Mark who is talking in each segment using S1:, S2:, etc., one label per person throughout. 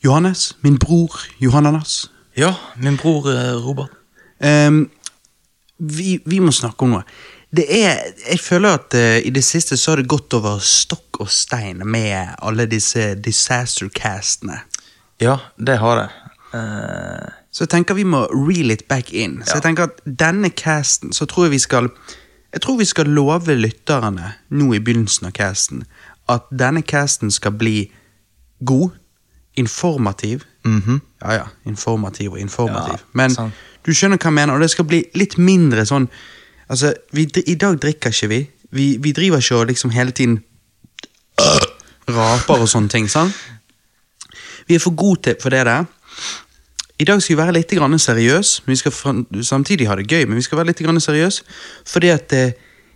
S1: Johannes, min bror Johananas.
S2: Ja, min bror eh, Robert.
S1: Ehm, vi, vi må snakke om noe. Det er, jeg føler at eh, i det siste så har det gått over stokk og stein med alle disse disaster-castene.
S2: Ja, det har det. Eh,
S1: Så jeg tenker vi må reel it back in. Så jeg tenker at denne casten, så tror jeg vi skal Jeg tror vi skal love lytterne nå i begynnelsen av casten at denne casten skal bli god, informativ Ja ja, informativ og informativ.
S2: Mm. Ja,
S1: Men
S2: sant.
S1: du skjønner hva jeg mener, og det skal bli litt mindre sånn Altså, vi, dri- i dag drikker ikke vi. Vi, vi driver ikke og liksom hele tiden raper og sånne ting, sant? Vi er for gode til for det der. I dag skal vi være litt grann seriøs, men vi skal fram- samtidig ha det gøy, men vi skal være litt grann seriøs, fordi at eh,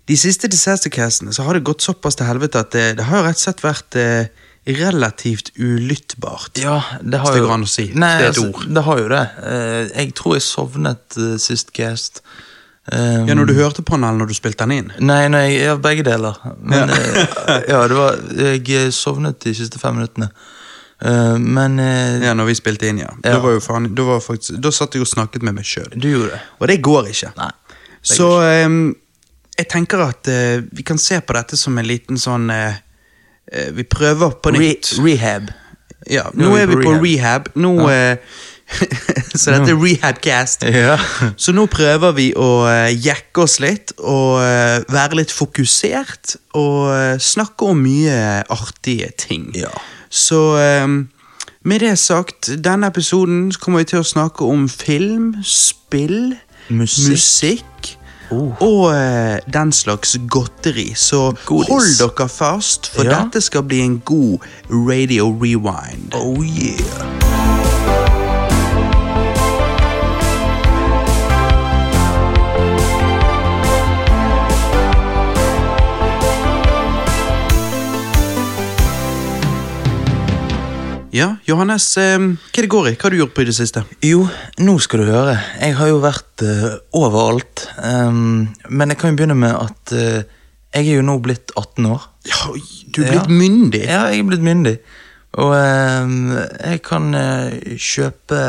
S1: de siste disastercastene så har det gått såpass til helvete at eh, det har jo rett og slett vært eh, relativt ulyttbart.
S2: ja, det har
S1: Hvis det
S2: jo
S1: går an å si.
S2: Nei,
S1: Det er et
S2: altså,
S1: ord.
S2: det har jo det. Eh, jeg tror jeg sovnet eh, sist cast. Eh,
S1: Ja, når du hørte på den eller når du spilte den inn.
S2: Nei, nei, ja, begge deler. Men ja. ja, det var Jeg eh, sovnet de siste fem minuttene. Eh, men eh,
S1: Ja, når vi spilte inn, ja.
S2: Ja.
S1: Da var jo faen, da var faktisk, da satt jeg og snakket med meg sjøl.
S2: du gjorde det.
S1: Og det går ikke.
S2: Nei. det
S1: Så ehm, jeg tenker at eh, vi kan se på dette som en liten sånn eh, eh, Vi prøver på
S2: Re
S1: nytt.
S2: rehab.
S1: Ja, nå er vi på rehab. Nå, eh, så dette er rehabcast.
S2: Ja.
S1: Så nå prøver vi å eh, jekke oss litt og eh, være litt fokusert og eh, snakke om mye artige ting.
S2: Ja.
S1: Så ehm, med det sagt, denne episoden så kommer vi til å snakke om film, spill,
S2: Musikk.
S1: musikk
S2: Oh.
S1: og eh, den slags godteri. Så
S2: Godis.
S1: hold dere fast, for
S2: Ja.
S1: dette skal bli en god radio rewind.
S2: Oh yeah.
S1: Ja, Johannes, eh, hva er det går i? Hva har du gjort på i det siste?
S2: Jo, nå skal du høre. Jeg har jo vært eh, overalt. Ehm, men jeg kan jo begynne med at eh, jeg er jo nå blitt 18 år.
S1: Ja, du er
S2: Ja. eh,
S1: blitt myndig.
S2: Ja, jeg er blitt myndig. Og ehm, jeg kan eh, kjøpe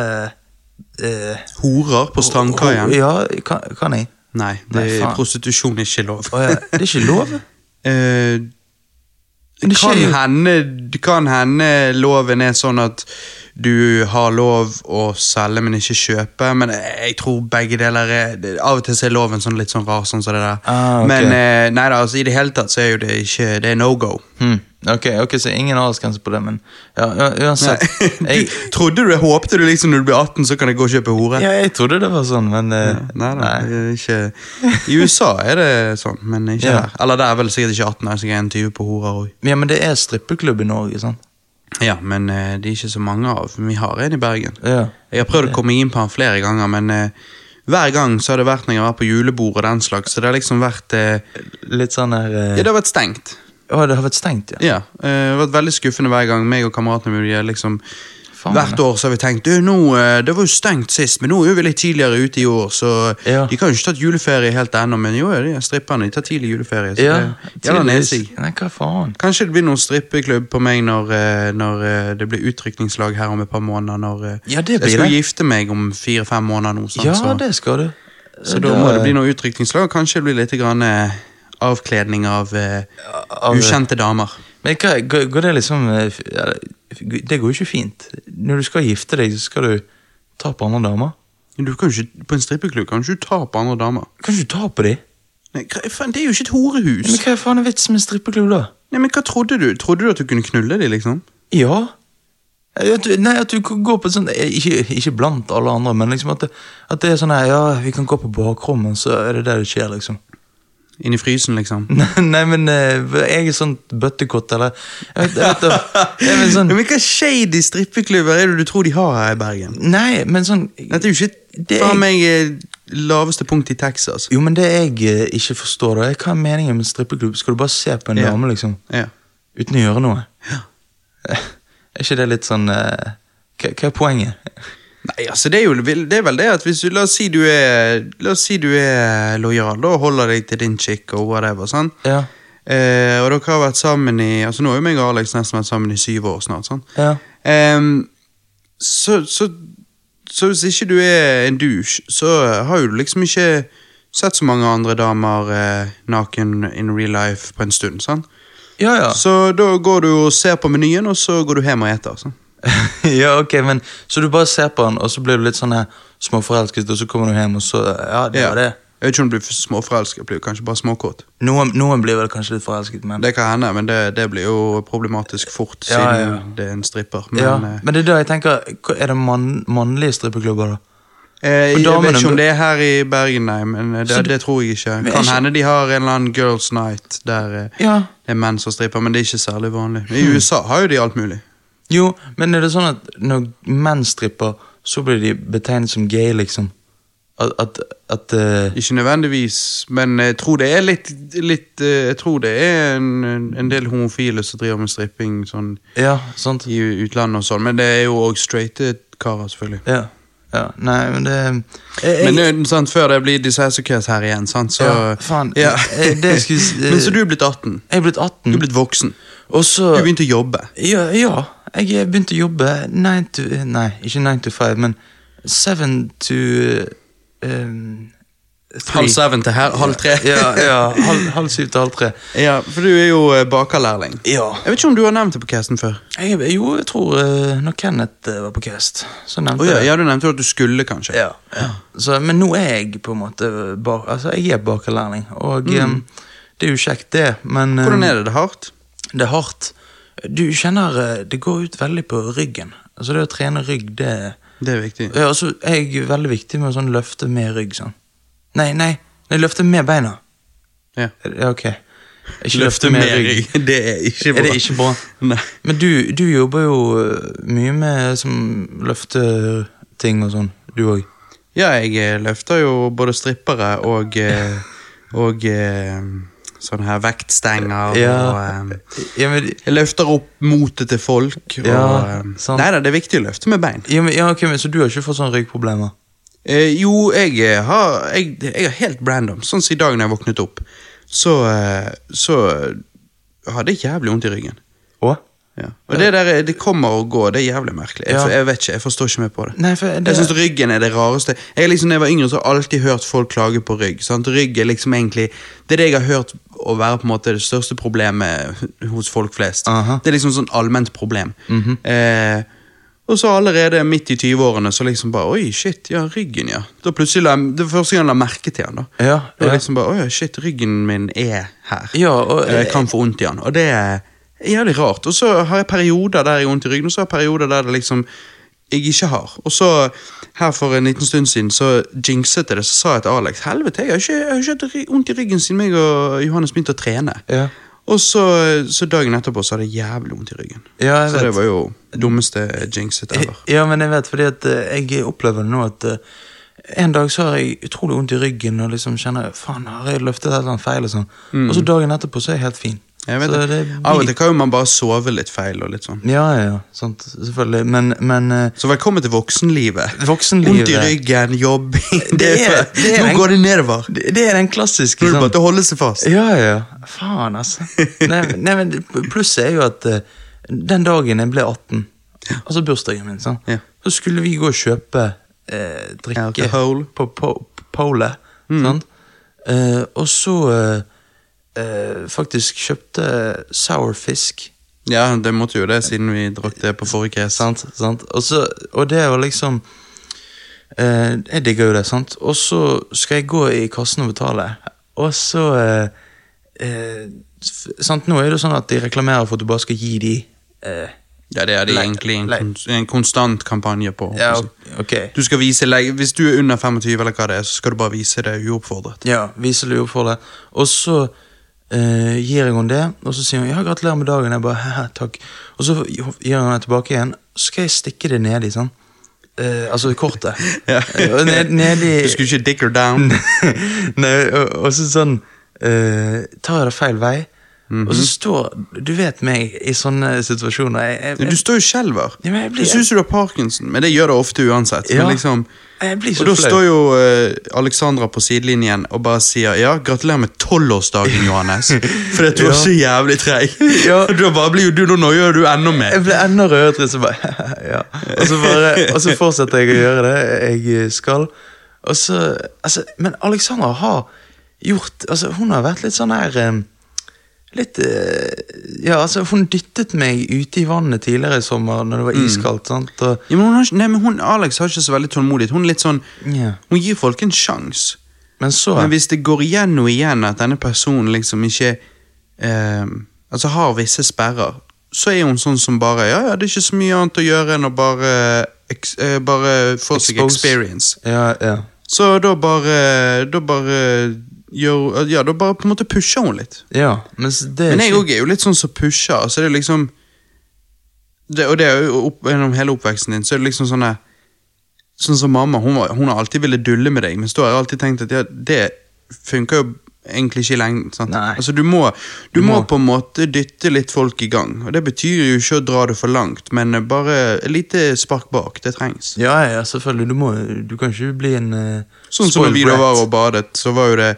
S2: eh,
S1: Horer på strandkaien.
S2: Ja, kan, kan jeg?
S1: Nei, det
S2: Nei,
S1: er
S2: faen.
S1: prostitusjon er ikke lov.
S2: Å, ja. Det er ikke lov?
S1: Eh,
S2: Men det
S1: kan,
S2: skjer jo-
S1: hende, kan hende loven er sånn at du har lov å selge, men ikke kjøpe. Men jeg tror begge deler er det- Av og til så er loven sånn litt sånn rar sånn som det der.
S2: Ah, ok.
S1: Men eh, nei da, altså, i det hele tatt så er jo det ikke Det er no go.
S2: Hm, Ok, ok, så ingen aldersgrense på det, men ja, u- uansett.
S1: Du,
S2: Jeg,
S1: trodde du, håpte du liksom når du blir 18, så kan jeg gå og kjøpe hore?
S2: ja, jeg trodde det var sånn, men eh,
S1: Nei, nei, det er Ikke. I USA er det sånn, men ikke
S2: Ja.
S1: her. Eller det er vel sikkert ikke 18, her, så jeg er en 20 på horer òg.
S2: Ja, men det er strippeklubb i Norge, sant?
S1: Ja, men eh, det er ikke så mange av. men Vi har en i Bergen.
S2: Ja.
S1: Jeg har prøvd å komme inn på han flere ganger, men eh, hver gang så har det vært når jeg har vært på julebord og den slags, så det har liksom vært eh,
S2: Litt sånn der eh,
S1: Ja, det har vært stengt.
S2: Å, det har vært stengt, ja.
S1: Ja, eh, Det har vært veldig skuffende hver gang. meg og kameratene mine, vi har liksom...
S2: Faen.
S1: Hvert år så har vi tenkt «Du, nå, eh, det var jo stengt sist, men nå er jo vi litt tidligere ute i år, så
S2: Ja.
S1: de kan jo ikke tatt juleferie helt ennå. Men jo, de er stripperne de tar tidlig juleferie. Så det gjelder nesig.
S2: tydeligvis. Nei, hva faen?
S1: Kanskje det blir noen strippeklubb på meg når, eh, når eh, det blir utrykningslag her om et par måneder. Når, eh,
S2: Ja, det
S1: jeg
S2: blir
S1: skal
S2: det.
S1: gifte meg om fire-fem måneder nå, sant?
S2: Ja,
S1: så,
S2: det skal du.
S1: så da må det bli noe utrykningslag. og Kanskje det blir litt grann, eh, avkledning av, eh,
S2: av-
S1: ukjente damer.
S2: Men hva, går går det liksom eh, f- ja, Det går jo ikke fint. Når du skal gifte deg, så skal du ta på andre damer.
S1: Du kan jo ikke, på en strippeklubb kan du ikke ta på andre damer.
S2: Kan ikke du ta på dem?
S1: Nei, hva- faen, det er jo ikke et horehus.
S2: Men hva er faen er vitsen med strippeklubb, da?
S1: Nei, men Hva trodde du? Trodde du at du kunne knulle dem, liksom?
S2: Ja. At du, nei, at du kan gå på sånn ikke, ikke blant alle andre, men liksom at det, at det er sånn her Ja, vi kan gå på bakrommet, så er det der det skjer, liksom.
S1: Inn i frysen, liksom?
S2: Nei, nei men eh, jeg er sånn bøttekott, eller Jeg vet, jeg vet, da- jeg vet sånn,
S1: Ja, men Hva shady strippeklubber er det du tror de har her i Bergen?
S2: Nei, men sånn
S1: Dette er jo ikke
S2: Det er-
S1: faen meg eh, laveste punkt i Texas.
S2: Jo, men det jeg eh, ikke forstår, da, er hva er meningen med strippeklubb? Skal du bare se på en
S1: Ja.
S2: dame, liksom?
S1: Ja.
S2: Uten å gjøre noe? Er ikke det litt sånn eh, Hva hva er poenget?
S1: Nei, altså det er, jo, det er vel det at hvis du, la oss si du er, la oss si du er lojal da, og holder deg til din chick og whatever, sant?
S2: Ja.
S1: Eh, og dere har vært sammen i, altså nå har jo meg og Alex nesten vært sammen i syv år snart, sant?
S2: Ja.
S1: Ehm, så, så, så hvis ikke du er en douche, så har jo du liksom ikke sett så mange andre damer eh, naken in real life på en stund. sant?
S2: Ja, ja.
S1: Så da går du og ser på menyen, og så går du hjem og eter. sant?
S2: ja, ok, men Så du bare ser på han, og så blir du litt sånn her småforelsket, og så kommer du hjem, og så Ja, det var det.
S1: Jeg vet ikke om du blir for småforelsket, blir jo kanskje bare småkåt.
S2: Noen, noen blir vel kanskje litt forelsket, men
S1: Det kan hende, men det, det blir jo problematisk fort,
S2: Ja,
S1: siden
S2: ja.
S1: det er en stripper. Men,
S2: ja,
S1: eh,
S2: men det er da jeg tenker hva- Er det mann, mannlige strippeklubber, da?
S1: Eh,
S2: For
S1: jeg
S2: damene-
S1: vet ikke om det er her i Bergen, nei, men eh,
S2: Så
S1: det,
S2: du-
S1: det tror jeg ikke.
S2: er
S1: Kan
S2: ikke-
S1: hende de har en eller annen girls night der eh,
S2: Ja.
S1: det er menn som stripper, men det er ikke særlig vanlig. I USA har jo de alt mulig.
S2: Jo, men er det sånn at når menn stripper, så blir de betegnet som gay, liksom? At, at, at eh,
S1: Ikke nødvendigvis, men jeg tror det er litt, litt eh, Jeg tror det er en, en del homofile som driver med stripping sånn,
S2: Ja, sant?
S1: i utlandet og sånn, men det er jo òg straighte karer, selvfølgelig.
S2: Ja. ja. Nei, men det jeg,
S1: Men eh, sant, før det blir Disseisocus her igjen, sant, så
S2: Ja, faen.
S1: Ja.
S2: Eh, det jeg skulle s-
S1: Men så du er blitt 18.
S2: jeg er blitt 18,
S1: Du er blitt voksen.
S2: og så
S1: Du begynte å jobbe.
S2: Ja, ja. jeg begynte å jobbe 9 to, Nei, ikke 9 to 5, men 7 to um,
S1: Halv seven til her, halv tre.
S2: ja, ja halv, halv syv til halv tre.
S1: Ja, for du er jo eh, bakerlærling.
S2: Ja.
S1: Jeg vet ikke om du har nevnt det på casten før.
S2: Jeg, jo, jeg tror eh, når Kenneth eh, var på cast, så nevnte
S1: Oh, ja,
S2: jeg
S1: ja, du nevnte jo at du skulle, kanskje.
S2: Ja. Så, men nå er jeg på en måte bar, Altså, jeg er bakerlærling, og em, det er jo kjekt, det, men
S1: Mm.
S2: em,
S1: Hvordan er det? Det er hardt?
S2: Det er hardt. Du kjenner eh, Det går ut veldig på ryggen. Altså, det å trene rygg, det
S1: Det er viktig.
S2: Ja, altså, jeg er veldig viktig med å sånn løfte med rygg, sånn. Nei, nei, nei løfte med beina.
S1: Ja.
S2: Ja, ok. Ikke løfte, med rygg.
S1: Det er ikke bra.
S2: Er det ikke bra?
S1: Nei.
S2: Men du, du jobber jo øh, mye med som løfteting og sånn, du òg.
S1: Ja, jeg eh, løfter jo både strippere og eh, Og eh, sånne her vektstenger
S2: Ja.
S1: og eh,
S2: Ja, men,
S1: Jeg løfter opp motet til folk. Og,
S2: Ja,
S1: eh,
S2: sant.
S1: Nei da, det er viktig å løfte med bein.
S2: ja, men, ja, ok, men Så du har ikke fått sånne ryggproblemer?
S1: Eh, jo, jeg eh, har jeg, jeg er helt random. Sånn som i dag når jeg våknet opp, så, eh, så eh, hadde jeg jævlig vondt i ryggen.
S2: Å?
S1: Ja. Og det der eh, det kommer og går, det er jævlig merkelig. Jeg,
S2: Ja.
S1: for, jeg vet ikke, jeg forstår ikke mer på det.
S2: Nei, for det,
S1: Jeg synes ryggen er det rareste. Jeg liksom, når jeg var yngre, så har jeg alltid hørt folk klage på rygg. Sant? Rygg er liksom egentlig Det er det jeg har hørt å være på en måte det største problemet hos folk flest.
S2: Aha. Mhm.
S1: Det er liksom sånn allment problem. eh, og så allerede midt i 20-årene så liksom bare Oi, shit, ja, ryggen, ja. Da plutselig la jeg, Det var første gang jeg la merke til han da.
S2: Ja,
S1: Det var
S2: ja.
S1: liksom bare Oi, shit, ryggen min er her.
S2: Ja, og-
S1: Eh, jeg kan få vondt i han. Og det er jævlig rart. Og så har jeg perioder der jeg har vondt i ryggen, og så har jeg perioder der det liksom jeg ikke har. Og så, her for en liten stund siden, så jinxet jeg det, så sa jeg til Alex helvete, jeg har ikke, jeg har ikke hatt ry- vondt i ryggen siden meg og Johannes begynte å trene.
S2: Ja.
S1: Og så, så dagen etterpå så hadde jeg jævlig vondt i ryggen.
S2: Ja, jeg
S1: så det
S2: vet.
S1: var jo Eh, dummeste jinxet ever.
S2: Ja, men jeg vet, fordi at eh, jeg opplever det nå at eh, en dag så har jeg utrolig vondt i ryggen og liksom kjenner faen, har jeg løftet et eller annet feil og sånn. Og så dagen etterpå så er jeg helt fin.
S1: Mm. Jeg vet
S2: så
S1: det.
S2: blir-
S1: Av og til kan jo man bare sove litt feil og litt sånn.
S2: Ja, ja, ja, sant, selvfølgelig. Men, men eh,
S1: Så velkommen til voksenlivet.
S2: Voksenlivet.
S1: Vondt i ryggen, jobbing det er,
S2: er- det er en-
S1: Nå går det nedover.
S2: det, det er den klassiske
S1: Nå er det
S2: sånn
S1: bare til å holde seg fast.
S2: Ja, ja, ja. Faen, altså. Nei, men- nei, men Plusset er jo at eh, den dagen jeg ble 18, altså bursdagen min, sånn,
S1: Ja.
S2: så skulle vi gå og kjøpe eh, drikke
S1: Alkohol.
S2: på, på, på polet. sant? Eh, og så eh, eh, faktisk kjøpte sour fisk.
S1: Ja, det måtte jo det, siden vi drakk det på forrige case.
S2: Sant, sant? Og, så, og det var liksom eh, Jeg digger jo det, sant? Og så skal jeg gå i kassen og betale, og så eh, eh, f- sant? Nå er det jo sånn at de reklamerer for at du bare skal gi de eh,
S1: Ja, det er det
S2: Lei-
S1: egentlig en,
S2: lei-
S1: kons- en konstant kampanje på.
S2: Ja,
S1: Altså.
S2: ok.
S1: Du skal vise leg- Hvis du er under 25, eller hva det er, så skal du bare vise det uoppfordret.
S2: Ja, viser lue for det. Og så eh, gir jeg henne det, og så sier hun ja, gratulerer med dagen. Jeg bare «Haha, takk. Og så gir hun det tilbake igjen. Så skal jeg stikke det nedi, sånn. Eh, altså kortet.
S1: Ja.
S2: Og ned- Nedi
S1: Du skulle ikke dick her down.
S2: Nei, og, og så sånn eh, Tar jeg det feil vei? Og
S1: Mhm.
S2: så står Du vet meg i sånne situasjoner. Jeg, jeg,
S1: Du står jo og skjelver.
S2: Ja, men jeg blir-
S1: Det synes jo du har parkinson, men det gjør det ofte uansett.
S2: Ja.
S1: Men liksom,
S2: jeg blir så
S1: og da
S2: flau.
S1: står jo eh, Alexandra på sidelinjen og bare sier ja, gratulerer med tolvårsdagen, Johannes. For at du
S2: Ja.
S1: var så jævlig treig.
S2: Ja.
S1: Og da bare blir jo du nå noier du enda mer.
S2: Jeg ble enda rødere til, så bare, ja. og, så bare, og så fortsetter jeg å gjøre det jeg eh, skal. Og så, altså, men Alexandra har gjort altså, Hun har vært litt sånn her eh, Litt eh, Ja, altså, hun dyttet meg ute i vannet tidligere i sommer når det
S1: Mm.
S2: var iskaldt. sant? Og,
S1: Ja, men hun har ikke, nei, men hun, Alex har ikke så veldig tålmodighet. Hun er litt sånn
S2: Ja.
S1: Hun gir folk en sjanse.
S2: men så
S1: Men hvis det går igjen og igjen at denne personen liksom ikke eh, Altså har visse sperrer, så er hun sånn som bare Ja, ja, det er ikke så mye annet å gjøre enn å bare, eks- eh, bare få seg
S2: Expose.
S1: experience.
S2: ja, ja.
S1: Så da bare Da bare gjør Ja, da bare på en måte pusher hun litt.
S2: ja, mens det
S1: Men jeg òg er jo litt sånn som pusher. Altså, det er jo liksom det, Og det er jo opp, gjennom hele oppveksten din, så er det liksom sånn der- Sånn som mamma, hun, var, hun har alltid villet dulle med deg, men så har jeg alltid tenkt at ja, det funker jo egentlig ikke i lengden. sant?
S2: Nei.
S1: Altså, du må, du
S2: Du
S1: må
S2: må.
S1: på en måte dytte litt folk i gang, og det betyr jo ikke å dra det for langt, men eh, bare et lite spark bak, det trengs.
S2: Ja, ja, selvfølgelig. Du, må, du kan ikke bli en eh,
S1: Sånn som når
S2: spoiled
S1: vi da
S2: brat.
S1: var og badet, så var jo det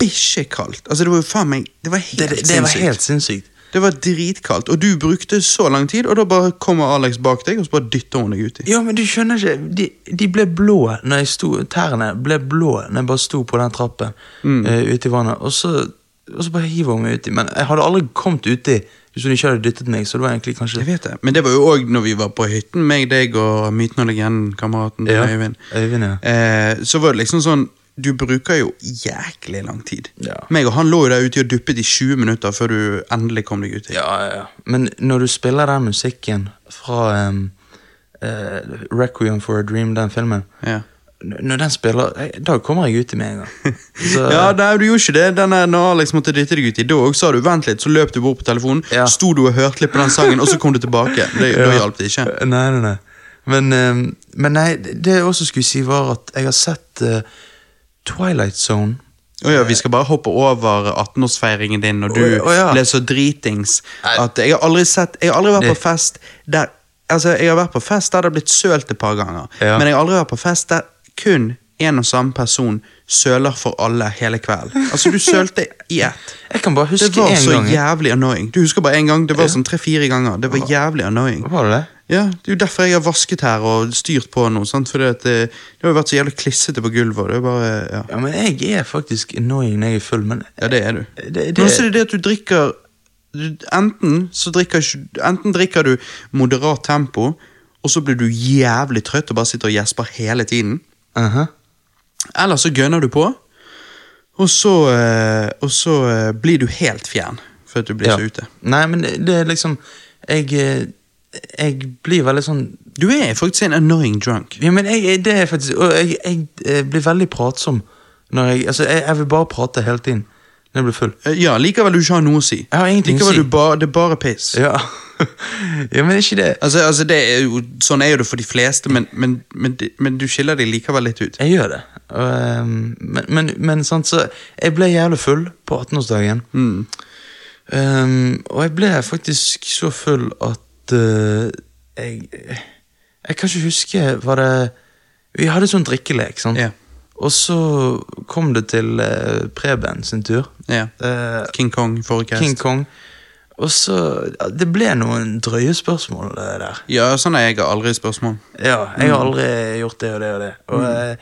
S1: bikkjekaldt. Altså, det var jo faen meg Det var helt
S2: det, det, det var
S1: sinnssykt.
S2: helt sinnssykt.
S1: Det var dritkaldt, og du brukte så lang tid, og da bare kommer Alex bak deg, og så bare dytter hun deg uti.
S2: Ja, men du skjønner ikke. De, de ble blå når jeg sto Tærne ble blå når jeg bare sto på den trappen eh, ute i vannet. Og så, og så bare hiver hun meg uti. Men jeg hadde aldri kommet uti hvis hun ikke hadde dyttet meg. Så det var egentlig kanskje
S1: Jeg vet det, men det var jo òg når vi var på hytten, meg, deg og myten og legenden, kameraten
S2: Ja,
S1: Øyvind.
S2: Øyvind, ja.
S1: Eh, så var det liksom sånn Du bruker jo jæklig lang tid.
S2: Ja.
S1: Meg og han lå jo der ute og duppet i 20 minutter før du endelig kom deg uti.
S2: Ja, ja, ja. Men når du spiller den musikken fra em, eh, Requiem for a Dream, den filmen
S1: Ja.
S2: n- Når den spiller, eh, da kommer jeg uti med en gang. Så,
S1: ja, nei, du gjorde ikke det. Den der når Alex måtte dytte deg uti, da òg sa du 'vent litt', så løp du bort på telefonen,
S2: Ja.
S1: sto du og hørte litt på den sangen, og så kom du tilbake. Det, Da hjalp det ikke.
S2: Eh, Nei, nei, nei. Men, ehm, men nei, det jeg også skulle si, var at jeg har sett eh, Twilight Zone.
S1: Å ja, vi skal bare hoppe over 18-årsfeiringen din når du
S2: Å ja, å ja.
S1: ble så dritings
S2: Nei.
S1: at jeg har aldri sett Jeg har aldri vært
S2: Det-
S1: på fest der Altså, jeg har vært på fest der det har blitt sølt et par ganger,
S2: Ja.
S1: men jeg har aldri vært på fest der kun en og samme person søler for alle hele kvelden. Altså, du sølte i ett.
S2: Jeg kan bare huske
S1: Det var
S2: én
S1: så
S2: gang.
S1: jævlig annoying. Du husker bare én gang? Det var sånn tre-fire ganger. Det var jævlig annoying.
S2: Var det det?
S1: Ja, Det er jo derfor jeg har vasket her og styrt på nå, sant? Fordi at det, det har jo vært så jævlig klissete på gulvet. og Det er bare, ja.
S2: Ja, men jeg er faktisk annoying når jeg er full, men
S1: Ja, det er du.
S2: Det- det-
S1: Men også er det det at du drikker du- Enten så drikker ikke Enten drikker du moderat tempo, og så blir du jævlig trøtt og bare sitter og gjesper hele tiden.
S2: aha.
S1: Eller så gønner du på, og så, eh, og så eh, blir du helt fjern for at du blir
S2: ja.
S1: så ute.
S2: Nei, men det, det er liksom jeg, eh, jeg blir veldig sånn
S1: Du er faktisk en annoying drunk.
S2: Ja, men jeg, det er faktisk Og jeg, jeg, eh, blir veldig pratsom når jeg Altså, jeg, jeg vil bare prate hele tiden når jeg blir full.
S1: Eh, Ja, likevel du ikke har noe å si.
S2: Jeg har ingenting å
S1: likevel
S2: si.
S1: Du ba, det er bare piss.
S2: Ja. ja, men ikke det
S1: Altså, altså det er jo, Sånn er jo det for de fleste, men, men, men, de- men du skiller deg likevel litt ut.
S2: Jeg gjør det. Og, ehm, men, men, men sant, så Jeg ble jævlig full på 18-årsdagen.
S1: Mm.
S2: Ehm, og jeg ble faktisk så full at eh, jeg Jeg kan ikke huske Var det Vi hadde sånn drikkelek, sant?
S1: Ja.
S2: Og så kom det til eh, Preben sin tur.
S1: Ja.
S2: Eh,
S1: King Kong, forecast.
S2: King Kong. Og så ja, Det ble noen drøye spørsmål eh, der.
S1: Ja, sånn er jeg har aldri spørsmål.
S2: Ja, jeg
S1: Mm.
S2: har aldri gjort det og det og det. Og eh,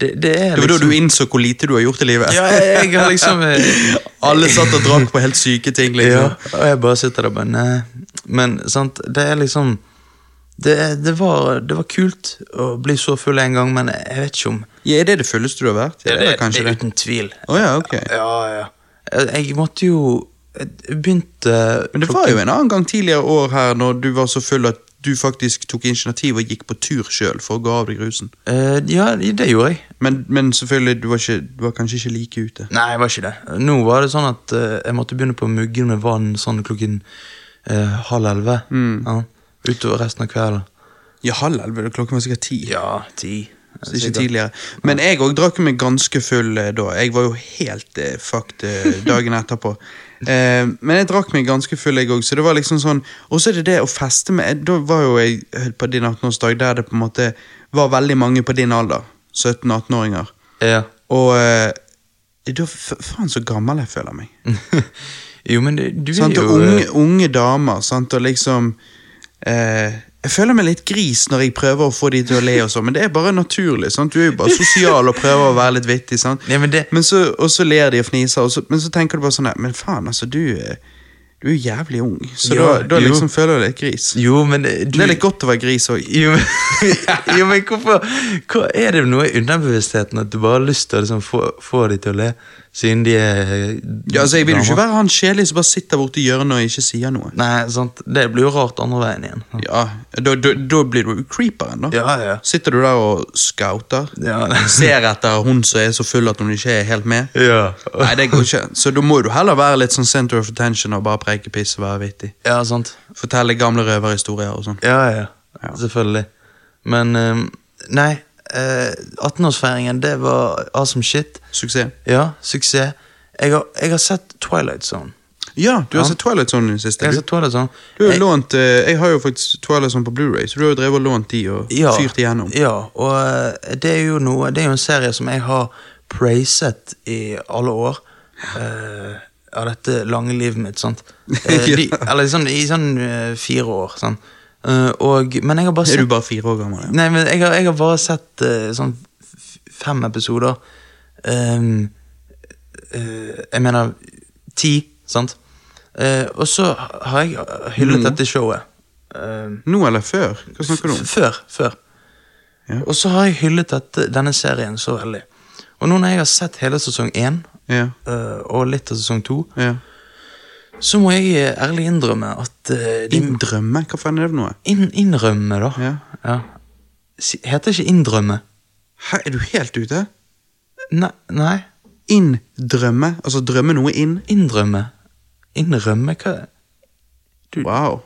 S2: det, det er
S1: Det var da
S2: liksom
S1: du innså hvor lite du har gjort i livet.
S2: Ja, jeg, jeg har liksom eh,
S1: Alle satt og drakk på helt syke ting.
S2: Ja,
S1: liksom.
S2: og jeg bare sitter der og bare Nei. Men sant, det er liksom det, det, var, det var kult å bli så full en gang, men jeg vet ikke om
S1: Ja, er det det fulleste du har vært? Ja, det, er kanskje det.
S2: uten tvil.
S1: Å ja, ok.
S2: Ja, ja. Jeg, jeg måtte jo Jeg begynte
S1: Men det var jo en annen gang tidligere år her når du var så full at du faktisk tok initiativ og gikk på tur sjøl for å gå av deg rusen.
S2: Eh, Ja, det gjorde jeg.
S1: Men, men selvfølgelig, du var, ikke, du var kanskje ikke like ute.
S2: Nei, jeg var ikke det. Nå var det sånn at eh, jeg måtte begynne på muggen med vann sånn klokken eh, halv elleve.
S1: Mm.
S2: Ja, utover resten av kvelden.
S1: Ja, halv elleve. Klokken var sikkert ti.
S2: Ja, ti.
S1: Så ikke tidligere. Men jeg òg drakk meg ganske full eh, da. Jeg var jo helt eh, fucked eh, dagen etterpå. Eh, men jeg drakk meg ganske full, jeg òg. Så det var liksom sånn Og så er det det å feste med Da var jo jeg på din 18-årsdag der det på en måte var veldig mange på din alder. 17-18-åringer.
S2: Ja.
S1: Og eh, da f- Faen, så gammel jeg føler meg.
S2: jo, men det, du er
S1: Sant? Og
S2: jo
S1: Sånn
S2: eh,
S1: unge, unge damer, sant, og liksom eh, Jeg føler meg litt gris når jeg prøver å få de til å le, og sånn, men det er bare naturlig. sant? Du er jo bare sosial og prøver å være litt vittig. sant?
S2: Nei, men det-
S1: så, og så ler de og fniser, og så, men så tenker du bare sånn nei, Men faen, altså, du, er- du er jo jævlig ung, så
S2: Ja,
S1: da, da
S2: jo.
S1: liksom føler du deg litt gris.
S2: Jo, men eh, du
S1: Det er litt godt å være gris òg.
S2: Jo, men, jo, men hvorfor hva Er det noe i underbevisstheten at du bare har lyst til å liksom få, få de til å le, siden de er
S1: Ja, altså, jeg vil jo ikke være han kjedelige som bare sitter borti hjørnet og ikke sier noe.
S2: Nei, sant. Det blir jo rart andre veien igjen.
S1: Ja, Da, da, da blir du jo creeperen, da.
S2: Ja, ja.
S1: Sitter du der og scouter?
S2: Ja, nei.
S1: ser etter hun som er så full at hun ikke er helt med.
S2: ja.
S1: Nei, det går ikke. Så da må du heller være litt sånn center of attention og bare preike piss og være vittig.
S2: ja sant.
S1: Fortelle gamle røverhistorier og sånn.
S2: Ja, ja. Selvfølgelig. Men eh, Nei. eh, 18-årsfeiringen, det var awesome shit.
S1: Suksess.
S2: Ja, suksess. Jeg har, jeg har sett Twilight Zone.
S1: Ja, du har
S2: Ja.
S1: sett Twilight Zone i det siste.
S2: Jeg har
S1: Du,
S2: sett Twilight Zone.
S1: du har
S2: Jeg-
S1: jo lånt, eh, jeg har jo faktisk Twilight Zone på Blu-ray, så du har jo drevet og lånt de og
S2: ja,
S1: fyrt igjennom.
S2: Ja, og eh, det er jo noe Det er jo en serie som jeg har praiset i alle år. eh, av dette lange livet mitt, sant. Eh, de,
S1: Ja.
S2: eller sånn, i sånn eh, fire år, sånn. Eh, og Men jeg har bare
S1: Er
S2: sett
S1: du bare fire år gammel? Ja?
S2: Nei, men jeg har, jeg har bare sett eh, sånn f- fem episoder. Ehm, eh, jeg mener ti, sant? Eh, og så har jeg hyllet
S1: Nå.
S2: dette showet. Ehm,
S1: Nå eller før? Mm. Hva snakker du om?
S2: F- Før. før.
S1: Ja.
S2: Og så har jeg hyllet dette, denne serien så veldig. Og nå når jeg har sett hele sesong én,
S1: Ja,
S2: øh, og litt av sesong to,
S1: ja.
S2: så må jeg eh, ærlig innrømme at øh, de
S1: Inndrømme? Hva faen er det for noe?
S2: inn, Innrømme, da.
S1: Ja.
S2: Si- Heter ikke innrømme.
S1: Hæ, er du helt ute?
S2: Nei, nei.
S1: Inndrømme? Altså drømme noe inn?
S2: Innrømme. Innrømme, hva
S1: Wow.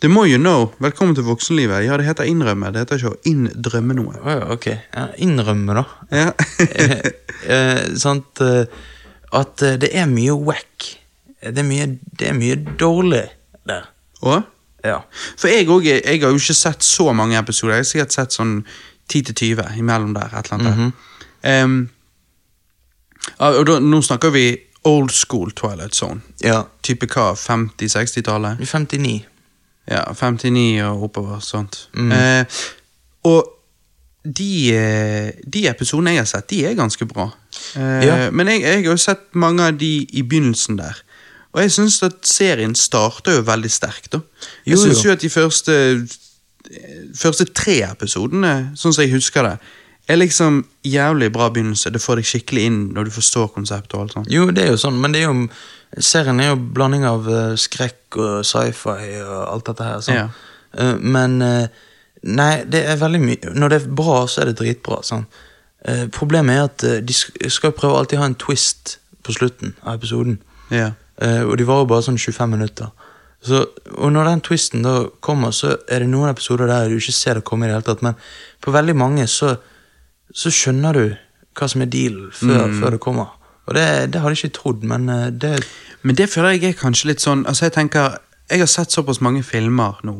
S1: Det må you know. Velkommen til voksenlivet. Ja, det heter innrømme. Det heter ikke å inndrømme noe.
S2: Å ja, ok. Ja, innrømme, da.
S1: Ja.
S2: eh, eh, sant, eh, at eh, det er mye wack. Det er mye, det er mye dårlig der.
S1: Og?
S2: Ja.
S1: For jeg, og, jeg, jeg har jo ikke sett så mange episoder. Jeg har sikkert sett sånn 10-20 imellom der. Et eller annet der. Em, ja, og da, nå snakker vi old school Twilight Zone.
S2: Ja.
S1: Type hva? 50-60-tallet?
S2: 59.
S1: Ja, 59 og oppover, sånt.
S2: Mm.
S1: Eh, og de, eh, de episodene jeg har sett, de er ganske bra. Eh,
S2: Ja.
S1: Men jeg, jeg har jo sett mange av de i begynnelsen der. Og jeg syns at serien starter jo veldig sterkt, da. Jeg
S2: Jo,
S1: syns
S2: jo.
S1: jo at de første, eh, første tre episodene, sånn som jeg husker det, er liksom jævlig bra begynnelse. Det får deg skikkelig inn når du forstår konseptet og alt sånt.
S2: Jo, det er jo sånn, men det er jo, serien er jo blanding av eh, skrekk og sci-fi og alt dette her. Sånn.
S1: Ja.
S2: Eh, men eh, Nei, det er veldig mye Når det er bra, så er det dritbra. Sånn. Eh, problemet er at eh, de sk- skal prøve å alltid ha en twist på slutten av episoden.
S1: Ja.
S2: Eh, og de varer bare sånn 25 minutter. Så, og når den twisten da kommer, så er det noen episoder der du ikke ser det komme i det hele tatt, men på veldig mange så, så skjønner du hva som er dealen før, før det kommer. Og det, det hadde jeg ikke trodd, men eh, det
S1: Men det føler jeg er kanskje litt sånn Altså jeg tenker, jeg har sett såpass mange filmer nå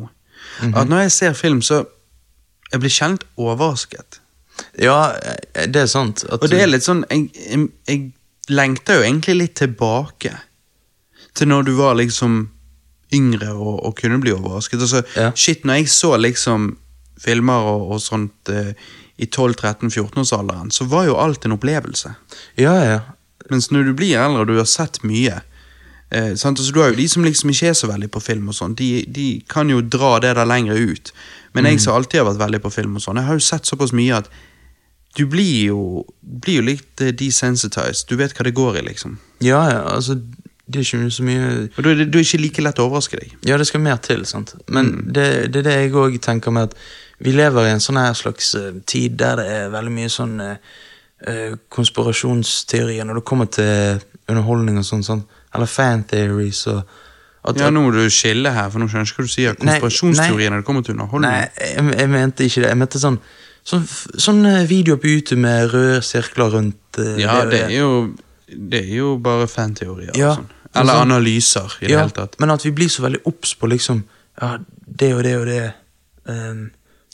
S1: At når jeg ser film så Jeg blir kjent overrasket
S2: Ja, eh, det er sant. At,
S1: Og det er litt sånn Jeg, jeg, jeg lengter jo egentlig litt tilbake Til når du var liksom Yngre og, og kunne bli overrasket altså,
S2: Ja.
S1: Shit, når jeg så liksom Filmer og, og sånt eh, I 12-13-14 års alderen Så var jo alt en opplevelse
S2: Ja, ja.
S1: mens når du blir eldre og du har sett mye eh, sant? Altså, Du har jo de som liksom ikke er så veldig på film, og sånn de, de kan jo dra det der lenger ut. Men jeg som alltid har vært veldig på film, og sånn Jeg har jo sett såpass mye at du blir jo, blir jo litt eh, desensitized. Du vet hva det går i, liksom.
S2: Ja, ja, altså det er ikke så mye
S1: Og da er det du er ikke like lett å overraske deg.
S2: Ja, det skal mer til, sant. Men
S1: Mm.
S2: det, det er det jeg òg tenker med at vi lever i en sånn her slags eh, tid der det er veldig mye sånn eh, eh, konspirasjonsteorier når det kommer til underholdning og sånn, sant? eller fan theories og at,
S1: Ja, nå må du skille her, for nå skjønner jeg ikke hva du sier.
S2: Nei,
S1: Konspirasjonsteorier når det kommer til
S2: Nei,
S1: underholdning.
S2: jeg, jeg mente ikke det. Jeg mente sånn sånn, f- sånn eh, video på YouTube med røde sirkler rundt eh,
S1: Ja,
S2: og
S1: det er jo, det er jo bare fanteorier. og
S2: Ja,
S1: sånn. Eller
S2: sånn-
S1: analyser, i det
S2: Ja,
S1: hele tatt.
S2: men at vi blir så veldig obs på liksom Ja, det og det og det. ehm,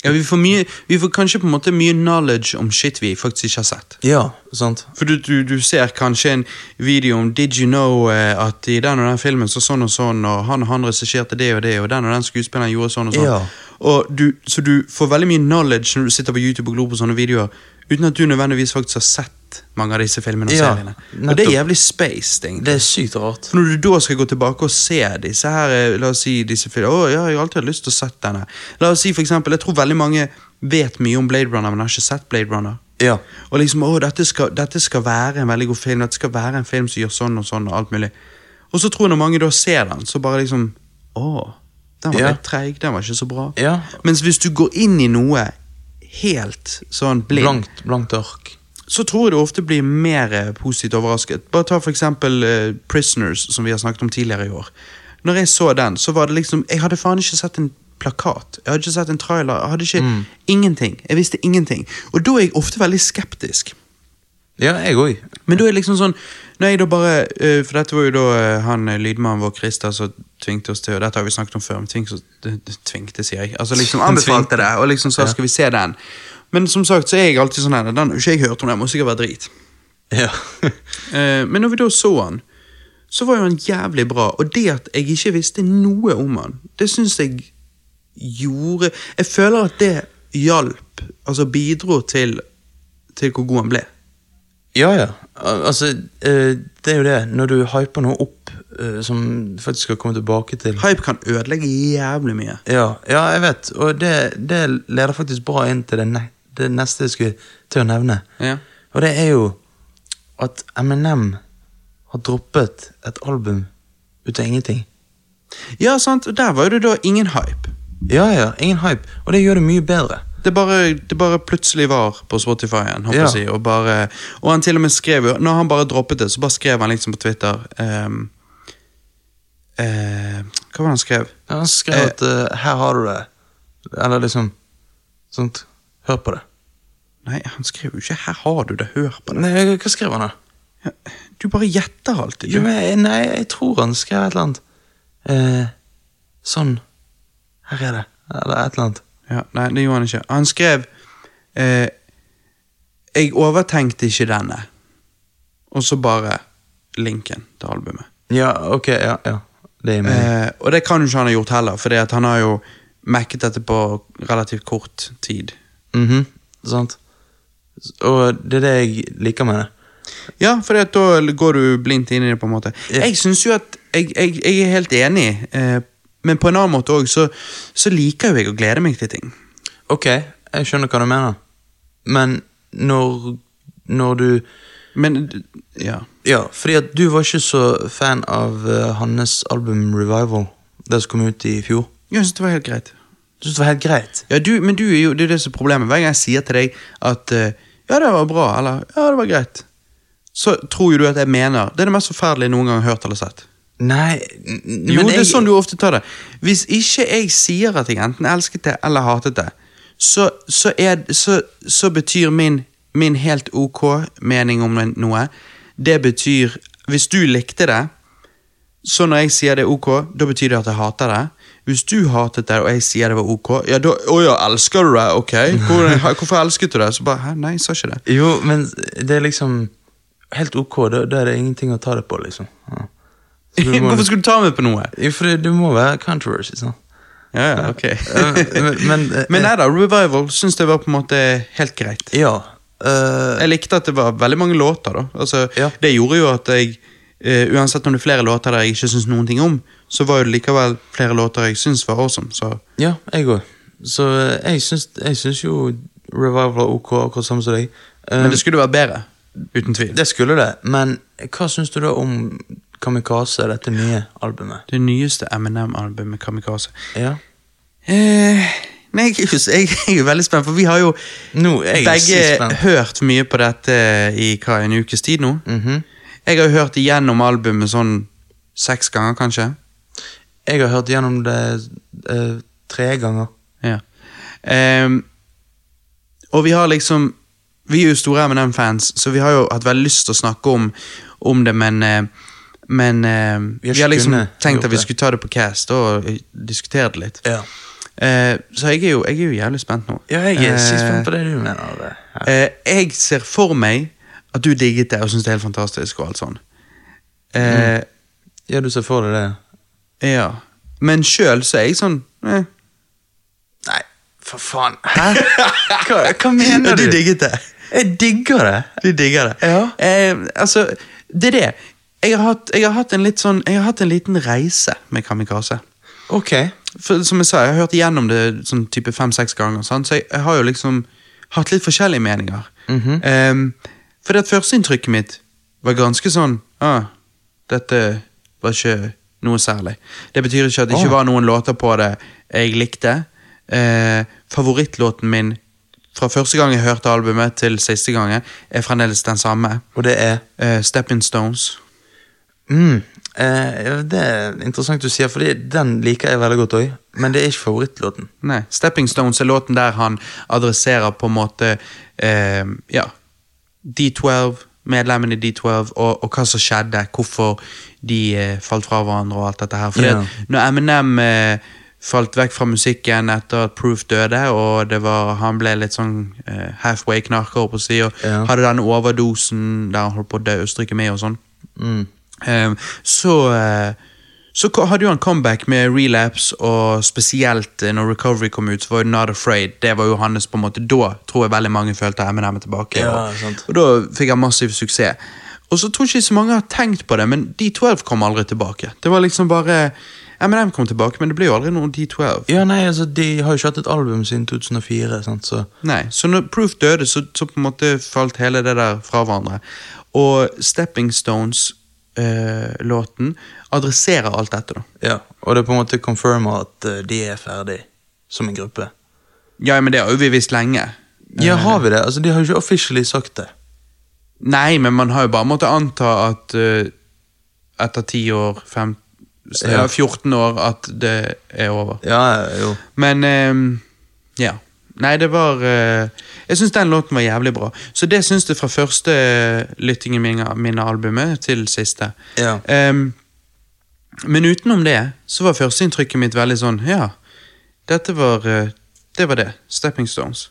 S1: Ja, vi, får mye, vi får kanskje på en måte mye knowledge om shit vi faktisk ikke har sett.
S2: ja, sant.
S1: For du, du, du ser kanskje en video om Did you know eh, at i den og den filmen så sånn og sånn, og han og han regisserte det og det, og den og den skuespilleren gjorde sånn og sånn.
S2: Ja.
S1: Og du, så du får veldig mye knowledge når du sitter på YouTube og glor på sånne videoer, uten at du nødvendigvis faktisk har sett mange av disse filmene og
S2: Ja,
S1: seriene. Og det er
S2: nettopp.
S1: jævlig spaced, egentlig.
S2: Det er sykt rart.
S1: For når du da skal gå tilbake og se disse her, eh, la oss si disse filmene Å, ja, jeg har alltid hatt lyst til å sett denne. La oss si for eksempel, jeg tror veldig mange vet mye om Blade Runner, men har ikke sett Blade Runner.
S2: Ja.
S1: Og liksom, å, dette skal, dette skal være en veldig god film, dette skal være en film som gjør sånn og sånn og alt mulig. Og så tror jeg når mange da ser den, så bare liksom, å, den var
S2: Ja.
S1: litt treig, den var ikke så bra.
S2: Ja.
S1: Mens hvis du går inn i noe helt sånn blind,
S2: Blankt, blankt ark.
S1: så tror jeg du ofte blir mer eh, positivt overrasket. Bare ta for eksempel eh, Prisoners, som vi har snakket om tidligere i år. Når jeg så den, så var det liksom Jeg hadde faen ikke sett en plakat. Jeg hadde ikke sett en trailer. Jeg hadde ikke Ingenting. Jeg visste ingenting. Og da er jeg ofte veldig skeptisk.
S2: Ja, jeg òg.
S1: Men da er det liksom sånn Når jeg da bare eh, For dette var jo da eh, han eh, lydmannen vår, Christer, som tvingte oss til Og dette har vi snakket om før, men tvingte, oss- tvingte sier jeg. Altså liksom anbefalte det, og liksom sa 'skal vi se den'? Men som sagt så er jeg alltid sånn her Den har jo ikke jeg hørt om, den må sikkert være drit.
S2: Ja.
S1: Eh, men når vi da så han, så var jo han jævlig bra. Og det at jeg ikke visste noe om han, det syns jeg gjorde Jeg føler at det hjalp, altså bidro til, til hvor god han ble.
S2: ja, ja. Al- Altså, eh, det er jo det. Når du hyper noe opp eh, som faktisk skal komme tilbake til
S1: Hype kan ødelegge jævlig mye.
S2: Ja, ja jeg vet. Og det, det leder faktisk bra inn til det, ne det neste jeg skulle til å nevne.
S1: Ja.
S2: Og det er jo at Eminem har droppet et album ut av ingenting.
S1: Ja, sant, og der var det da ingen hype.
S2: Ja, ja, ingen hype. Og det gjør det mye bedre.
S1: Det bare, det bare plutselig var på Spotify-en, håper
S2: Ja.
S1: jeg å si. Og, bare, og han til og med skrev jo- Når han bare droppet det, så bare skrev han liksom på Twitter ehm, eh, Hva var det han skrev?
S2: Ja, han skrev
S1: Eh.
S2: at eh, 'her har du det'. Eller liksom sånt. Hør på det.
S1: Nei, han skrev jo ikke 'her har du det, hør på det'.
S2: Nei, Eh, hva skrev han, da?
S1: Ja, Du bare gjetter alltid.
S2: Jo,
S1: Du.
S2: men, jeg- nei, jeg tror han skrev et eller annet. Eh, sånn. Her er det. Eller et eller annet.
S1: Ja, nei, det gjorde han ikke. Han skrev eh, 'Jeg overtenkte ikke denne', og så bare linken til albumet.
S2: Ja, ok, ja. ja. Det er meningen.
S1: Eh, og det kan jo ikke han ha gjort heller, for han har jo mekket dette på relativt kort tid.
S2: Mhm, sant. Og det er det jeg liker med det.
S1: Ja, for da går du blindt inn i det, på en måte.
S2: Ja.
S1: Jeg synes jo at Jeg, jeg, jeg er helt enig, eh, men på en annen måte òg, så, så liker jo jeg å glede meg til ting.
S2: Ok, jeg skjønner hva du mener. Men når, når du
S1: Men d- ja.
S2: Ja, fordi at du var ikke så fan av eh, hans album Revival, det som kom ut i fjor.
S1: Jeg synes det var helt greit.
S2: Du syntes det var helt greit?
S1: Ja, du, men du er jo, det er jo det som er problemet. Hver gang jeg sier til deg at eh, ja, det var bra, eller ja, det var greit, så tror jo du at jeg mener det er det mest forferdelige jeg noen gang har hørt eller sett.
S2: Nei n- n-
S1: Jo,
S2: men
S1: det er
S2: jeg-
S1: sånn du ofte tar det. Hvis ikke jeg sier at jeg enten elsket det eller hatet det, så, så, er, så, så betyr min, min helt ok mening om en- noe Det betyr Hvis du likte det, så når jeg sier det er ok, da betyr det at jeg hater det. Hvis du hatet det, og jeg sier det var ok, ja da Å ja, elsker du det? Ok. Hvordan, hvorfor elsket du det? Så bare Hæ, nei, jeg sa ikke det.
S2: Jo, men det er liksom Helt ok, da, da er det ingenting å ta det på, liksom. Ja. Så du må-
S1: Hvorfor skulle du ta meg på noe?
S2: Jo, for det, det må være controversy, sant?
S1: Ja, ja, ok.
S2: Eh, men- men-
S1: men nei da, Revival syns det var på en måte helt greit.
S2: Ja. eh,
S1: Jeg likte at det var veldig mange låter. da altså,
S2: Ja.
S1: Det gjorde jo at jeg eh, Uansett om det er flere låter der jeg ikke syns noen ting om, så var det likevel flere låter jeg syns var awesome. Så
S2: ja, jeg òg. Så eh, jeg syns, jeg syns jo Revival er ok, akkurat samme som deg. Eh,
S1: Men det skulle vært bedre. Uten tvil.
S2: det skulle det, men hva syns du da om Kamikaze, dette nye albumet?
S1: Det nyeste Eminem-albumet, Kamikaze.
S2: Ja.
S1: Eh, nei, jeg, jeg, jeg er veldig spent, for vi har jo
S2: Nå er jeg
S1: begge
S2: så spent.
S1: hørt mye på dette i hva, en ukes tid nå.
S2: Mhm.
S1: Jeg har jo hørt igjennom albumet sånn seks ganger, kanskje.
S2: Jeg har hørt gjennom det eh, tre ganger.
S1: Ja. Ehm, og vi har liksom Vi er jo store M&M-fans, så vi har jo hatt veldig lyst til å snakke om, om det, men eh, Men eh, vi,
S2: har
S1: har
S2: ikke
S1: liksom
S2: kunnet
S1: tenkt
S2: gjort
S1: at vi
S2: det.
S1: skulle ta det på cast og eh, diskutere det litt.
S2: Ja.
S1: Eh, så jeg er, jo, jeg er jo jævlig spent nå.
S2: Ja, jeg er sykt spent
S1: Eh,
S2: på det du mener. Det. her.
S1: Eh, jeg ser for meg at du digget det og syns det er helt fantastisk. og alt sånn.
S2: Mm.
S1: Eh,
S2: Ja, du ser for deg det?
S1: Ja. Men sjøl så er jeg sånn eh.
S2: Nei, for faen. Hæ? Hva, hva mener
S1: Ja,
S2: du?
S1: Du digget det.
S2: Jeg digger det.
S1: Du digger det.
S2: Ja.
S1: Eh, altså, det er det. Jeg har, hatt, jeg har hatt en litt sånn, jeg har hatt en liten reise med Kamikaze.
S2: Ok.
S1: For, som jeg sa, jeg har hørt igjennom det sånn type fem-seks ganger, sant? så jeg, jeg har jo liksom hatt litt forskjellige meninger. Ehm, for det at førsteinntrykket mitt var ganske sånn ah, Dette var ikke noe særlig. Det betyr ikke at det ikke
S2: Ah.
S1: var noen låter på det jeg likte. Eh, favorittlåten min fra første gang jeg hørte albumet til siste gangen, er fremdeles den samme.
S2: Og det er
S1: Eh, Stepping Stones.
S2: mm, eh, ja, Det er interessant du sier, for den liker jeg veldig godt òg. Men det er ikke favorittlåten.
S1: Nei, Stepping Stones er låten der han adresserer på en måte eh, ja, D12, medlemmene i D12, og, og hva som skjedde, hvorfor de eh, falt fra hverandre og alt dette her. Fordi
S2: Ja.
S1: at når Eminem eh, falt vekk fra musikken etter at Proof døde, og det var, han ble litt sånn eh, halfway knarker, holdt på å si, og
S2: Ja.
S1: hadde den overdosen der han holdt på å dø, Østerrike med og sånn.
S2: Mm.
S1: Ehm, så eh, så ko- hadde jo han comeback med relapse, og spesielt eh, når Recovery kom ut, så var jo Not Afraid. Det var jo hans på en måte Da tror jeg veldig mange følte Eminem er tilbake.
S2: Ja,
S1: og,
S2: sant.
S1: og da fikk han massiv suksess. Og så tror jeg ikke så mange har tenkt på det, men D12 kom aldri tilbake. Det var liksom bare Eminem kom tilbake, men det ble jo aldri noe D12.
S2: Ja, nei, altså, De har jo ikke hatt et album siden 2004, sant, så
S1: Nei, Så når Proof døde, så, så på en måte falt hele det der fra hverandre. Og Stepping Stones-låten adresserer alt dette, da.
S2: ja. Og det på en måte confirmer at eh, de er ferdig som en gruppe.
S1: Ja, men det har jo vi visst lenge.
S2: Ja, har vi det? Altså, De har jo ikke officially sagt det.
S1: Nei, men man har jo bare måttet anta at eh, etter 10 år, fem, s-
S2: Ja.
S1: ja, 14 år, at det er over.
S2: Ja, jo.
S1: Men ehm, ja. Nei, det var eh, Jeg syns den låten var jævlig bra. Så det syns jeg fra første eh, lyttingen min av min av albumet til siste.
S2: Ja.
S1: Ehm, men utenom det så var førsteinntrykket mitt veldig sånn Ja, dette var eh, Det var det. Stepping Stones.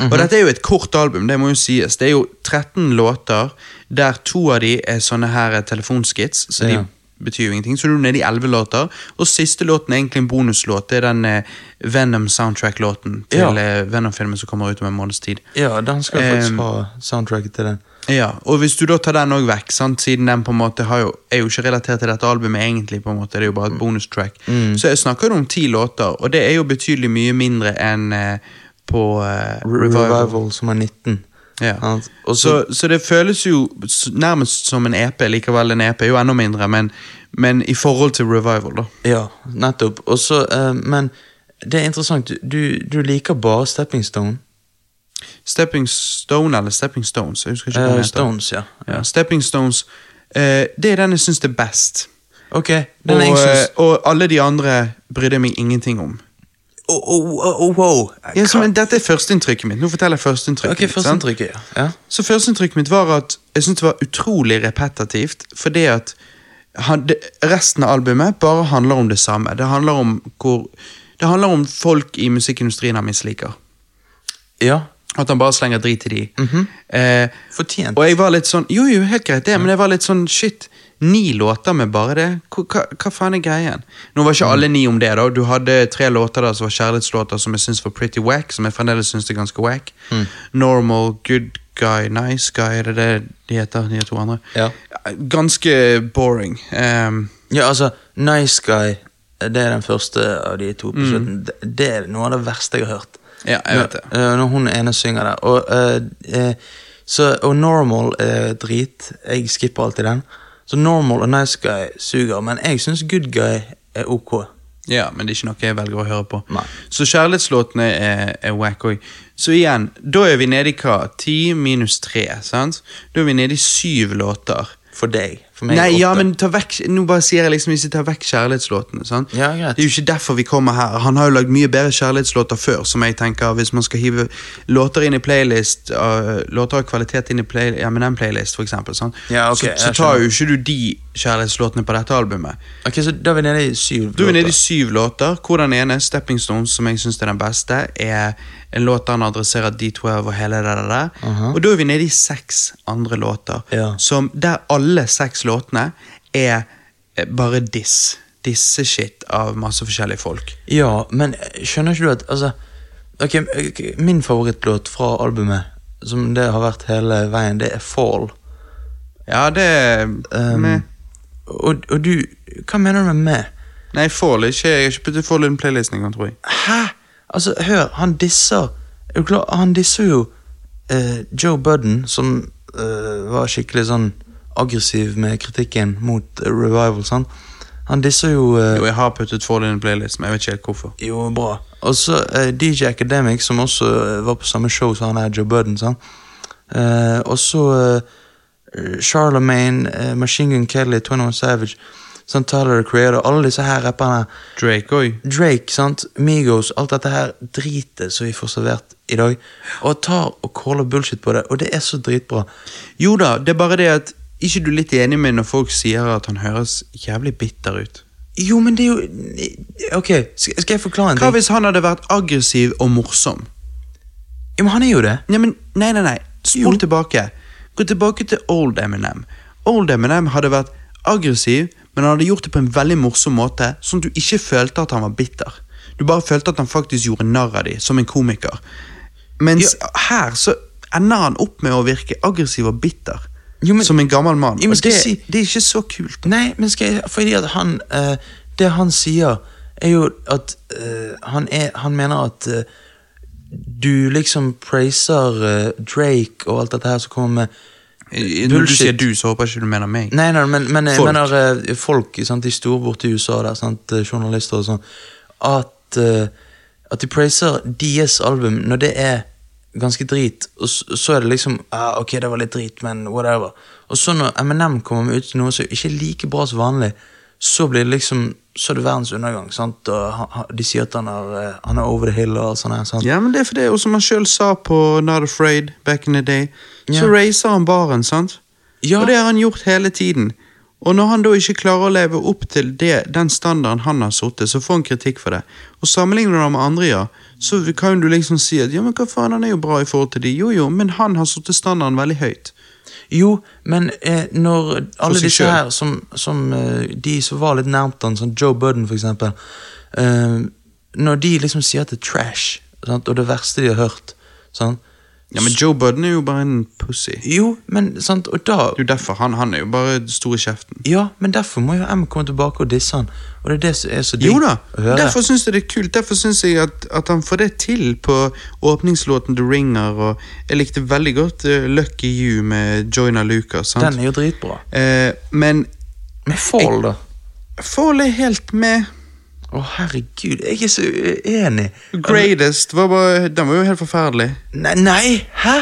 S1: Og dette er jo et kort album, det må jo sies. Det er jo 13 låter, der to av de er sånne her eh, telefonskits, så de
S2: Ja.
S1: betyr jo ingenting. Så du er du nede i 11 låter, og siste låten er egentlig en bonuslåt. Det er den eh, Venom soundtrack-låten til
S2: Ja.
S1: eh, Venom-filmen som kommer ut om en måneds tid.
S2: Ja, den skal faktisk
S1: Ehm.
S2: ha soundtracket til den.
S1: Ja, og hvis du da tar den også vekk, sant? siden den på en måte har jo, er jo ikke relatert til dette albumet egentlig, på en måte, det er jo
S2: Mm.
S1: bare et bonustrack, så jeg snakker jo om ti låter, og det er jo betydelig mye mindre enn eh, på eh,
S2: Re-
S1: Revival.
S2: Revival som er 19.
S1: Ja.
S2: Sant? Og så
S1: Så, så det føles jo s- nærmest som en EP, likevel en EP er jo enda mindre, men, men i forhold til Revival, da.
S2: Ja, nettopp. Og så, eh, men det er interessant. Du- Du, du liker bare Stepping Stone?
S1: Stepping Stone eller Stepping Stones, jeg husker ikke hva
S2: Eh,
S1: den heter.
S2: Stones, ja.
S1: Ja, Stepping Stones, eh, det er den jeg syns er best.
S2: Ok.
S1: Og,
S2: Den er jeg
S1: eh,
S2: syns
S1: og alle de andre brydde jeg meg ingenting om.
S2: oh, oh, oh, oh, wow.
S1: Ja, så, men dette er førsteinntrykket mitt. Nå forteller jeg førsteinntrykket.
S2: Ok,
S1: mitt, sant?
S2: førsteinntrykket, ja. ja.
S1: Så førsteinntrykket mitt var at jeg syntes det var utrolig repetitivt, fordi at han, det, resten av albumet bare handler om det samme. Det handler om hvor Det handler om folk i musikkindustrien han misliker.
S2: Ja,
S1: At han bare slenger drit til de. eh,
S2: fortjent.
S1: og jeg var litt sånn Jo, jo, helt greit det, men jeg var litt sånn Shit, ni låter med bare det? Hva, hva, hva faen er greien? Nå var
S2: Mm.
S1: ikke alle ni om det, da. Du hadde tre låter der som var kjærlighetslåter som jeg syns var pretty wack, som jeg fremdeles syns er ganske wack.
S2: Mm.
S1: Normal, Good Guy, Nice Guy, er det det de heter, de to andre?
S2: Ja.
S1: Ganske boring. Ehm,
S2: Ja, altså, Nice Guy, det er den første av de to på slutten. Det- Det er noe av det verste jeg har hørt.
S1: Mm. ja, jeg vet det.
S2: Når, eh, når hun ene synger der. Og, eh, eh, så, og Normal er drit. Jeg skipper alltid den. Så Normal og Nice Guy suger, men jeg syns Good Guy er ok.
S1: Ja, men det er ikke noe jeg velger å høre på.
S2: Nei.
S1: Så kjærlighetslåtene er, er wack òg. Så igjen, da er vi nede i hva? Ti minus tre, sant? Da er vi nede i syv låter.
S2: For deg, for meg
S1: Nei,
S2: åtte.
S1: ja, men ta vekk, nå bare sier jeg liksom hvis vi tar vekk kjærlighetslåtene. sant?
S2: Ja, greit.
S1: Det er jo ikke derfor vi kommer her. Han har jo lagd mye bedre kjærlighetslåter før, som jeg tenker hvis man skal hive låter inn i playlist, øh, låter av kvalitet inn i play, ja, men den playlist, for eksempel, sant?
S2: Ja, ok,
S1: så, så
S2: jeg
S1: tar
S2: skjønner.
S1: jo ikke du de kjærlighetslåtene på dette albumet.
S2: Ok, så Da er vi nede i syv
S1: Du er nede i
S2: låter.
S1: syv låter, hvor den ene, Stepping Stones, som jeg syns er den beste, er en låt der han adresserer D12 og hele det der. Og da er vi nede i seks andre låter,
S2: Ja.
S1: som, der alle seks låtene er eh, bare diss. Disse-shit av masse forskjellige folk.
S2: Ja, men skjønner ikke du at altså, ok, ok, Min favorittlåt fra albumet, som det har vært hele veien, det er 'Fall'.
S1: Ja, det
S2: Um,
S1: Nei,
S2: og, og du Hva mener du med med?
S1: Nei, Fall er ikke Jeg har ikke puttet Fall i den playlisten engang, tror jeg.
S2: Hæ? Altså, hør, han disser Er du klar? Han disser jo eh, Joe Budden, som eh, var skikkelig sånn aggressiv med kritikken mot eh, Revival, sant? Han disser jo eh,
S1: Jo, jeg har puttet Fall i den playlisten, men jeg vet ikke helt hvorfor.
S2: Jo, bra. Og så eh, DJ Academic, som også eh, var på samme show som han er Joe Budden. sant? Eh, og så eh, Charlamagne, eh, Machine Gun Kelly, 21 Savage, sant? Tyler the Creator, alle disse her rapperne.
S1: Drake òg.
S2: Drake, sant? Migos, alt dette her dritet som vi får servert i dag. Og tar og caller bullshit på det, og det er så dritbra.
S1: Jo da, det er bare det at Ikke du litt enig med når folk sier at han høres jævlig bitter ut?
S2: Jo, men det er jo Ok, skal skal jeg forklare en
S1: Hva
S2: ting?
S1: hvis han hadde vært aggressiv og morsom?
S2: Jo, men han er jo det.
S1: Nei, men, nei, nei, nei. Spol
S2: Jo.
S1: tilbake. Gå tilbake til Old Eminem. Old Eminem hadde vært aggressiv, men han hadde gjort det på en veldig morsom måte, sånn at du ikke følte at han var bitter. Du bare følte at han faktisk gjorde narr av deg, som en komiker. Mens her så ender han opp med å virke aggressiv og bitter,
S2: Jo, men-
S1: som en gammel mann.
S2: Jo, men
S1: Og
S2: skal
S1: det,
S2: jeg si-
S1: det er ikke så kult.
S2: Nei, men skal jeg, fordi at han eh, Det han sier, er jo at eh, han, er, han mener at eh, du liksom praiser eh, Drake og alt dette her som kommer med
S1: Når du sier du, så håper jeg ikke du mener meg.
S2: Nei, nei, men, men jeg
S1: Folk.
S2: mener eh, folk sant, de store borte i USA, der, sant, eh, journalister og sånn, at, eh, at de praiser deres album når det er ganske drit, og så, så er det liksom ah, Ok, det var litt drit, men whatever. Og så når M&M kommer med ut noe som ikke er like bra som vanlig, så blir det liksom så er det verdens undergang. sant, og han- han- De sier at han er, eh, han er over the hill og alt sånt. her, sant?
S1: Ja, men det er for det, og som han sjøl sa på Not Afraid back in the day, så
S2: Ja.
S1: raiser han baren, sant?
S2: Ja.
S1: Og det har han gjort hele tiden. Og når han da ikke klarer å leve opp til det, den standarden han har satt, så får han kritikk for det. Og sammenligner du ham med andre, ja, så kan du liksom si at ja, men hva faen, han er jo bra i forhold til de. Jo, jo, men han har satt standarden veldig høyt.
S2: Jo, men eh, når alle
S1: seg
S2: disse
S1: selv.
S2: her, som, som eh, de som var litt nærmt han, som Joe Budden for eksempel, eh, når de liksom sier at det er trash, sant, og det verste de har hørt, sant?
S1: Ja, men Joe Budden er jo bare en pussy.
S2: Jo, men, sant, og da,
S1: Det er jo derfor han, han er jo bare stor i kjeften.
S2: ja, men derfor må jo M komme tilbake og disse han, og det er det som er så dyrt
S1: Jo da,
S2: å høre.
S1: derfor syns jeg det er kult. Derfor syns jeg at, at han får det til på åpningslåten The Ringer, og jeg likte veldig godt eh, Lucky You med Joyner Lucas. Sant?
S2: Den er jo dritbra.
S1: Eh, men
S2: Men Fall da?
S1: Fall er helt med.
S2: Å, herregud, jeg er så uenig.
S1: Greatest var bare Den var jo helt forferdelig.
S2: Nei, nei, hæ?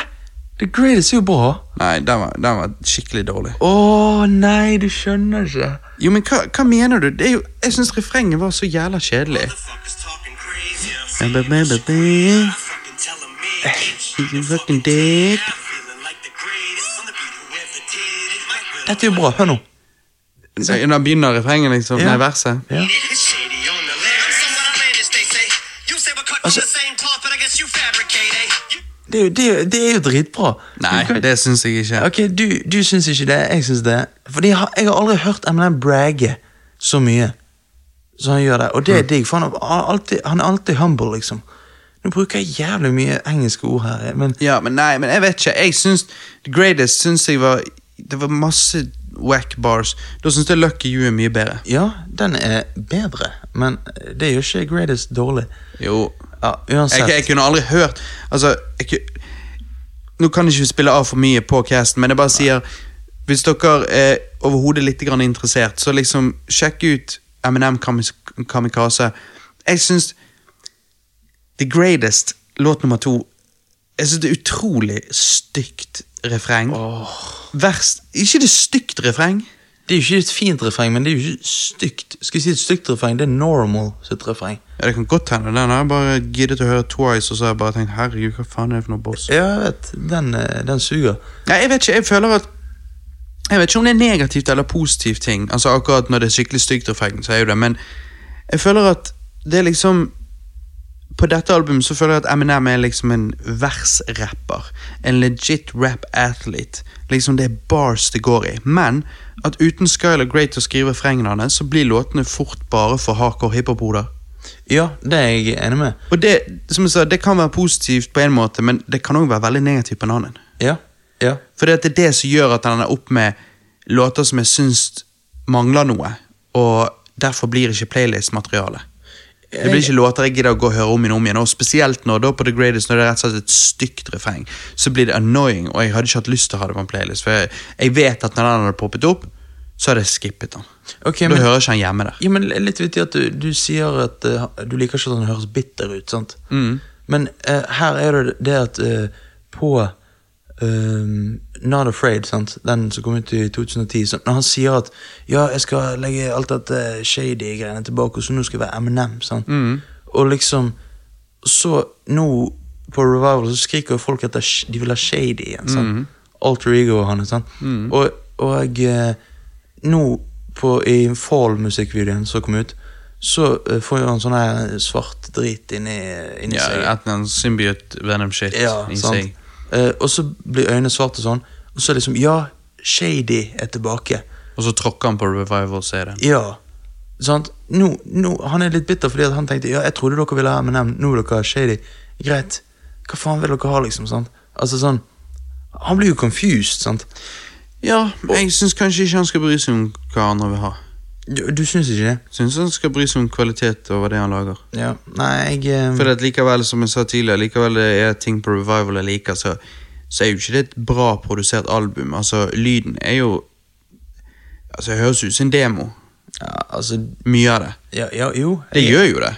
S2: The Greatest er jo bra.
S1: Nei, den var, den var skikkelig dårlig.
S2: Å, nei, du skjønner ikke.
S1: Jo, men hva, hva mener du? Det er jo, jeg syns refrenget var så jævla kjedelig.
S3: Motherfuckers talking crazy.
S1: Ba, ba, ba, ba, ba.
S3: I fucking tell 'em, man.
S1: You fucking dick.
S3: I'm feeling like the greatest. I'm the beat whoever did it. Might well
S2: Dette er jo bra, hør nå.
S1: Da begynner refrenget, liksom.
S2: Ja.
S1: Nei, verset.
S2: Ja.
S3: It's shady on the left. I'm somewhat outlandish, they say. You say we're cut
S1: Oh,
S3: from the same cloth, but I guess you fabricate, eh? You-
S2: Det er jo, det er, jo- det er jo dritbra.
S1: Nei,
S2: Du kan-
S1: det syns jeg ikke.
S2: Ok, du, du syns ikke det, jeg syns det. Fordi jeg har, jeg har aldri hørt Eminem bragge så mye som han gjør det. Og
S1: Mm.
S2: det er digg, for han er alltid, han er alltid humble, liksom. Nå bruker jeg jævlig mye engelske ord her, men
S1: Ja, men nei, men jeg vet ikke. Jeg syns The Greatest syns jeg var Det var masse whack bars. Da syns jeg Lucky You er mye bedre.
S2: ja, den er bedre. Men det gjør ikke Greatest dårlig.
S1: Jo.
S2: Ja,
S1: Jeg,
S2: uansett.
S1: jeg kunne aldri hørt Altså, jeg ku- Nå kan jeg ikke spille av for mye på casten, men jeg bare sier Hvis dere er overhodet litt grann interessert, så liksom sjekk ut M&M Kamik- Kamikaze. Jeg syns The Greatest, låt nummer to Jeg synes det er utrolig stygt refreng. Verst Ikke det stygt refreng?
S2: Det er jo ikke et fint refreng, men det er jo ikke stygt. Skal jeg si et stygt refreng? Det er normal sitt refreng.
S1: Ja, Det kan godt hende. Den har jeg bare giddet å høre twice, og så har jeg bare tenkt herregud, hva faen er det for noe boss?
S2: Ja, jeg vet. Den, eh, den suger.
S1: Nei, jeg vet ikke. Jeg føler at Jeg vet ikke om det er negativt eller positivt ting. Altså Akkurat når det er skikkelig stygt refreng, så er jo det, men jeg føler at det er liksom På dette albumet så føler jeg at Eminem er liksom en versrapper. En legit rap-athlete. Liksom det er bars det går i. Men at uten Skylar Grey til å skrive refrengene hans, så blir låtene fort bare for hardcore hiphop-hoder.
S2: Ja, det er jeg enig med.
S1: Og det, som jeg sa, det kan være positivt på en måte, men det kan òg være veldig negativt på en annen.
S2: Ja. Ja.
S1: For det er det som gjør at han er opp med låter som jeg syns mangler noe, og derfor blir ikke playlist-materiale. Det blir ikke låter jeg gidder å gå og høre om igjen og om igjen, og spesielt når da på The Greatest når det er rett og slett et stygt refreng, så blir det annoying, og jeg hadde ikke hatt lyst til å ha det på en playlist, for jeg, jeg vet at når den hadde poppet opp, så hadde jeg skippet den.
S2: Ok,
S1: da
S2: men,
S1: hører ikke han hjemme der.
S2: ja, men litt vittig at du, du sier at eh, du liker ikke at han høres bitter ut, sant? Men eh, her er det det at eh, på eh, Not Afraid, sant? den som kom ut i 2010, så, når han sier at ja, jeg skal legge alt dette shady greiene tilbake, så nå skal jeg være M&M, sant? Og liksom, så nå på Revival så skriker jo folk etter, sh- de vil ha shady igjen, sant? Alter Ego og han, sant? Og, og eh, nå på, i Fall-musikkvideoen som kom ut, så eh, får jo han sånn her svart drit inni, inni
S1: Ja,
S2: seg.
S1: at han symbiote venom shit
S2: Ja,
S1: i
S2: sant.
S1: seg.
S2: Eh, og så blir øynene svarte sånn, og så liksom Ja, Shady er tilbake.
S1: Og så tråkker han på revival, så er det.
S2: Ja. Sant? Nå, nå, han er litt bitter fordi at han tenkte Ja, jeg trodde dere ville ha M&M, nå er dere Shady. Greit. Hva faen vil dere ha, liksom? sant? Altså sånn Han blir jo confused, sant?
S1: Ja, jeg syns kanskje ikke han skal bry seg om hva andre vil ha.
S2: Du, du syns ikke det?
S1: Syns han skal bry seg om kvalitet over det han lager.
S2: Ja. Nei, jeg eh,
S1: For at likevel, som jeg sa tidligere, likevel det er ting på Revival jeg liker, så, så er jo ikke det et bra produsert album. Altså, lyden er jo Altså, det høres ut som en demo.
S2: ja, Altså
S1: Mye av det.
S2: Ja, ja jo.
S1: Det
S2: jeg-
S1: gjør jo det.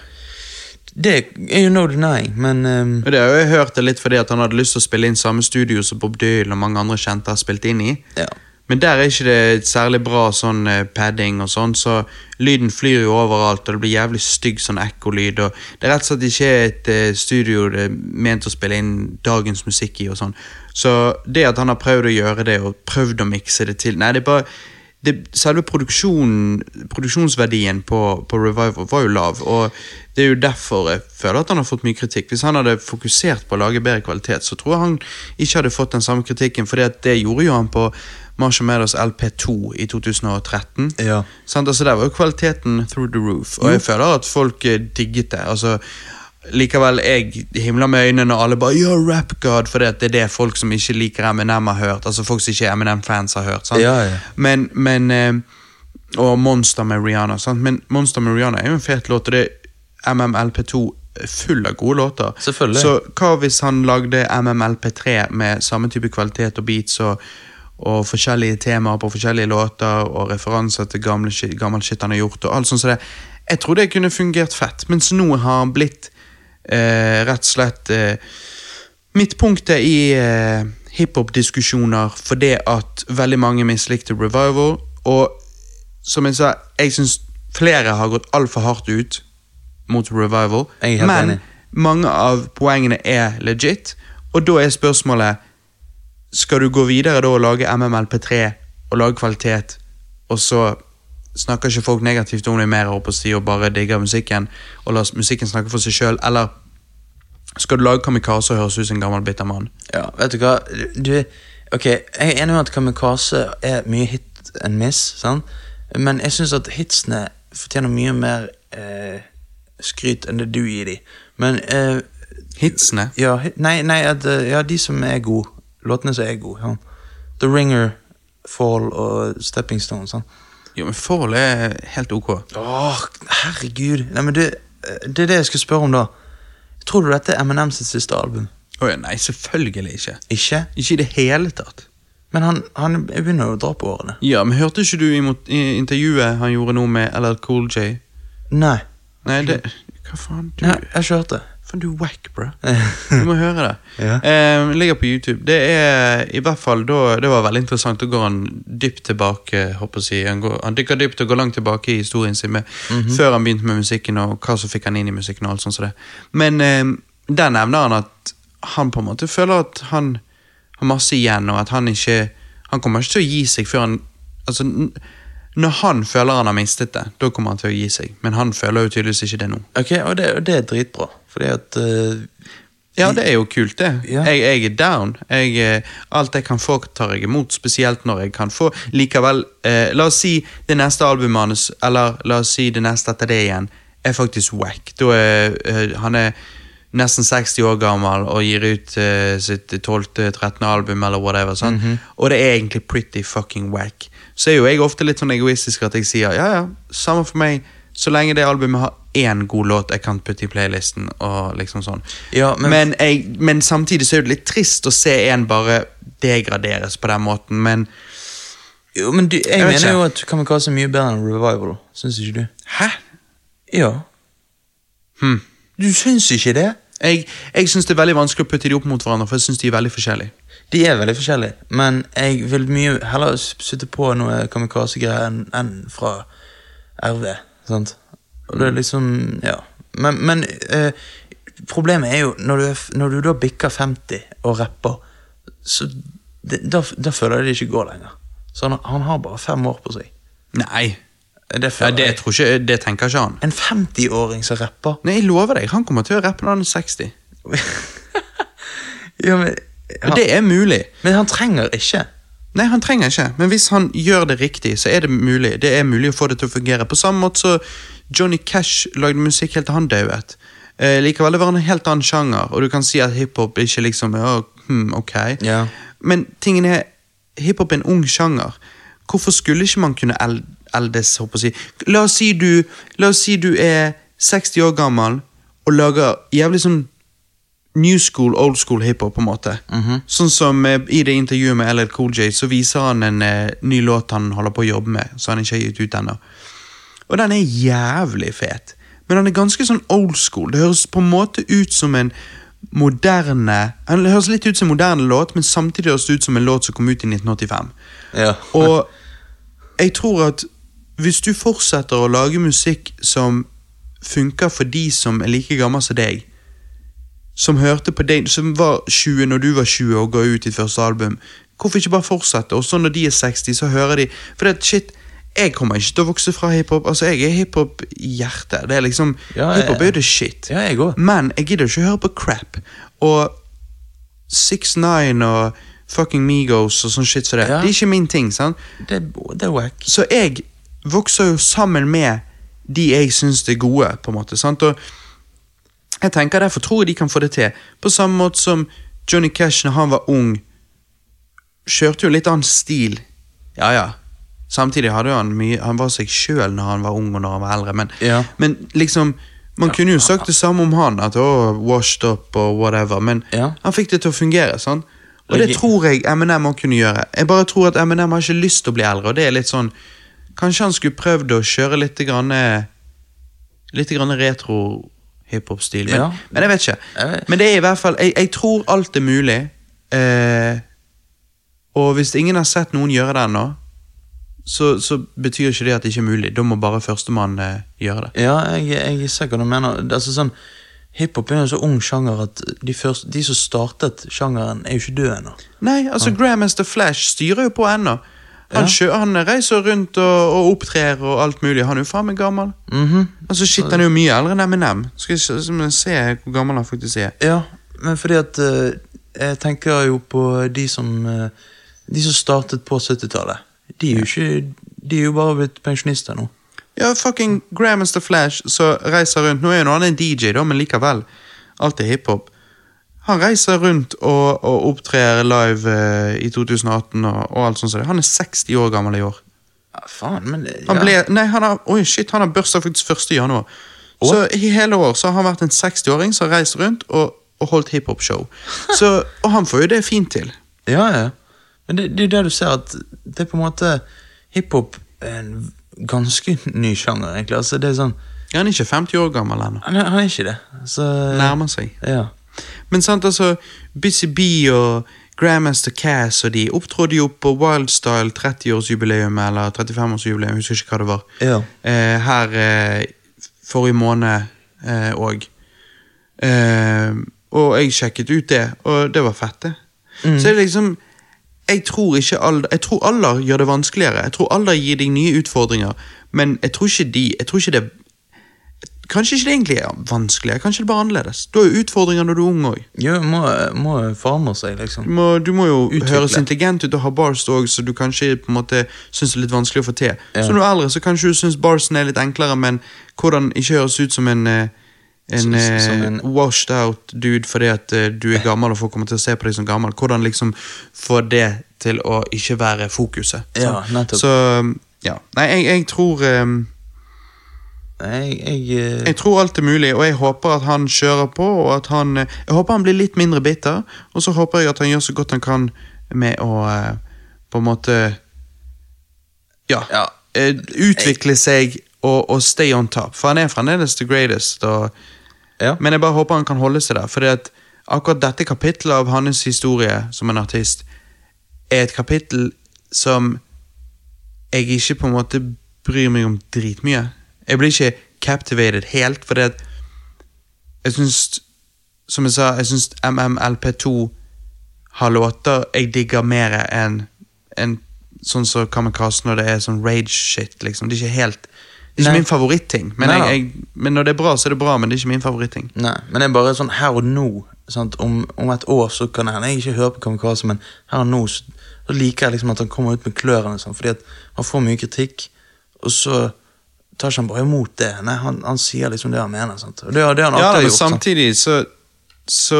S2: Det er jo no denying, men ehm,
S1: Og det har jeg hørt det litt fordi at han hadde lyst til å spille inn samme studio som Bob Dylan og mange andre kjente har spilt inn i.
S2: Ja.
S1: Men der er ikke det et særlig bra sånn eh, padding og sånn, så lyden flyr jo overalt, og det blir jævlig stygg sånn ekkolyd, og det er rett og slett ikke et eh, studio det er ment å spille inn dagens musikk i og sånn. Så det at han har prøvd å gjøre det, og prøvd å mikse det til, nei, det er bare det, selve produksjonen, produksjonsverdien på, på Revival var jo lav, og det er jo derfor jeg føler at han har fått mye kritikk. Hvis han hadde fokusert på å lage bedre kvalitet, så tror jeg han ikke hadde fått den samme kritikken, for det gjorde jo han på Marshall Mathers LP2 i 2013.
S2: Ja.
S1: Sant? Altså, der var jo kvaliteten through the roof, og jeg føler at folk eh, digget det. Altså, likevel, jeg himler med øynene, og alle bare 'You're rap god', for det, det er det folk som ikke liker Eminem har hørt. Altså folk som ikke er Eminem-fans har hørt. Sant?
S2: Ja, ja.
S1: Men, men eh, Og Monster med Rihanna. Sant? Men Monster med Rihanna er jo en fet låt, og det er MMLP2 full av gode låter.
S2: Selvfølgelig.
S1: Så hva hvis han lagde MMLP3 med samme type kvalitet og beats og, og forskjellige temaer på forskjellige låter og referanser til gamle, shit- gammel shit han har gjort og alt sånt som det. Jeg tror det kunne fungert fett, mens nå har han blitt eh, rett og slett eh, midtpunktet i eh, hiphop-diskusjoner fordi at veldig mange mislikte Revival, og som jeg sa, jeg syns flere har gått altfor hardt ut mot Revival,
S2: Jeg er helt
S1: men
S2: enig.
S1: mange av poengene er legit, og da er spørsmålet skal du gå videre da og lage MMLP3 og lage kvalitet, og så snakker ikke folk negativt om det mer opp og si og bare digger musikken, og lar musikken snakke for seg sjøl, eller skal du lage kamikaze og høres ut som en gammel bitter mann?
S2: Ja, vet du hva du, Ok, jeg er enig med at kamikaze er mye hit and miss sant? Men jeg synes at hitsene fortjener mye mer eh, skryt enn det du gir dem Men eh,
S1: Hitsene?
S2: ja, hit- nei, nei at, eh, ja, de som er gode Låtene som er gode ja. The Ringer, Fall og Stepping Stone sant?
S1: Jo, men forhold er helt ok.
S2: Åh, herregud nei, men det, det er det jeg skal spørre om da Tror du dette er Eminem sitt siste album?
S1: Å ja, nei, selvfølgelig ikke.
S2: Ikke?
S1: Ikke i det hele tatt.
S2: Men han, han begynner jo å dra på årene
S1: Ja, men hørte ikke du imot, i intervjuet han gjorde nå med LL Cool J?
S2: Nei
S1: Nei, det Hva faen? Du
S2: Nei, jeg har ikke hørt det.
S1: Faen, du er wack, bro. Du må høre det.
S2: Ja.
S1: Eh, ligger på YouTube. Det er i hvert fall da Det var veldig interessant. Da går han dypt tilbake. Håper jeg, å si. han, går, han dykker dypt og går langt tilbake i historien sin med, før han begynte med musikken, og hva som fikk han inn i musikken. og alt sånt som det. Men eh, der nevner han at han på en måte føler at han har masse igjen, og at han ikke Han kommer ikke til å gi seg før han Altså, n- når han føler han har mistet det, da kommer han til å gi seg. Men han føler jo tydeligvis ikke det nå.
S2: Ok, og det, og det er dritbra, fordi at eh,
S1: Ja, det er jo kult, det.
S2: Ja.
S1: Jeg, jeg er down. Jeg, eh, alt jeg kan få, tar jeg imot. Spesielt når jeg kan få. Likevel, eh, la oss si det neste albumet hans, eller la oss si det neste etter det igjen, er faktisk wack. Da er eh, han er nesten 60 år gammel og gir ut eh, sitt 12.-13. album, eller whatever. sant? Og det er egentlig pretty fucking wack. Så er jo jeg ofte litt sånn egoistisk at jeg sier ja, ja, samme for meg. Så lenge det albumet har én god låt jeg kan putte i playlisten. og liksom sånn.
S2: Ja, men-
S1: Men, jeg, men samtidig så er det litt trist å se en bare degraderes på den måten, men
S2: Jo, men du, jeg,
S1: vet
S2: mener
S1: ikke.
S2: jo at Kamikaze er mye bedre enn Revival, syns ikke du?
S1: Hæ?
S2: Ja.
S1: Hm.
S2: Du syns ikke det?
S1: Jeg, jeg syns det er veldig vanskelig å putte de opp mot hverandre, for jeg syns de er veldig forskjellige.
S2: De er veldig forskjellige, men jeg vil mye heller s- sitte på noe kamikaze-greier enn enn fra RV. sant? Og
S1: Mm.
S2: det er liksom Ja. Men, men eh, problemet er jo når du, er, f- når du da bikker 50 og rapper, så det, da, f- da føler jeg det ikke går lenger. Så han, han har bare fem år på seg.
S1: Nei,
S2: Det
S1: ja,
S2: føler
S1: det,
S2: jeg.
S1: tror ikke, det tenker ikke han.
S2: En 50-åring som rapper
S1: Nei, jeg lover deg, han kommer til å rappe når han er 60.
S2: ja, men,
S1: Og
S2: han,
S1: det er mulig.
S2: men han trenger ikke.
S1: Nei, han trenger ikke, men hvis han gjør det riktig, så er det mulig. Det er mulig å få det til å fungere. På samme måte så Johnny Cash lagde musikk helt til han dauet. Eh, likevel det var en helt annen sjanger, og du kan si at hiphop ikke liksom er «Å, hmm, ok.
S2: Ja.
S1: Men tingen er, hiphop er en ung sjanger. Hvorfor skulle ikke man kunne el- eldes, håper jeg å si. La oss si du, la oss si du er 60 år gammel og lager jævlig sånn new school, old school hiphop, på en måte. Sånn som eh, i det intervjuet med LL Cool J, så viser han en eh, ny låt han holder på å jobbe med, så han ikke har gitt ut ennå. Og den er jævlig fet. Men han er ganske sånn old school. Det høres på en måte ut som en moderne Han høres litt ut som en moderne låt, men samtidig høres det ut som en låt som kom ut i 1985.
S2: Ja.
S1: Og jeg tror at hvis du fortsetter å lage musikk som funker for de som er like gammel som deg, som hørte på deg, som var 20 når du var 20 og ga ut ditt første album, hvorfor ikke bare fortsette? Og så når de er 60, så hører de For det, at shit, jeg kommer ikke til å vokse fra hiphop. Altså, jeg er hiphop i hjertet. Det er liksom,
S2: Ja, jeg-
S1: hiphop er jo det shit.
S2: Ja, jeg òg.
S1: Men jeg gidder ikke å høre på crap. Og 6ix9ine og fucking Migos og sånn shit som det.
S2: Ja.
S1: Det er ikke min ting. sant?
S2: Det, det er wack.
S1: Så jeg vokser jo sammen med de jeg syns er gode, på en måte. sant? Og jeg tenker Derfor tror jeg de kan få det til. På samme måte som Johnny Cash når han var ung, kjørte jo litt annen stil. Ja, ja. Samtidig hadde jo han mye Han var seg sjøl når han var ung og når han var eldre, men,
S2: Ja.
S1: men liksom Man kunne jo sagt det samme om han, at å, washed up og whatever, men
S2: Ja.
S1: han fikk det til å fungere. sånn Og det
S2: Legit-
S1: tror jeg Eminem må kunne gjøre. Jeg bare tror at Eminem har ikke lyst til å bli eldre, og det er litt sånn Kanskje han skulle prøvd å kjøre litt grann, eh, litt grann retro hiphop-stil, men,
S2: Ja.
S1: men jeg vet ikke.
S2: Jeg vet-
S1: Men det er i hvert fall Jeg, jeg tror alt er mulig. Eh, og hvis ingen har sett noen gjøre det ennå, så, så betyr ikke det at det ikke er mulig. Da må bare førstemann eh, gjøre det.
S2: Ja, jeg, jeg ser hva du mener. Det er altså sånn, Hiphop er jo en så ung sjanger at de, første, de som startet sjangeren, er jo ikke døde ennå.
S1: Nei, altså Grandmaster Flash styrer jo på ennå. Han,
S2: Ja.
S1: kjø- han reiser rundt og, og opptrer og alt mulig. Han er jo faen meg gammel.
S2: Mhm.
S1: Altså Shit, han er jo mye eldre enn Eminem. Skal vi se- se se hvor gammel han faktisk er.
S2: Ja, men fordi at eh, Jeg tenker jo på de som eh, De som startet på 70-tallet. De er jo ikke De er jo bare blitt pensjonister nå.
S1: Ja, fucking Grandmaster Flash så reiser rundt Nå er jo han en DJ, da, men likevel. Alt er hiphop. Han reiser rundt og, og opptrer live eh, i 2018 og, og alt sånt. som det. Han er 60 år gammel i år.
S2: Ja, faen, men det-
S1: Han
S2: ja.
S1: ble, nei, han har, oi shit, han har bursdag faktisk 1. januar. Så i hele år så har han vært en 60-åring som har reist rundt og, og holdt hiphop-show. Så- Og han får jo det fint til.
S2: Ja, ja. Men det, det er jo det du ser, at det er på en måte Hiphop er en ganske ny sjanger, egentlig. Altså, det er sånn
S1: Ja, Han er ikke 50 år gammel ennå.
S2: Han, er- han er ikke det. Så
S1: Nærmer seg.
S2: Ja.
S1: Men sant, altså, Busy Bee og Grandmaster Cass og de opptrådte jo på Wildstyle 30-årsjubileum eller 35-årsjubileum, jeg husker ikke hva det var,
S2: Ja.
S1: eh, her eh, forrige måned òg. Eh, og jeg sjekket ut det, og det var fett, det. Så det er liksom jeg tror, ikke alder, jeg tror alder gjør det vanskeligere. Jeg tror alder gir deg nye utfordringer, men jeg tror ikke de jeg tror ikke det, Kanskje ikke det egentlig er vanskeligere, kanskje det bare er annerledes. Du har jo utfordringer når du er ung òg.
S2: Jo, må, må forandre seg, liksom.
S1: Du må, du må jo
S2: Utvikle.
S1: høres intelligent ut og ha bars òg, så du kanskje på en måte syns det er litt vanskelig å få til.
S2: Ja.
S1: Så når du er eldre, så kanskje du syns barsen er litt enklere, men hvordan ikke høres ut som en eh, en,
S2: Som- som- som
S1: eh,
S2: en-
S1: washed out dude fordi at eh, du er gammel og folk kommer til å se på deg som gammel. Hvordan liksom få det til å ikke være fokuset.
S2: Ja,
S1: sant?
S2: nettopp.
S1: så ja. Nei, jeg, jeg tror eh,
S2: Nei, jeg, eh,
S1: jeg tror alt er mulig, og jeg håper at han kjører på. og at han, eh, Jeg håper han blir litt mindre bitter, og så håper jeg at han gjør så godt han kan med å eh, på en måte Ja.
S2: Ja.
S1: eh, Utvikle seg og, og stay on top, for han er fremdeles the greatest. Og,
S2: Ja.
S1: Men jeg bare håper han kan holde seg der, for akkurat dette kapittelet av hans historie som en artist er et kapittel som jeg ikke på en måte bryr meg om dritmye. Jeg blir ikke captivated helt, fordi at jeg syns Som jeg sa, jeg syns MMLP2 har låter jeg digger mer enn enn sånn som Kamikaze når det er sånn rage-shit, liksom. Det er ikke helt Det er ikke
S2: Nei.
S1: min favoritting, men,
S2: Nei
S1: jeg,
S2: da.
S1: jeg, men når det er bra, så er det bra, men det er ikke min favoritting.
S2: Nei, men det er bare sånn her og nå. Sant? Om, om et år så kan det hende jeg ikke hører på Kamikaze, men her og nå så, så liker jeg liksom at han kommer ut med klørne. Sånn, fordi at han får mye kritikk, og så tar ikke han bare imot det. Nei, han, han sier liksom det han mener. Sant? Og det, har- det har han
S1: Ja,
S2: alltid
S1: men
S2: gjort. sant?
S1: samtidig så, så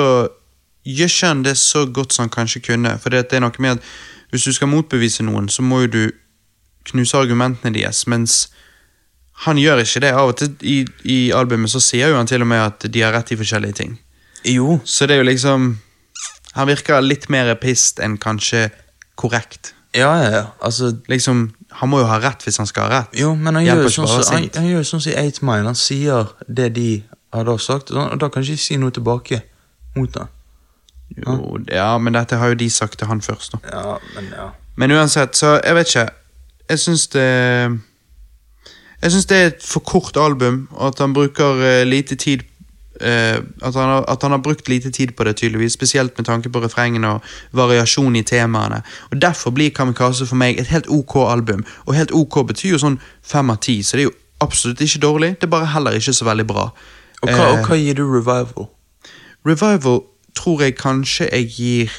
S1: gjør ikke han det så godt som han kanskje kunne. For det er noe med at hvis du skal motbevise noen, så må jo du knuse argumentene deres, mens han gjør ikke det. Av og til i, i albumet så sier jo han til og med at de har rett i forskjellige ting.
S2: Jo,
S1: Så det er jo liksom Han virker litt mer pissed enn kanskje korrekt.
S2: ja, ja, ja. Altså,
S1: Liksom, han må jo ha rett hvis han skal ha rett.
S2: jo, men han
S1: Hjelper
S2: gjør jo
S1: ikke
S2: sånn
S1: bare
S2: som han,
S1: sint.
S2: han gjør jo sånn som i 8 Mile. Han sier det de har da sagt, og da kan ikke de si noe tilbake mot det.
S1: Jo, ja, men dette har jo de sagt til han først, nå.
S2: Ja, men ja.
S1: Men uansett, så jeg vet ikke. Jeg syns det Jeg syns det er et for kort album, og at han bruker eh, lite tid eh, at, han har, at han har brukt lite tid på det, tydeligvis. Spesielt med tanke på refrengene og variasjon i temaene. Og Derfor blir Kamikaze for meg et helt ok album. Og helt ok betyr jo sånn fem av ti, så det er jo absolutt ikke dårlig. Det er bare heller ikke så veldig bra.
S2: Og hva,
S1: Eh,
S2: og hva gir du revival?
S1: Revival tror jeg kanskje jeg gir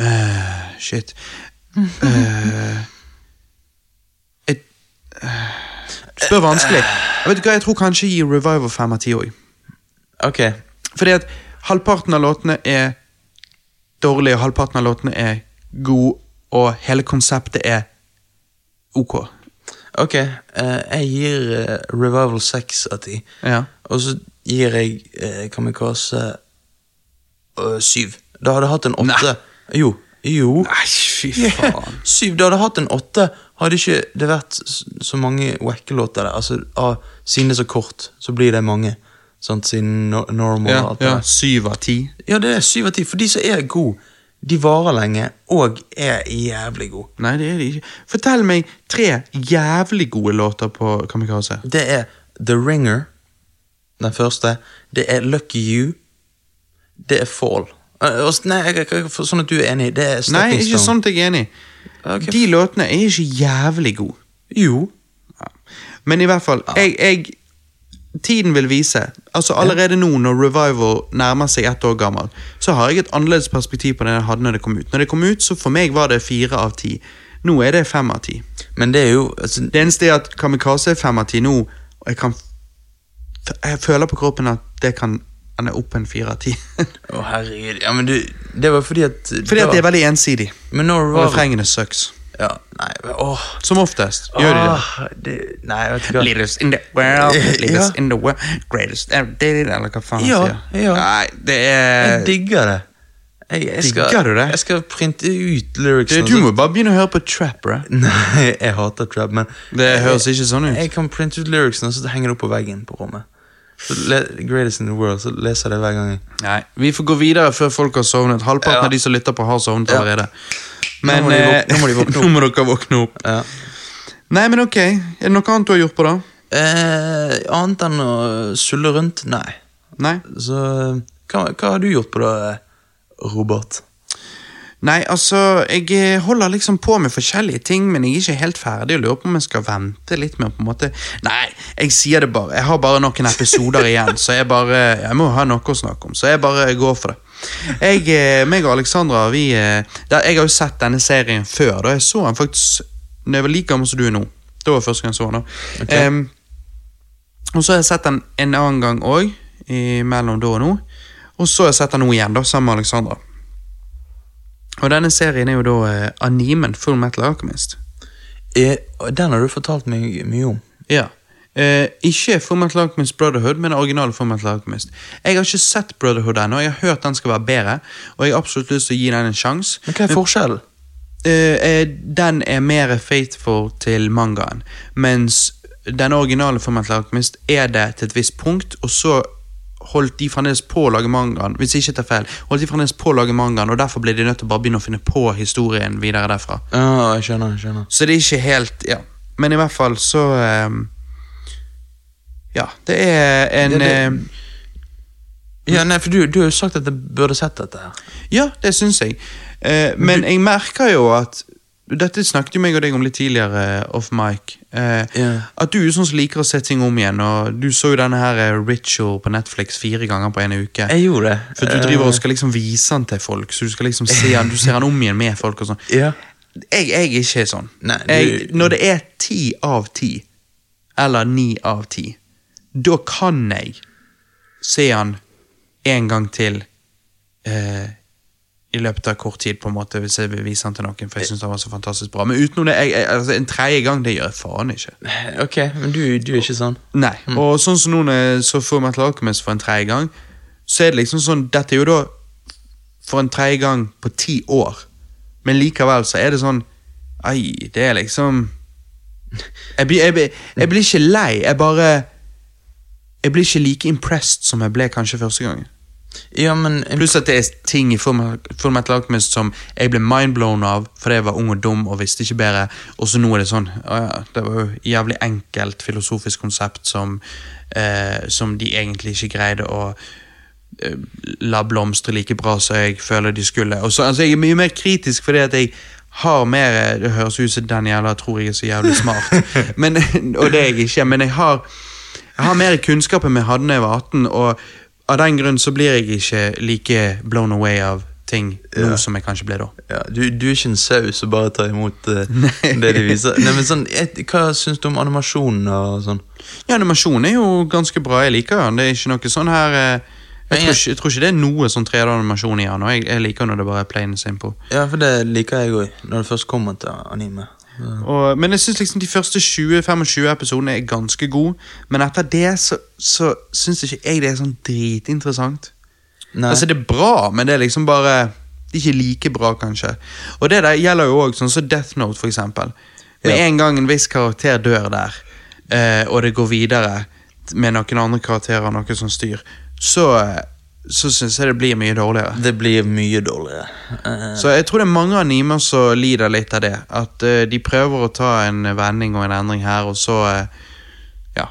S1: Eh, Shit. Eh, et, eh, du spør vanskelig. Jeg vet du hva, jeg tror kanskje jeg gir Revival fem av ti òg.
S2: Ok,
S1: Fordi at halvparten av låtene er dårlige, og halvparten av låtene er gode, og hele konseptet er ok.
S2: Ok, eh, jeg gir eh, Revival 6 av 10.
S1: Ja.
S2: Og så gir jeg eh, Kamikaze eh, 7. Da hadde jeg hatt en 8. Jo. Jo.
S1: Nei, fy faen.
S2: 7. Da hadde jeg hatt en 8. Hadde ikke det vært s- så mange wacke-låter der. Altså, av, siden det er så kort, så blir det mange. Sant, siden no normal og
S1: Ja,
S2: alt det
S1: ja.
S2: der.
S1: Syv av ti.
S2: Ja, det er 7 av 10. For de som er gode, de varer lenge og er jævlig gode.
S1: Nei, det er de ikke. Fortell meg tre jævlig gode låter på Kamikaze.
S2: Det er The Ringer, den første. Det er Lucky You. Det er Fall. Eh, og s- Nei, jeg, jeg, jeg, for- sånn at du er enig. Det er
S1: Nei,
S2: Stepping
S1: ikke
S2: Stone.
S1: sånt jeg er enig i.
S2: Ok.
S1: De låtene er ikke jævlig gode.
S2: Jo.
S1: Men i hvert fall, jeg, jeg Tiden vil vise. Altså Allerede nå, når Revival nærmer seg ett år gammel, så har jeg et annerledes perspektiv på det jeg hadde når det kom ut. Når det kom ut, så for meg var det fire av ti. Nå er det fem av ti.
S2: Men det er jo altså,
S1: Det eneste er at Kamikaze er fem av ti nå, og jeg kan f- Jeg føler på kroppen at det kan ende opp på en fire av ti.
S2: Å, herregud. Ja, men du Det var fordi at
S1: Fordi
S2: da-
S1: at det er veldig ensidig.
S2: Men når
S1: Og
S2: var
S1: refrengene sucks.
S2: Ja, nei Åh.
S1: Som oftest gjør de det.
S2: Åh, det- Nei, vet du hva.
S1: Ah. Leaders in the world, leaders
S2: Ja.
S1: in the world, greatest ever did it, eller hva faen han
S2: Ja,
S1: sier.
S2: ja.
S1: Nei, det er
S2: Jeg digger det. Jeg, jeg, skal,
S1: Digger du det?
S2: jeg skal printe ut lyricsene.
S1: Du, du må bare begynne å høre på trap, bra.
S2: Nei, jeg hater trap, men
S1: Det høres ikke sånn ut.
S2: Jeg kan printe ut lyricsene, og så henger det opp på veggen på rommet. Så le, greatest in the world, så leser jeg det hver gang. jeg-
S1: Nei, vi får gå videre før folk har sovnet. Halvparten
S2: Ja.
S1: av de som lytter på, har sovnet
S2: Ja.
S1: allerede. Men
S2: Nå må de våk-
S1: eh,
S2: nå må de våkne opp.
S1: nå må dere våkne opp.
S2: Ja.
S1: Nei, men ok. Er det noe annet du har gjort på, da?
S2: Eh, annet enn å sulle rundt? Nei.
S1: Nei?
S2: Så hva, hva har du gjort på det, Robert?
S1: Nei, altså, jeg eh, holder liksom på med forskjellige ting, men jeg er ikke helt ferdig og lurer på om jeg skal vente litt med å på en måte Nei, jeg sier det bare. Jeg har bare noen episoder igjen, så jeg bare eh, Jeg må ha noe å snakke om, så jeg bare går for det. Jeg, eh, meg og Alexandra, vi eh, da- Jeg har jo sett denne serien før, da jeg så den faktisk Når jeg var like gammel som du er nå. Det var første gang jeg så den. da.
S2: Ok.
S1: Em, og så har jeg sett den en annen gang òg, mellom da og nå. Og så har jeg sett den nå igjen, da, sammen med Alexandra. Og denne serien er jo da eh, animen Full Metal Alchemist.
S2: Eh, den har du fortalt meg mye om.
S1: Ja. Eh, ikke Full Metal Alchemist Brotherhood, men original Full Metal Alchemist. Jeg har ikke sett Brotherhood ennå, jeg har hørt den skal være bedre, og jeg har absolutt lyst til å gi den en sjanse.
S2: Men hva er forskjellen?
S1: Eh, eh, den er mer faithful til mangaen, mens den originale Full Metal Alchemist er det til et visst punkt, og så holdt de fremdeles på å lage mangaen, hvis jeg ikke tar feil, holdt de fremdeles på å lage mangaen, og derfor ble de nødt til å bare begynne å finne på historien videre derfra.
S2: Ja, jeg skjønner. jeg skjønner
S1: Så det er ikke helt, ja. Men i hvert fall så... ehm, ja, det er en...
S2: Det- det-
S1: ehm,
S2: Ja, nei, for du, du har jo sagt at jeg burde sett dette. her
S1: Ja, det syns jeg. Eh, men jeg merker jo at Dette snakket jo meg og deg om litt tidligere, off mic. Eh,
S2: Ja.
S1: At du er jo sånn som liker å se ting om igjen. Og Du så jo denne her eh, Ritual på Netflix fire ganger på en uke.
S2: Jeg gjorde det. Eh,
S1: For du driver og skal liksom vise den til folk, så du skal liksom se den, du ser den om igjen med folk. og sånn.
S2: Ja.
S1: Jeg, jeg er ikke sånn.
S2: Nei, du-
S1: jeg, når det er ti av ti, eller ni av ti, da kan jeg se han en gang til eh, i løpet av kort tid, på en måte, hvis jeg vil vise han til noen, for jeg synes han var så fantastisk bra. Men utenom det, jeg, jeg, altså, en tredje gang, det gjør jeg faen ikke.
S2: Ok, men du, du er ikke sånn.
S1: Nei, og sånn som nå når jeg så Full Metal Alchemist for en tredje gang, så er det liksom sånn, dette er jo da for en tredje gang på ti år, men likevel så er det sånn, ei, det er liksom, jeg blir, jeg, blir- jeg blir ikke lei, jeg bare, jeg blir ikke like impressed som jeg ble kanskje første gangen.
S2: Ja, men
S1: Pluss at det er ting i Full Metal- Full Metal Alchemist som jeg ble mindblown av fordi jeg var ung og dum og visste ikke bedre, og så nå er det sånn å ja, Det var jo et jævlig enkelt filosofisk konsept som, eh, som de egentlig ikke greide å eh, la blomstre like bra som jeg føler de skulle. Og så, altså, jeg er mye mer kritisk fordi at jeg har mer eh, Det høres ut som den jævla tror jeg er så jævlig smart, men, og det er jeg ikke, men jeg har jeg har mer kunnskap enn jeg hadde da jeg var 18, og av den grunn så blir jeg ikke like blown away av ting nå som jeg kanskje ble da.
S2: ja, du, du er ikke en sau som bare tar imot eh, det de viser. Nei, men sånn, et, Hva syns du om animasjonen og sånn?
S1: Ja, animasjonen er jo ganske bra. Jeg liker den. Det er ikke noe sånn her eh, jeg
S2: Men jeg-
S1: tror, ikke, jeg tror ikke det er noe sånn 3D-animasjon i den. og Jeg, jeg liker når det bare er plain and simple.
S2: Ja, for det liker jeg òg, når det først kommer til anime. Ja.
S1: Og, men jeg synes liksom de første 20-25 episodene er ganske gode. Men etter det så, så syns ikke jeg det er sånn dritinteressant.
S2: Nei.
S1: Altså Det er bra, men det er liksom bare det er Ikke like bra, kanskje. Og det der gjelder jo òg sånn som Death Note, for eksempel. Med
S2: Ja.
S1: en gang en viss karakter dør der, eh, og det går videre med noen andre karakterer og noe sånt styr, så, eh, så syns jeg det blir mye dårligere.
S2: det blir mye dårligere. Eh,
S1: Så jeg tror det er mange animer som lider litt av det. At eh, de prøver å ta en vending og en endring her, og så eh, Ja.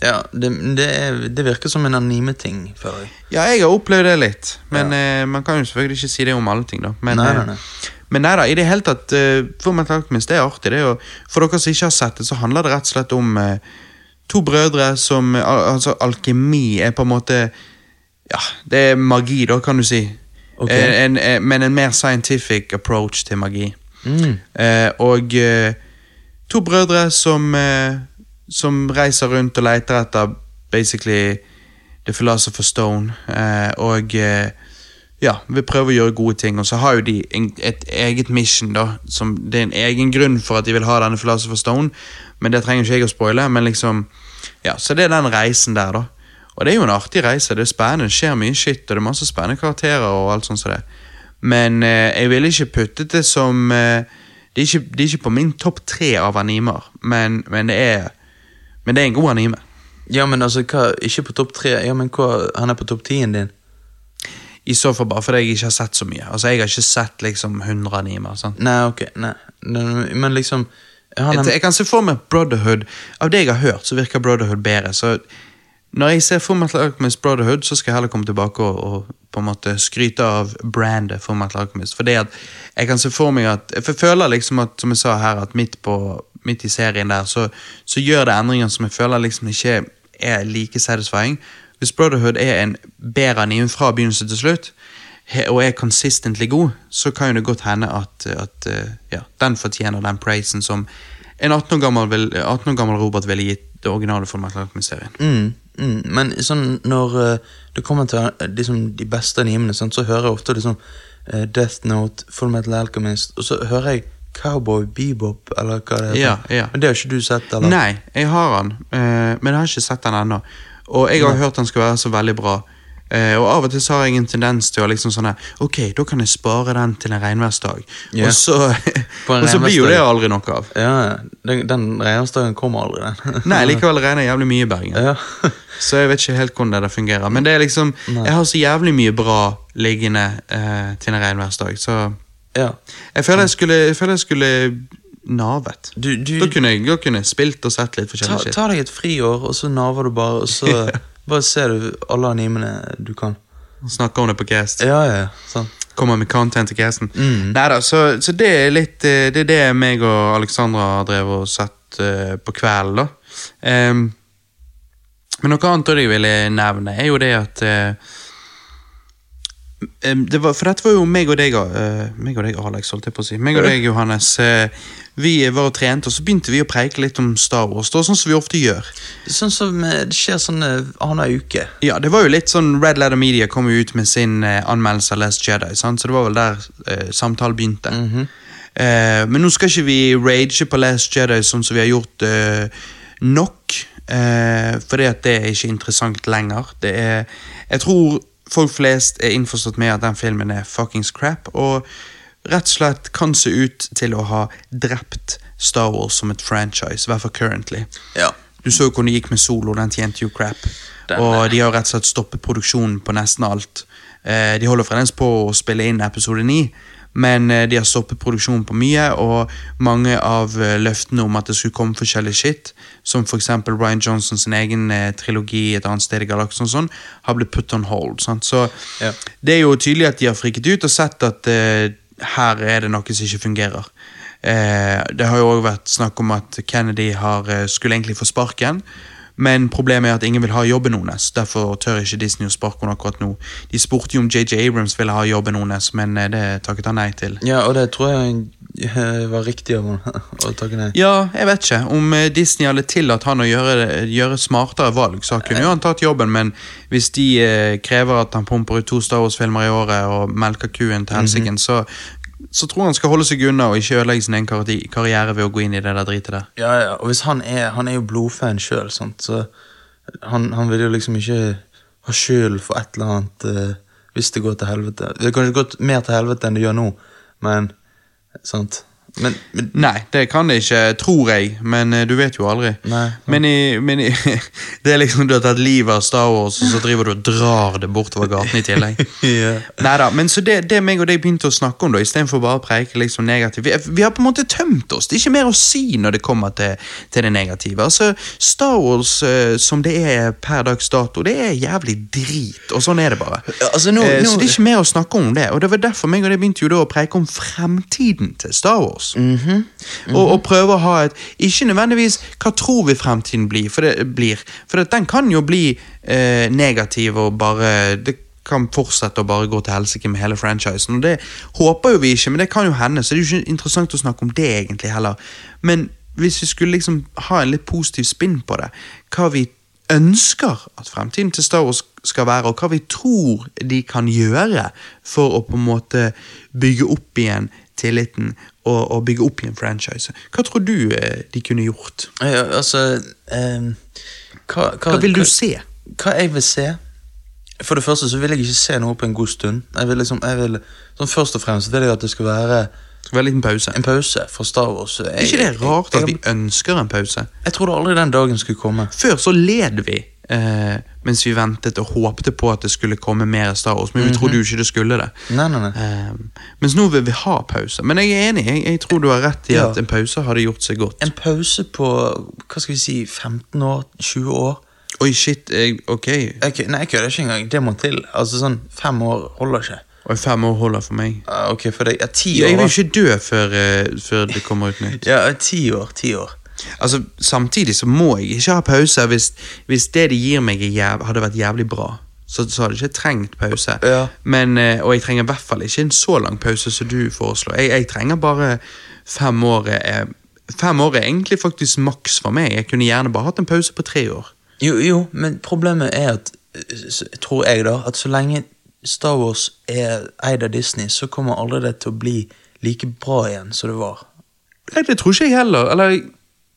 S2: ja, det, det, er, det virker som en anime-ting, føler jeg.
S1: Ja, jeg har opplevd det litt, men eh, man kan jo selvfølgelig ikke si det om alle ting, da. Men,
S2: Nei,
S1: eh,
S2: nei, nei.
S1: men nei da, i det hele tatt, uh, for meg det er artig. Det er jo, for dere som ikke har sett det, så handler det rett og slett om eh, to brødre som eh, al Altså, alkemi er på en måte Ja, det er magi, da, kan du si.
S2: Ok.
S1: Eh, en, eh, men en mer scientific approach til magi.
S2: Mm.
S1: Eh, og eh, to brødre som, eh, som reiser rundt og leter etter basically The Philosopher's Stone. Eh, og eh, ja, vil prøve å gjøre gode ting. Og så har jo de en, et eget mission, da. Som, det er en egen grunn for at de vil ha denne Philosopher's Stone, men det trenger ikke jeg å spoile. Men liksom, ja, Så det er den reisen der, da. Og det er jo en artig reise. Det er spennende, det skjer mye shit, og det er masse spennende karakterer og alt sånt som det. Men eh, jeg ville ikke puttet det som eh, det, er ikke, det er ikke på min topp tre av animer, men, men, det er, men det er en god anime.
S2: Ja, men altså, hva, ikke på topp tre, ja, men hva, han er på topp tien din.
S1: I så fall bare fordi jeg ikke har sett så mye. Altså, Jeg har ikke sett liksom 100 animer. sant?
S2: Nei, ok, nei, Nei, men liksom, han
S1: Jeg,
S2: er,
S1: jeg kan se for meg Brotherhood. Av det jeg har hørt, så virker Brotherhood bedre. så... Når jeg ser Full Metal Alchemist Brotherhood, så skal jeg heller komme tilbake og, og på en måte skryte av brandet Full Metal Alchemist. For det at jeg kan se for meg at For jeg føler liksom at, som jeg sa her, at midt, på, midt i serien der, så, så gjør det endringer som jeg føler liksom ikke er like satisfying. Hvis Brotherhood er en bedre anime fra begynnelse til slutt, he- og er consistently god, så kan jo det godt hende at, at eh, ja, den fortjener den praisen som en 18 år gammel, vil, 18 år gammel Robert ville gitt det originale Full Metal Alchemist-serien.
S2: mm, mm, men sånn, når eh, det kommer til eh, liksom, de beste animene, sant, så hører jeg ofte liksom, eh, Death Note, Full Metal Alchemist, og så hører jeg Cowboy Bebop, eller hva det heter.
S1: Ja, ja.
S2: Men det har ikke du sett, eller?
S1: Nei, jeg har han, eh, men jeg har ikke sett han ennå. Og jeg har hørt han skal være så veldig bra. Eh, og av og til så har jeg en tendens til å liksom sånn her Ok, da kan jeg spare den til en regnværsdag.
S2: Ja.
S1: Og så,
S2: På en
S1: og så blir jo
S2: regnværsdag.
S1: det aldri noe av.
S2: Ja, den, den regnestagen kommer aldri, den.
S1: Nei, likevel regner jeg jævlig mye i Bergen.
S2: Ja.
S1: Så jeg vet ikke helt hvordan det der fungerer. Men det er liksom, jeg har så jævlig mye bra liggende eh, til en regnværsdag, så
S2: ja.
S1: Jeg føler jeg skulle, jeg føler jeg skulle navet.
S2: Du, du,
S1: Da kunne, jeg, da kunne jeg spilt og sett litt
S2: ta,
S1: forskjellig shit.
S2: ta deg et friår, og så naver du bare, og så bare ser du alle animene du kan.
S1: Snakke om det på cast.
S2: Ja, ja, ja, sant.
S1: Kommer med content til casten. Neida, så, så det er litt eh, Det er det meg og Alexandra har drevet og sett eh, på kvelden, da. Ehm, men noe annet jeg ville nevne, er jo det at eh, Em, det var, for dette var jo meg og deg, eh, meg og deg Alex, holdt jeg på å si. Meg og deg, Johannes. eh, vi var og trente, og så begynte vi å preike litt om Star Wars. Da, sånn som vi ofte gjør.
S2: Sånn som eh, det skjer sånn eh, annenhver uke.
S1: Ja, det var jo litt sånn Red Letter Media kom jo ut med sin eh, anmeldelse av Last Jedi, sant? så det var vel der eh, samtalen begynte. Eh, men nå skal ikke vi rage på Last Jedi sånn som vi har gjort eh, nok, eh, fordi at det er ikke interessant lenger. Det er, jeg tror folk flest er innforstått med at den filmen er fuckings crap, og rett og slett kan se ut til å ha drept Star Wars som et franchise, i hvert fall currently.
S2: Ja.
S1: Du så jo hvordan det gikk med Solo, den tjente jo crap.
S2: Den- eh,
S1: og de har jo rett og slett stoppet produksjonen på nesten alt. Eh, de holder fremdeles på å spille inn episode 9, men eh, de har stoppet produksjonen på mye, og mange av eh, løftene om at det skulle komme forskjellig shit, som for eksempel Ryan Johnsons egen eh, trilogi et annet sted i galaksen og sånn, har blitt put on hold. Sant? Så
S2: Ja.
S1: det er jo tydelig at de har friket ut og sett at eh, her er det noe som ikke fungerer. Eh, det har jo også vært snakk om at Kennedy har, eh, skulle egentlig få sparken, men problemet er at ingen vil ha jobben hennes. Derfor tør ikke Disney å sparke henne akkurat nå. De spurte jo om JJ Abrams ville ha jobben hennes, men eh, det takket han nei til.
S2: Ja, og det tror jeg eh, var riktig av henne å takke nei.
S1: Ja, jeg vet ikke. Om eh, Disney hadde tillatt han å gjøre, det- gjøre smartere valg, så kunne jo han tatt jobben, men hvis de eh, krever at han pumper ut to Star Wars-filmer i året og melker kuen til helsiken, så, så tror han skal holde seg unna og ikke ødelegge sin egen karri- karriere ved å gå inn i det der dritet der.
S2: Ja, ja, og hvis han er, han er jo blodfan sjøl, sant, så han, han vil jo liksom ikke ha skyld for et eller annet eh, hvis det går til helvete. Det kan jo gått mer til helvete enn det gjør nå, men Sant? Men, men
S1: Nei, det kan det ikke, tror jeg, men eh, du vet jo aldri.
S2: Nei.
S1: men i, men i, det er liksom du har tatt livet av Star Wars, og så driver du og drar det bortover gaten i tillegg.
S2: Ja.
S1: Neida, men så det, det meg og deg begynte å snakke om, da, istedenfor bare å preike liksom negativt vi, vi har på en måte tømt oss. Det er ikke mer å si når det kommer til, til det negative. Altså, Star Wars eh, som det er per dags dato, det er jævlig drit, og sånn er det bare.
S2: Ja, altså, nå-
S1: Eh,
S2: nå-
S1: så det er ikke mer å snakke om det. Og det var derfor meg og deg begynte jo da å preike om fremtiden til Star Wars.
S2: Mhm,
S1: og, og prøve å ha et Ikke nødvendigvis hva tror vi fremtiden blir, for, det, blir, for at den kan jo bli eh, negativ og bare det kan fortsette å bare gå til helsike med hele franchisen. og Det håper jo vi ikke, men det kan jo hende, så det er jo ikke interessant å snakke om det egentlig heller. Men hvis vi skulle liksom ha en litt positiv spinn på det, hva vi ønsker at fremtiden til Star Wars skal være, og hva vi tror de kan gjøre for å på en måte bygge opp igjen tilliten og, og bygge opp igjen franchise. Hva tror du eh, de kunne gjort?
S2: ja, altså eh, hva,
S1: Hva vil du se?
S2: Hva jeg vil se For det første så vil jeg ikke se noe på en god stund. Jeg vil liksom, jeg vil, sånn Først og fremst vil jeg at det skal være
S1: Skal være en liten pause.
S2: en pause fra Star Wars. Jeg,
S1: Er ikke det rart at
S2: jeg,
S1: vi
S2: jeg,
S1: ønsker en pause?
S2: jeg trodde aldri den dagen skulle komme.
S1: Før så led vi eh, mens vi ventet og håpte på at det skulle komme mer Star Wars, men vi trodde jo ikke det skulle det.
S2: Mhm. Nei, nei, nei.
S1: Eh, mens nå vil vi ha pause. Men jeg er enig, jeg, jeg tror du har rett i
S2: Ja.
S1: at en pause hadde gjort seg godt.
S2: En pause på hva skal vi si, 15 år? 20 år?
S1: Oi, shit, jeg, ok.
S2: Jeg, kø- nei, jeg kødder ikke engang. Det må til. Altså sånn, Fem år holder ikke.
S1: Og fem år holder for meg.
S2: Ah, ok, for deg. Ja, ti år.
S1: Jeg vil jo
S2: da.
S1: ikke dø før, eh, før det kommer ut nytt.
S2: Ja, ti år. Ti år.
S1: Altså, Samtidig så må jeg ikke ha pause hvis, hvis det de gir meg, er jæv hadde vært jævlig bra. Så, så hadde jeg ikke trengt pause.
S2: Ja.
S1: Men, eh, og jeg trenger i hvert fall ikke en så lang pause som du foreslår. Jeg, jeg trenger bare fem år. eh, Fem år er egentlig faktisk maks for meg. Jeg kunne gjerne bare hatt en pause på tre år.
S2: Jo, jo, men problemet er at eh, s- Tror jeg, da. At så lenge Star Wars er eid av Disney, så kommer aldri det til å bli like bra igjen som det var.
S1: Nei, Det tror ikke jeg heller. Eller, jeg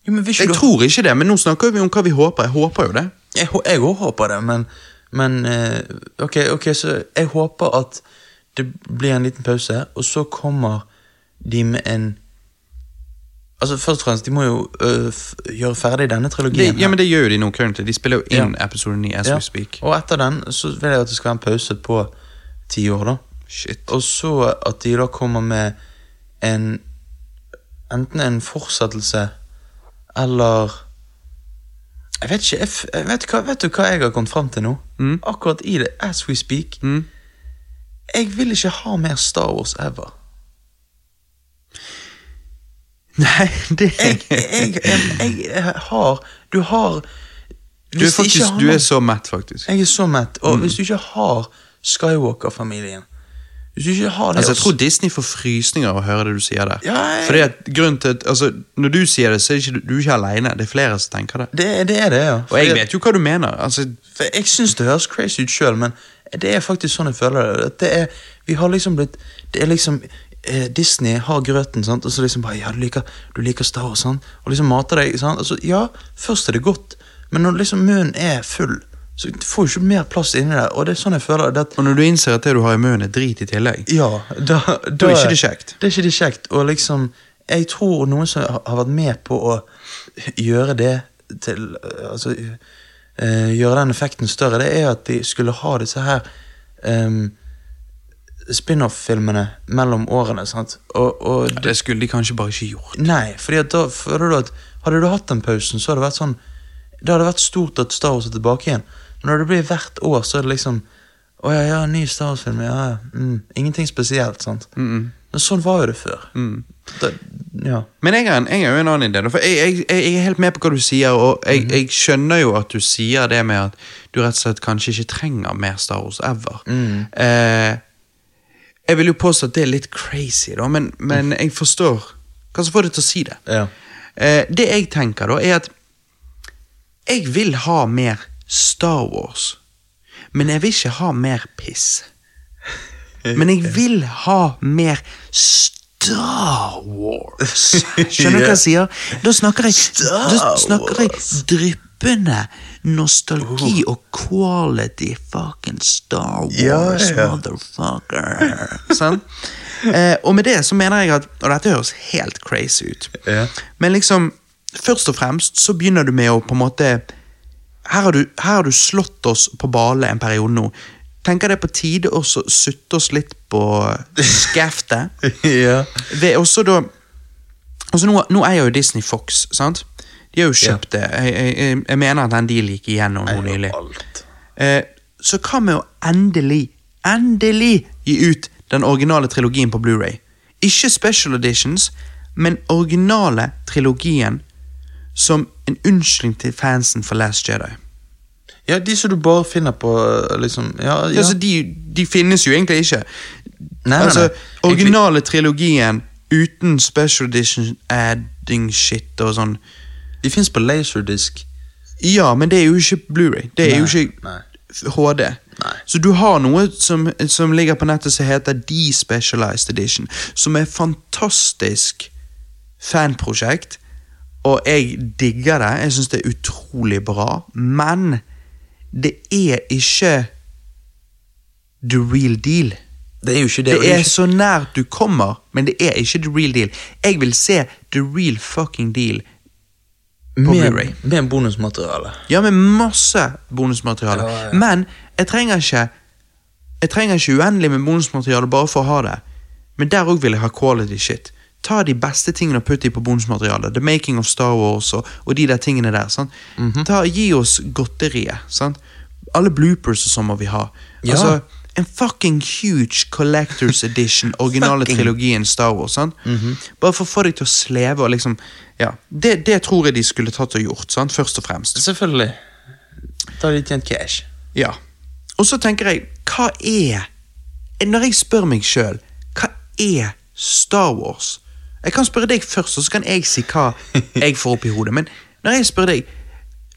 S2: Jo, men vil ikke du-
S1: tror ikke det, men nå snakker vi om hva vi håper. Jeg håper jo det.
S2: Jeg, hå- jeg også håper det, men, men eh, ok, ok, så jeg håper at det blir en liten pause, og så kommer de med en Altså Først og fremst, de må jo øh, f- gjøre ferdig denne trilogien.
S1: det ja, men det gjør jo de nå. currently. De spiller jo inn
S2: Ja.
S1: episode 9 as
S2: her.
S1: we speak.
S2: Ja, Og etter den så vil jeg at det skal være en pause på ti år, da.
S1: Shit.
S2: Og så at de da kommer med en Enten en fortsettelse eller Jeg vet ikke jeg, f- jeg vet, hva, vet du hva jeg har kommet fram til nå? Akkurat i det, as we speak.
S1: Mm.
S2: Jeg vil ikke ha mer Star Wars ever.
S1: Nei, det
S2: Jeg, jeg, jeg, jeg, jeg har Du har
S1: Du er,
S2: hvis de ikke
S1: faktisk,
S2: har
S1: du er
S2: noe-
S1: så mett, faktisk.
S2: Jeg er så mett. Og
S1: Mm.
S2: hvis du ikke har Skywalker-familien Hvis du ikke har det
S1: Altså, jeg
S2: også-
S1: tror Disney får frysninger av å høre det du sier der.
S2: Ja, jeg-
S1: Fordi at grunnen til at, altså, Når du sier det, så er ikke, du- du er ikke alene. Det er flere som tenker det.
S2: det, det er det, ja.
S1: Og jeg
S2: Fordi-
S1: vet jo hva du mener. Altså,
S2: For jeg synes det høres crazy ut sjøl, men det er faktisk sånn jeg føler det. At det er, vi har liksom blitt Det er liksom eh, Disney har grøten, sant? og så liksom bare Ja, du liker, du liker Star Wars, sant? og liksom mater deg. Sant? Altså, ja, først er det godt, men når liksom munnen er full, så får du ikke mer plass inni der. Og det er sånn jeg føler det. At,
S1: og når du innser at det du har i munnen, er drit i tillegg
S2: ja, da, da
S1: er ikke det kjekt.
S2: Det er ikke det kjekt. Og liksom, jeg tror noen som har har vært med på å gjøre det til eh, Altså eh, gjøre den effekten større, det er at de skulle ha disse her em, spin-off-filmene mellom årene. sant? Og, og
S1: Det skulle de kanskje bare ikke gjort.
S2: Nei, fordi at da føler du at Hadde du hatt den pausen, så hadde det vært sånn Det hadde vært stort at Star Wars er tilbake igjen. Men når det blir hvert år, så er det liksom Å ja, ja, ny Star Wars-film. Ja, ja. Mm. Ingenting spesielt, sant. Men sånn var jo det før.
S1: Mm.
S2: Da, ja.
S1: Men jeg har, en, jeg har jo en annen idé. da, For jeg, jeg, jeg jeg er helt med på hva du sier, og jeg, jeg skjønner jo at du sier det med at du rett og slett kanskje ikke trenger mer Star Wars ever. Eh, jeg vil jo påstå at det er litt crazy, da, men, men jeg forstår hva som får deg til å si det.
S2: Ja.
S1: Eh, det jeg tenker, da, er at jeg vil ha mer Star Wars, men jeg vil ikke ha mer piss. Men jeg vil ha mer Star Wars. Skjønner du hva jeg sier? Da snakker jeg, da snakker jeg dryppende nostalgi
S2: Oh.
S1: og quality fucking Star Wars,
S2: Ja, ja.
S1: motherfucker. Sant? Eh, og med det så mener jeg at Og dette høres helt crazy ut.
S2: Ja.
S1: Men liksom, først og fremst så begynner du med å på en måte her har, du, her har du slått oss på bale en periode nå. Tenker det er på tide å så sutte oss litt på skaftet.
S2: ja.
S1: Ved også da Altså nå, nå eier jo Disney Fox, sant? De har jo kjøpt det. Jeg, jeg- jeg, jeg mener at den dealen gikk igjennom nå nylig.
S2: Alt.
S1: Eh, så hva med å endelig, endelig gi ut den originale trilogien på Blu-ray? Ikke special editions, men originale trilogien som en unnskyldning til fansen for Last Jedi.
S2: Ja, de som du bare finner på liksom Ja, ja.
S1: Altså, de, de finnes jo egentlig ikke.
S2: Nei, nei,
S1: altså,
S2: nei.
S1: originale trilogien uten special edition adding shit og sånn.
S2: de fins på laserdisk.
S1: Ja, men det er jo ikke Blu-ray. Det er jo
S2: Nei,
S1: ikke
S2: nei.
S1: HD.
S2: Nei.
S1: Så du har noe som, som ligger på nettet som heter Despecialized Edition, som er et fantastisk fanprosjekt, og jeg digger det. Jeg syns det er utrolig bra, men det er ikke the real deal.
S2: Det er jo ikke det. og
S1: Det
S2: det er
S1: er
S2: ikke-
S1: så nært du kommer, men det er ikke the real deal. Jeg vil se the real fucking deal. på Blu-ray.
S2: med, med bonusmateriale.
S1: Ja, med masse bonusmateriale.
S2: Ja, ja.
S1: Men jeg trenger ikke Jeg trenger ikke uendelig med bonusmateriale bare for å ha det. Men der òg vil jeg ha quality shit. Ta de beste tingene og putt de på bonusmateriale. The Making of Star Wars og, og de der tingene der. sant?
S2: Mhm.
S1: Ta, gi oss godteriet. sant? Alle bloopers og sånn må vi ha.
S2: Ja.
S1: Altså, en fucking huge collectors edition, originale
S2: Fucking. Mhm.
S1: trilogien Star Wars. Sant? Bare for å få deg til å sleve og liksom Ja, det, det tror jeg de skulle tatt og gjort, sant? først og fremst.
S2: Selvfølgelig. Da har de tjent cash.
S1: Ja. Og så tenker jeg, hva er Når jeg spør meg sjøl, hva er Star Wars? Jeg kan spørre deg først, og så kan jeg si hva jeg får opp i hodet. Men når jeg spør deg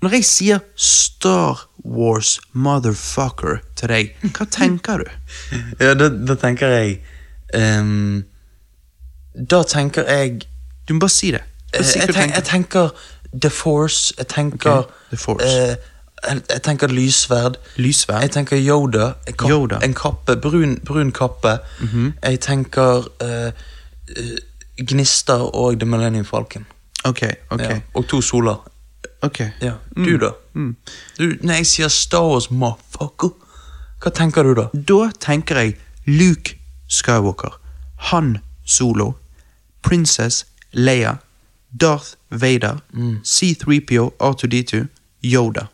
S1: Når jeg sier Star Wars motherfucker til deg, hva tenker du?
S2: Ja, da, da tenker jeg ehm, Da tenker jeg
S1: Du må bare si det. Bare
S2: jeg,
S1: si hva
S2: Eh, jeg,
S1: du
S2: tenker, jeg
S1: tenker.
S2: tenker The Force. Jeg tenker
S1: Ok, The Force.
S2: eh, jeg, jeg tenker lyssverd.
S1: Lyssverd?
S2: Jeg tenker Yoda. Mhm. En, kapp,
S1: Yoda.
S2: en kappe, brun, brun kappe. Jeg tenker eh, eh, Gnister og The Millennium Falcon.
S1: Ok, ok.
S2: Ja, og to soler.
S1: ok.
S2: Ja. Du, da? Du, når jeg sier Star Wars, motherfucker, hva tenker du da?
S1: Da tenker jeg Luke Skywalker, Han Solo, Princess Leia, Darth Vader, C3PO, R2D2, Yoda.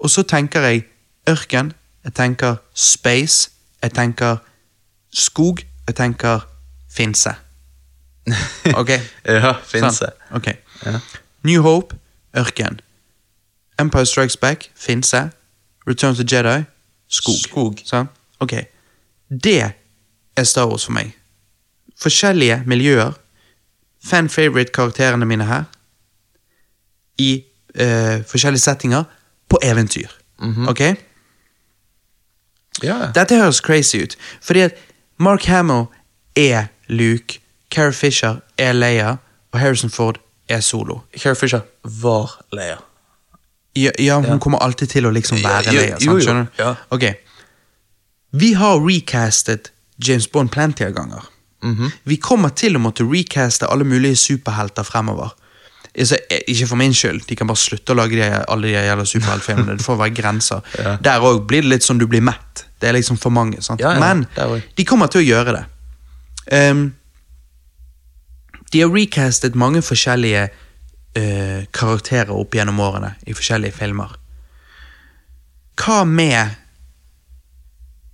S1: Og så tenker jeg ørken, jeg tenker space, jeg tenker skog, jeg tenker finse. Ok?
S2: Ja,
S1: Sånn. Ok. New Hope, ørken. Empire Strikes Back, finse. Return to Jedi, skog.
S2: Skog.
S1: Sånn? Ok. Det er Star Wars for meg. Forskjellige miljøer. Fan favorite-karakterene mine her. I eh, forskjellige settinger. På eventyr. Ok?
S2: Ja.
S1: Dette høres crazy ut, fordi at Mark Hamill er Luke, Carrie Fisher er Leia, og Harrison Ford er Solo.
S2: Carrie Fisher var Leia.
S1: Ja, ja hun
S2: Ja.
S1: kommer alltid til å liksom
S2: Ja,
S1: være
S2: jo-
S1: Leia,
S2: jo, jo.
S1: sant? skjønner du?
S2: Ja.
S1: Ok. Vi har recastet James Bond plenty av ganger.
S2: Mhm.
S1: Vi kommer til å måtte recaste alle mulige superhelter fremover. Altså, eh, ikke for min skyld, de kan bare slutte å lage de, alle de jævla superheltfilmene. Det får være grenser. Der òg blir det litt sånn du blir mett. Det er liksom for mange. sant?
S2: Ja, ja,
S1: Men
S2: der også.
S1: de kommer til å gjøre det. Ehm, de har recastet mange forskjellige eh, karakterer opp gjennom årene i forskjellige filmer. Hva med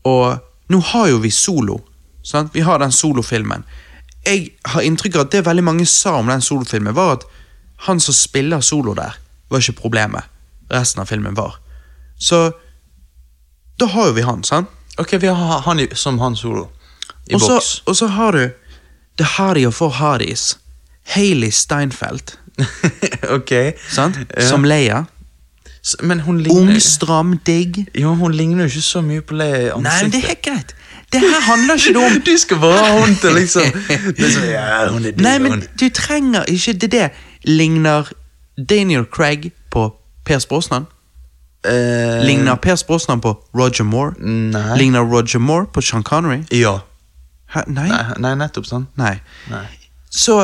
S1: Og nå har jo vi Solo. Sant? Vi har den solofilmen. Jeg har inntrykk av at det veldig mange sa om den solofilmen, var at han som spiller solo der, var ikke problemet. Resten av filmen var. Så da har jo vi han, sant?
S2: Ok, vi har han i, som han solo. I
S1: og, så,
S2: boks.
S1: og så har du The Hardy of Four Hardys. Hayley Steinfeld,
S2: ok.
S1: sant?
S2: Ja.
S1: som Leia.
S2: S- Men hun ligner
S1: Ung, stram, digg.
S2: Jo, hun ligner jo ikke så mye på Leia i
S1: Nei, men
S2: ansiktet.
S1: det er helt greit. Det her handler ikke noe om
S2: Du skal bare ha hun til, liksom. Det er sånn, ja, hun er dyr,
S1: Nei, men
S2: hun.
S1: du trenger ikke det. det Ligner Daniel Craig på Per Sprosnan?
S2: Eh,
S1: Ligner Per Sprosnan på Roger Moore?
S2: Nei.
S1: Ligner Roger Moore på Sean Connery?
S2: Ja.
S1: Hæ? Nei?
S2: Nei, nei, nettopp sånn.
S1: Nei.
S2: Nei.
S1: Så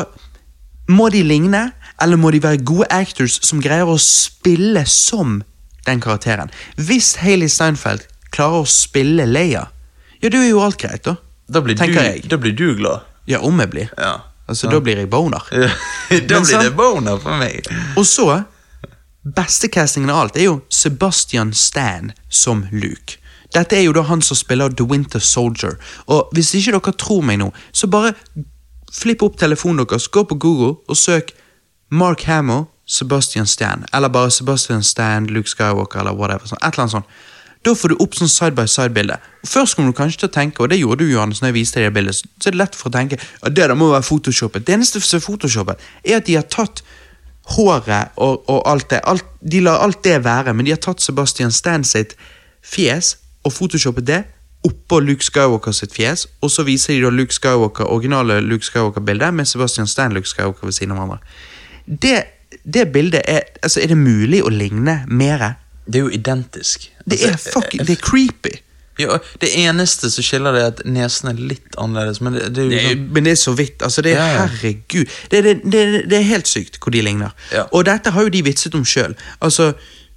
S1: må de ligne, eller må de være gode actors som greier å spille som den karakteren? Hvis Hailey Steinfeld klarer å spille Leia, ja, da er jo alt greit, da.
S2: Da blir, du,
S1: Tenker jeg.
S2: da blir du glad.
S1: Ja, om jeg blir.
S2: Ja.
S1: Altså, Da blir jeg boner.
S2: da blir
S1: sant-
S2: det boner for meg.
S1: Og så Beste castingen av alt er jo Sebastian Stan som Luke. Dette er jo da han som spiller The Winter Soldier. Og hvis ikke dere tror meg nå, så bare flipp opp telefonen deres, gå på Google og søk Mark Hamill, Sebastian Stan. Eller bare Sebastian Stan, Luke Skywalker eller whatever. Sånn. Et eller annet sånt. Da får du opp sånn side-by-side-bilde. Og Først kommer du kanskje til å tenke, og det gjorde du, Johannes, når jeg viste deg det bildet, så er det lett for å tenke at det der må være photoshoppet. Det eneste som er photoshoppet, er at de har tatt håret og, og alt det. Alt, de lar alt det være, men de har tatt Sebastian Stan sitt fjes og photoshoppet det oppå Luke Skywalker sitt fjes, og så viser de da Luke Skywalker, originale Luke Skywalker-bildet med Sebastian Stan Luke Skywalker ved siden av hverandre. Det, det bildet er Altså, er det mulig å ligne mere?
S2: Det er jo identisk.
S1: Det
S2: Altså,
S1: eh, er fucking Det er creepy.
S2: Ja, det eneste som skiller det, er at nesen er litt annerledes. Men det, det er jo
S1: Det, er-
S2: sånn-
S1: men det er så vidt. altså det er,
S2: Ja, ja.
S1: Herregud. Det, det, det, det er helt sykt hvor de ligner.
S2: Ja.
S1: Og dette har jo de vitset om sjøl. Altså,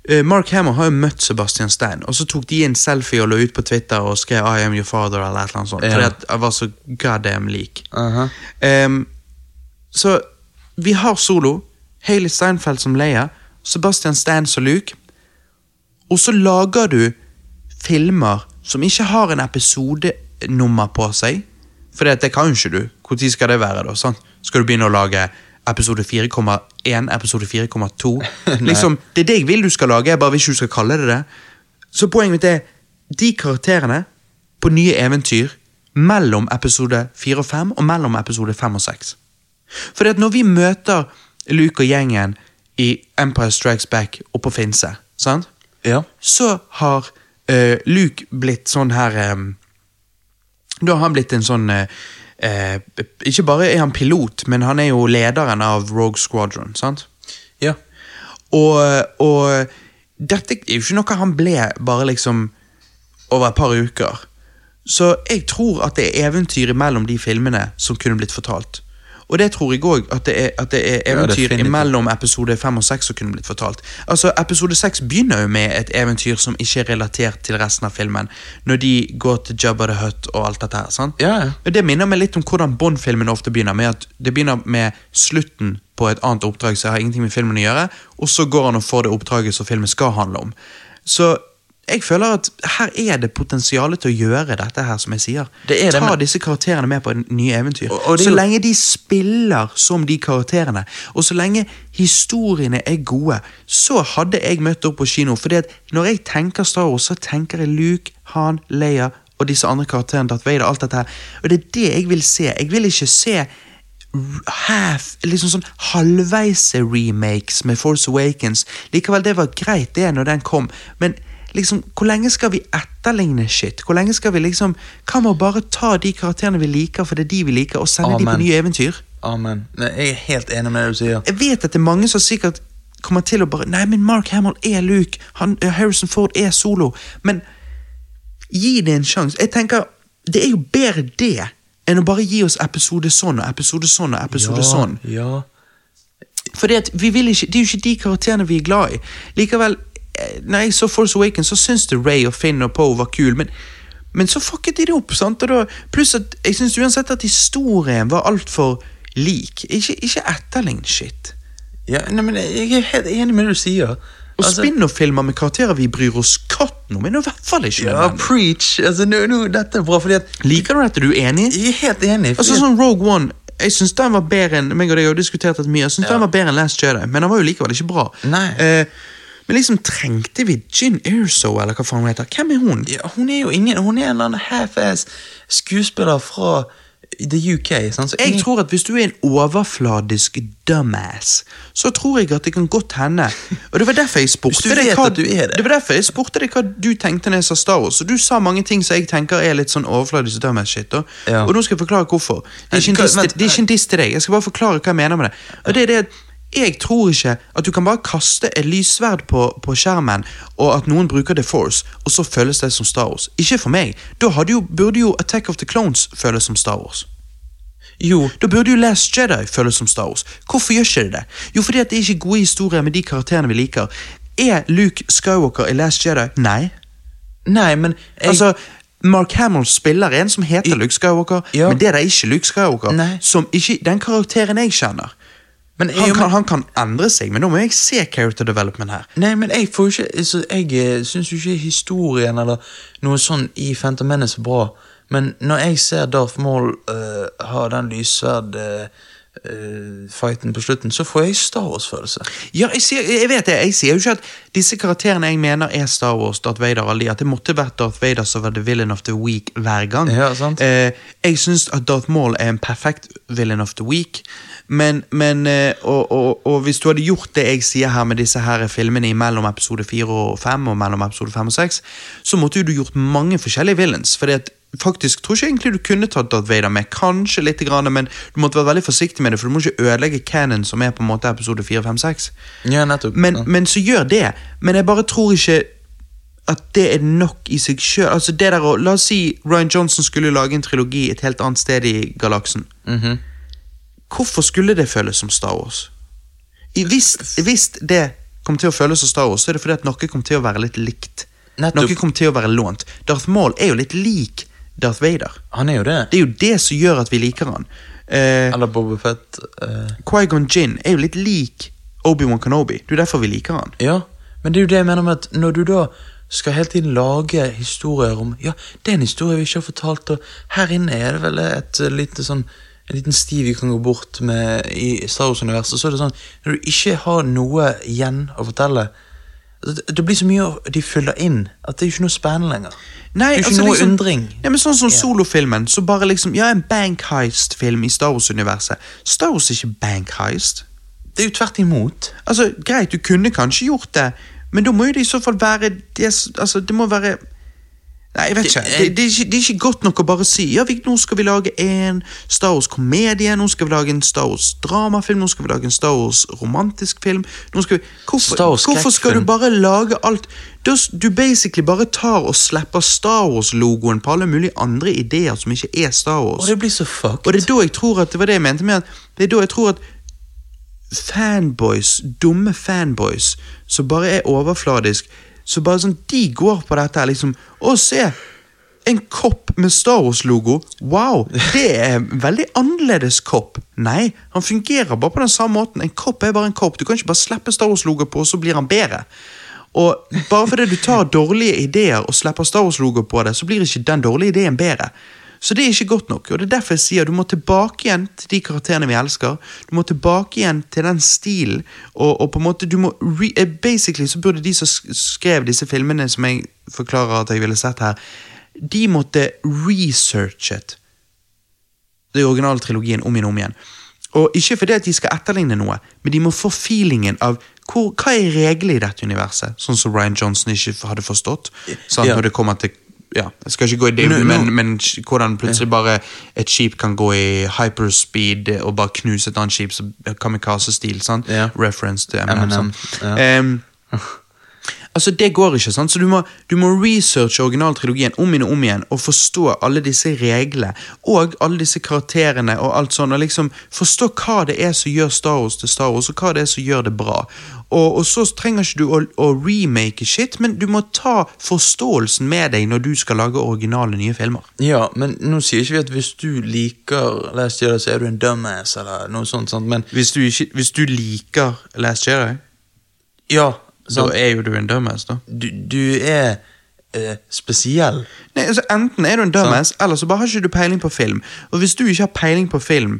S1: eh, Mark Hammer har jo møtt Sebastian Stan, og så tok de en selfie og la ut på Twitter og skrev 'I am your father' eller et eller annet sånt.
S2: Ja.
S1: Fordi at jeg var så goddamn lik.
S2: Aha.
S1: Ehm, så vi har Solo, Hailey Steinfeld som Leia, Sebastian Stan som Luke, og så lager du filmer som ikke har en episodenummer på seg. For det, det kan jo ikke du. Når skal det være? da, sant? Skal du begynne å lage episode 4,1, episode 4,2? liksom, det er det jeg vil du skal lage, jeg bare vil ikke du skal kalle det det. Så poenget mitt er, de karakterene på nye eventyr mellom episode 4 og 5, og mellom episode 5 og 6. Fordi at når vi møter Luke og gjengen i Empire Strikes Back og på Finse, sant?
S2: Ja.
S1: så har eh, Luke blitt sånn her em, Da har han blitt en sånn eh, eh, Ikke bare er han pilot, men han er jo lederen av Rogue Squadron. sant?
S2: ja.
S1: Og, og dette er jo ikke noe han ble bare liksom over et par uker. Så jeg tror at det er eventyr mellom de filmene som kunne blitt fortalt. Og det tror jeg òg, at, det er- at det er eventyr
S2: definitivt.
S1: mellom episode 5 og 6 som kunne blitt fortalt. Altså, Episode 6 begynner jo med et eventyr som ikke er relatert til resten av filmen. Når de går til Jabba the Hutt og alt dette her. sant?
S2: Ja, ja.
S1: Men Det minner meg litt om hvordan Bond-filmene ofte begynner. med at Det begynner med slutten på et annet oppdrag som har ingenting med filmen å gjøre, og så går han og får det oppdraget som filmen skal handle om. Så jeg føler at her er det potensial til å gjøre dette her, som jeg sier.
S2: Det er det,
S1: Ta
S2: men-
S1: disse karakterene med på en nye eventyr.
S2: Og- og det er
S1: så
S2: jo-
S1: lenge de spiller som de karakterene, og så lenge historiene er gode, så hadde jeg møtt opp på kino. fordi at når jeg tenker Star Wars, så tenker jeg Luke, Han, Leia og disse andre karakterene. Darth Vader, alt dette her. Og det er det jeg vil se. Jeg vil ikke se r- half, liksom sånn halvveise remakes med Force Awakens. Likevel, det var greit det når den kom, men liksom, hvor lenge skal vi etterligne shit? Hvor lenge skal vi liksom, Hva med å bare ta de karakterene vi liker, for det er de vi liker, og sende de på
S2: Amen.
S1: nye eventyr?
S2: Amen. Nei, jeg er helt enig med det du sier.
S1: Jeg vet at det er mange som sikkert kommer til å bare Nei, men Mark Hamill er Luke. Han, eh, Harrison Ford er solo. Men gi det en sjanse. Jeg tenker, Det er jo bedre det enn å bare gi oss episode sånn og episode sånn og episode sånn.
S2: Ja.
S1: Fordi at vi vil ikke, Det er jo ikke de karakterene vi er glad i. Likevel, eh, når jeg så Force Awakens, så syntes det Ray og Finn og Poe var kul, men, men så fucket de det opp. sant? Og da, pluss at jeg syns uansett at historien var altfor lik. Ikke, ikke etterlign shit.
S2: ja. Nei, men jeg er helt enig med det du sier.
S1: Og
S2: Altså-
S1: spin-off-filmer med karakterer vi bryr oss katten om, er nå i hvert fall ikke
S2: Ja,
S1: nødvendig.
S2: preach! Altså, nå, nå, dette er bra, fordi at
S1: Liker du dette? Du er enig?
S2: Jeg er helt enig. Fordi
S1: Altså
S2: at-
S1: sånn Rogue One Jeg synes den var bedre enn meg og deg har jo diskutert dette mye. Jeg synes
S2: Ja.
S1: den var bedre enn Last Jedi, men den var jo likevel ikke bra.
S2: Nei.
S1: Eh, men liksom trengte vi Gin Erso, eller hva faen hun heter? Hvem er hun?
S2: ja, hun er jo ingen Hun er en eller annen half-ass skuespiller fra the UK. Sant? Så
S1: Jeg
S2: ingen-
S1: tror at hvis du er en overfladisk dumbass, så tror jeg at det kan godt hende. Og det var derfor jeg spurte
S2: Hvis du
S1: deg
S2: vet
S1: hva,
S2: at du er det.
S1: det var derfor jeg spurte deg hva du tenkte når jeg sa Star Wars. Og du sa mange ting som jeg tenker er litt sånn overfladisk dumbass-shit. da.
S2: Ja.
S1: Og nå skal jeg forklare hvorfor. Det er ikke en
S2: Hva-
S1: diss til-
S2: vent,
S1: det er ikke en diss til deg. Jeg skal bare forklare hva jeg mener med det. Og det er det at jeg tror ikke at du kan bare kaste et lyssverd på, på skjermen, og at noen bruker The Force, og så føles det som Star Wars. Ikke for meg. Da hadde jo, burde jo Attack of the Clones føles som Star Wars.
S2: Jo,
S1: Da burde jo Last Jedi føles som Star Wars. Hvorfor gjør ikke det det? Jo, fordi at det er ikke gode historier med de karakterene vi liker. Er Luke Skywalker i Last Jedi? Nei.
S2: nei, men jeg,
S1: Altså, Mark Hamill spiller en som heter Luke Skywalker,
S2: Ja.
S1: men det er da ikke Luke Skywalker.
S2: Nei.
S1: Som ikke, den karakteren jeg kjenner.
S2: men,
S1: Han
S2: jeg,
S1: kan, han kan endre seg, men nå må jeg se character development her.
S2: Nei, men jeg får jo ikke altså, Jeg syns jo ikke historien eller noe sånn i Phantom Menace er bra, men når jeg ser Darth Maul eh, ha den lyssverd eh, eh, fighten på slutten, så får jeg Star Wars-følelse.
S1: Ja, jeg, sier, jeg vet det, jeg sier jo ikke at disse karakterene jeg mener er Star Wars, Darth Vader og alle de, at det måtte vært Darth Vader som var the villain of the week hver gang.
S2: Ja, sant.
S1: Eh, jeg syns at Darth Maul er en perfekt villain of the week, men, men eh, og, og, og hvis du hadde gjort det jeg sier her med disse her filmene mellom episode 4 og 5 og mellom episode 5 og 6, så måtte jo du gjort mange forskjellige villains, fordi at Faktisk tror ikke egentlig du kunne tatt Darth Vader med, kanskje litt, grann, men du måtte være veldig forsiktig med det, for du må ikke ødelegge canon som er på en måte episode 4, 5, 6.
S2: Ja, nettopp.
S1: Men,
S2: ja.
S1: men så gjør det. Men jeg bare tror ikke at det er nok i seg sjøl. Altså det der å- la oss si Ryan Johnson skulle lage en trilogi et helt annet sted i galaksen. Hvorfor skulle det føles som Star Wars? I- Hvis, hvis det kom til å føles som Star Wars, så er det fordi at noe kom til å være litt likt.
S2: Nettopp.
S1: Noe kom til å være lånt. Darth Maul er jo litt lik Darth Vader.
S2: Han er jo det.
S1: Det er jo det som gjør at vi liker han. Eh,
S2: Eller Boba Fett. eh,
S1: Qui-Gon Jinn er jo litt lik Obi-Wan Kenobi. Det er jo derfor vi liker han.
S2: Ja, men det er jo det jeg mener med at når du da skal hele tiden lage historier om Ja, det er en historie vi ikke har fortalt, og her inne er det vel et eh, lite sånn en liten sti vi kan gå bort med i Star Wars-universet. Så er det sånn, Når du ikke har noe igjen å fortelle altså, Det det blir så mye å- de fyller inn at det er jo ikke noe spennende lenger.
S1: Nei,
S2: det er jo ikke
S1: altså
S2: noe
S1: liksom-
S2: undring.
S1: Nei, men Sånn som
S2: Ja.
S1: solofilmen. Så bare liksom, ja, En bank heist-film i Star Wars-universet. Star Wars er ikke bank heist.
S2: Det er jo tvert imot.
S1: Altså, Greit, du kunne kanskje gjort det, men da må jo det i så fall være det, s- altså, det må være Nei, jeg vet ikke.
S2: Det-
S1: Det, det, er ikke. det er ikke godt nok å bare si ja, vi, nå skal vi lage en Star Wars-komedie, nå skal vi lage en Star Wars-dramafilm, nå skal vi lage en Star Wars-romantisk film nå skal vi, hvorfor,
S2: Star Wars
S1: hvorfor skal du
S2: skrekkfilm.
S1: bare lage alt Da s- Du basically bare tar og slipper Star Wars-logoen på alle mulige andre ideer som ikke er Star Wars.
S2: Og det blir så fucked.
S1: Og det er da jeg tror at det var det jeg mente med at det er da jeg tror at fanboys, dumme fanboys, som bare er overfladisk, så bare sånn, de går på dette her liksom, å se, en kopp med Star Wars-logo, wow, det er en veldig annerledes kopp. Nei, han fungerer bare på den samme måten, en kopp er bare en kopp, du kan ikke bare slippe Star Wars-logo på, så blir han bedre. Og bare fordi du tar dårlige ideer og slipper Star Wars-logo på det, så blir ikke den dårlige ideen bedre. Så det er ikke godt nok, og det er derfor jeg sier du må tilbake igjen til de karakterene vi elsker. Du må tilbake igjen til den stilen, og, og på en måte du må re eh, Basically så burde de som sk- skrev disse filmene som jeg forklarer at jeg ville sett her, de måtte researchet den originale trilogien om igjen og om igjen. Og ikke fordi at de skal etterligne noe, men de må få feelingen av hvor, hva er reglene i dette universet, sånn som Ryan Johnson ikke hadde forstått. Sant?
S2: Ja.
S1: Når det kommer til ja, Jeg skal ikke gå i det,
S2: Nå- nå-
S1: men, men sk- hvordan plutselig bare et skip kan gå i hyperspeed og bare knuse et annet skip, så kamikaze-stil. sant?
S2: Ja.
S1: Reference til M&M.
S2: M&M,
S1: sant?
S2: ja.
S1: Ehm, Altså, det går ikke, sant? så du må, du må researche originaltrilogien om igjen og om igjen, og forstå alle disse reglene, og alle disse karakterene, og alt sånn, og liksom forstå hva det er som gjør Star Wars til Star Wars, og hva det er som gjør det bra. Og, og så trenger ikke du å, å remake shit, men du må ta forståelsen med deg når du skal lage originale nye filmer.
S2: Ja, men nå sier ikke vi at hvis du liker Last Jedi, så er du en dumbass, eller noe sånt, sant? men
S1: Hvis du, ikke, hvis du liker Last Jedi,
S2: ja.
S1: så
S2: Sant?
S1: er jo du en dumbass, da.
S2: du, du er eh, spesiell.
S1: Nei, altså Enten er du en dumbass, eller så bare har ikke du peiling på film. Og hvis du ikke har peiling på film,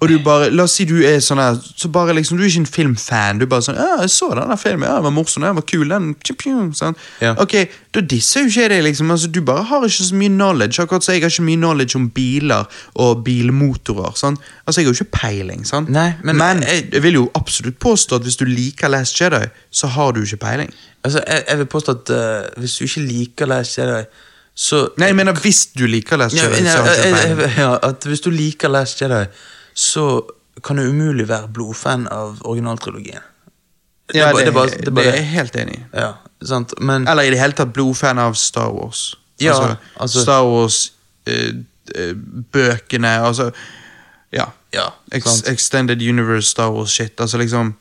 S1: og du bare, la oss si du er sånn her, så bare liksom, du er ikke en filmfan. Du er bare sånn ja, 'Jeg så den der filmen, ja, den var morsom, den var kul.' den, tju, pju, sånn.
S2: Ja.
S1: Ok, Da disser jo ikke jeg deg, liksom. altså Du bare har ikke så mye knowledge. Akkurat så jeg har ikke mye knowledge om biler og bilmotorer. Sånn. Altså Jeg har jo ikke peiling, sant?
S2: Nei, men-
S1: jeg, jeg vil jo absolutt påstå at hvis du liker Last Jedi, så har du ikke peiling.
S2: Altså, jeg, jeg vil påstå at eh, hvis du ikke liker Last Jedi, så
S1: Nei, jeg mener hvis du liker Last
S2: ja,
S1: Jedi,
S2: ja,
S1: så har du ikke
S2: ja,
S1: peiling.
S2: eh, ja, at Hvis du liker Last Jedi, så kan du umulig være blodfan av originaltrilogien.
S1: Ja,
S2: er bare- er bare- er bare-
S1: det er jeg helt enig i.
S2: Ja, sant? Men
S1: Eller i det hele tatt blodfan av Star Wars.
S2: Ja, altså-
S1: Star Wars-bøkene, altså Ja.
S2: Ja,
S1: Ex
S2: sant.
S1: Extended Universe Star Wars-shit. Altså liksom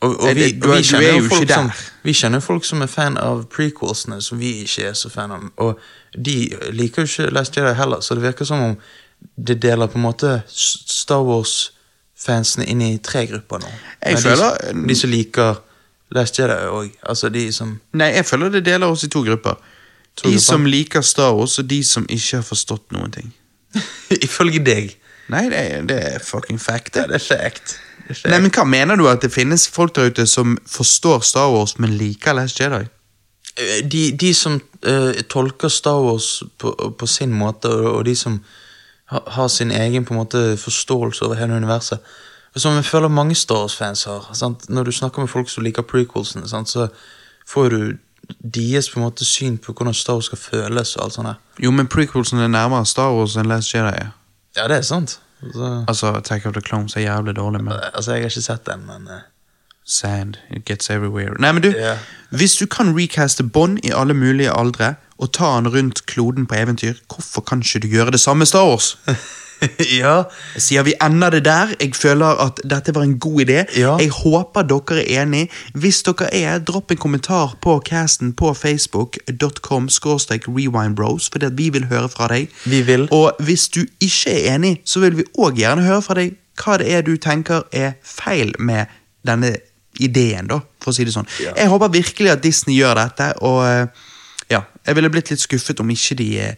S2: Og, og
S1: Er
S2: vi,
S1: det- du
S2: og
S1: er-
S2: vi
S1: du
S2: kjenner
S1: er
S2: jo
S1: jo
S2: folk
S1: ikke
S2: som,
S1: der.
S2: vi kjenner folk som er fan av prequelsene, som vi ikke er så fan av. Og de liker jo ikke Last Jedi heller, så det virker som om det deler på en måte S- Star Wars-fansene inn i tre grupper nå.
S1: Jeg
S2: Men
S1: føler-
S2: de, de som liker Last Jedi òg. Altså de som
S1: Nei, jeg føler det deler oss i to grupper. de
S2: grupper.
S1: som liker Star Wars, og de som ikke har forstått noen ting.
S2: Ifølge deg.
S1: Nei, det er, det er fucking fact.
S2: Ja,
S1: Det.
S2: det er fact. Det er fact.
S1: Nei, men Hva mener du at det finnes folk der ute som forstår Star Wars, men liker Last Jedi?
S2: Eh, de, de som eh, tolker Star Wars på, på sin måte, og, og de som ha, har sin egen på en måte forståelse over hele universet og Som jeg føler mange Star Wars-fans har. Sant? Når du snakker med folk som liker prequelsene, sant? så får du deres på en måte syn på hvordan Star Wars skal føles. og alt sånt der.
S1: Jo, men prequelsen er nærmere Star Wars enn Last Jedi.
S2: Ja, det er sant. Så,
S1: Altså, Attack of the Clones er jævlig dårlig, men
S2: altså, jeg har ikke sett den, men eh,
S1: Sand, it gets everywhere. Nei, men du,
S2: Ja.
S1: hvis du kan recaste Bond i alle mulige aldre, og ta han rundt kloden på eventyr, hvorfor kan ikke du gjøre det samme Star Wars?
S2: eh, ja.
S1: Jeg sier vi ender det der. Jeg føler at dette var en god idé.
S2: Ja.
S1: Jeg håper dere er enig. Hvis dere er, dropp en kommentar på casten på facebook.com rewindbros, fordi at vi vil høre fra deg.
S2: Vi vil.
S1: Og hvis du ikke er enig, så vil vi òg gjerne høre fra deg hva det er du tenker er feil med denne ideen, da, for å si det sånn.
S2: Ja.
S1: Jeg håper virkelig at Disney gjør dette, og eh, ja, jeg ville blitt litt skuffet om ikke de eh,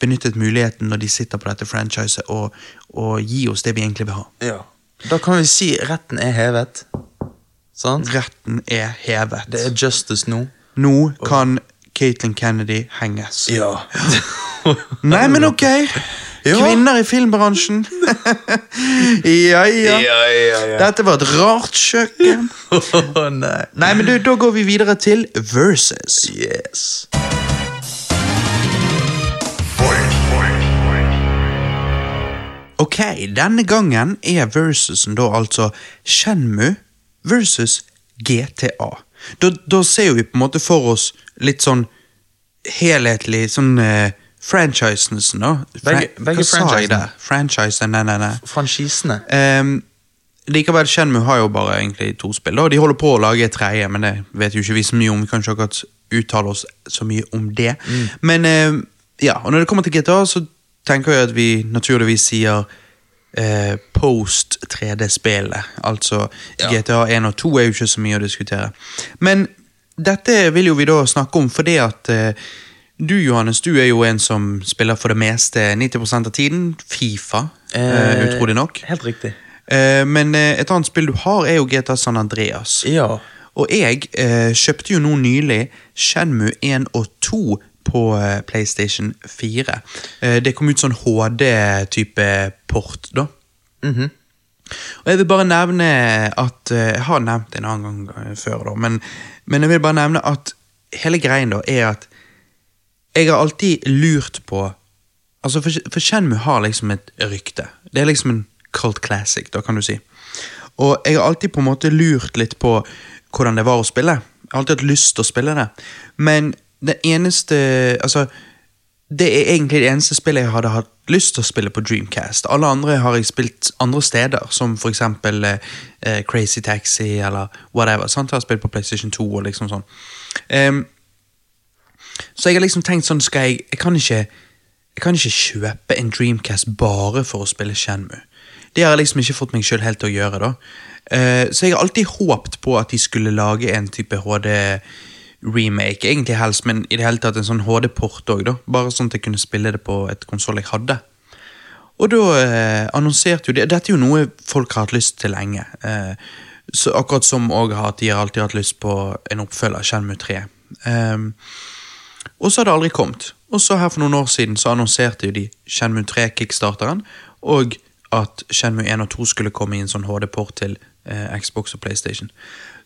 S1: benyttet muligheten når de sitter på dette franchiset, og, og gi oss det vi egentlig vil ha.
S2: ja. Da kan vi si retten er hevet. Sant?
S1: Retten er hevet.
S2: Det er justice nå.
S1: Nå kan Caitlyn Kennedy henges.
S2: Ja.
S1: Nei, men ok!
S2: Ja.
S1: Kvinner i filmbransjen. ja, ja.
S2: ja,
S1: Dette var et rart kjøkken.
S2: Å nei.
S1: Nei, men du, da går vi videre til versus.
S2: Yes.
S1: Ok, denne gangen er versusen da altså Shenmu versus GTA. Da, da ser jo vi på en måte for oss litt sånn helhetlig sånn eh, franchisesen da.
S2: Begge- begge
S1: Hva sa jeg
S2: franchisene.
S1: der? Franchisen, nei, nei, nei.
S2: Franchisene.
S1: Ehm, likevel, Shenmu har jo bare egentlig to spill, da. de holder på å lage et tredje, men det vet jo ikke vi så mye om. Vi kan ikke akkurat uttale oss så mye om det. Men ehm, ja, og når det kommer til GTA, så tenker jeg at vi naturligvis sier eh, post 3D-spillet. Altså GTA 1 og 2 er jo ikke så mye å diskutere. Men dette vil jo vi da snakke om fordi at eh, du, Johannes, du er jo en som spiller for det meste 90 av tiden. Fifa, eh, utrolig nok.
S2: Helt riktig.
S1: Eh, men eh, et annet spill du har, er jo GTA San Andreas.
S2: Ja.
S1: Og jeg eh, kjøpte jo nå nylig Shenmu 1 og 2 på eh, PlayStation 4. Eh, det kom ut sånn HD-type port, da. Og jeg vil bare nevne at eh, Jeg har nevnt det en annen gang eh, før, da, men, men jeg vil bare nevne at hele greien da er at jeg har alltid lurt på Altså, for, for Shenmue har liksom et rykte. Det er liksom en cult classic, da kan du si. Og jeg har alltid på en måte lurt litt på hvordan det var å spille. Jeg har alltid hatt lyst til å spille det. Men det eneste Altså, det er egentlig det eneste spillet jeg hadde hatt lyst til å spille på Dreamcast. Alle andre har jeg spilt andre steder, som for eksempel eh, eh, Crazy Taxi eller whatever. Sant? Jeg har spilt på PlayStation 2 og liksom sånn. Ehm, så jeg har liksom tenkt sånn, skal jeg, jeg kan ikke jeg kan ikke kjøpe en Dreamcast bare for å spille Shenmue. Det har jeg liksom ikke fått meg selv helt til å gjøre da. Eh, så jeg har alltid håpt på at de skulle lage en type HD remake, egentlig helst, men i det hele tatt en sånn HD-port også da. Bare sånn at jeg kunne spille det på et konsol jeg hadde. Og da eh, annonserte jo det, dette er jo noe folk har hatt lyst til lenge. Eh, så akkurat som også har at de har alltid hatt lyst på en oppfølger, Shenmue 3. Ehm, og så har det aldri kommet. Og så her for noen år siden så annonserte jo de Shenmue 3-kickstarteren, og at Shenmue 1 og 2 skulle komme i en sånn HD-port til eh, Xbox og PlayStation.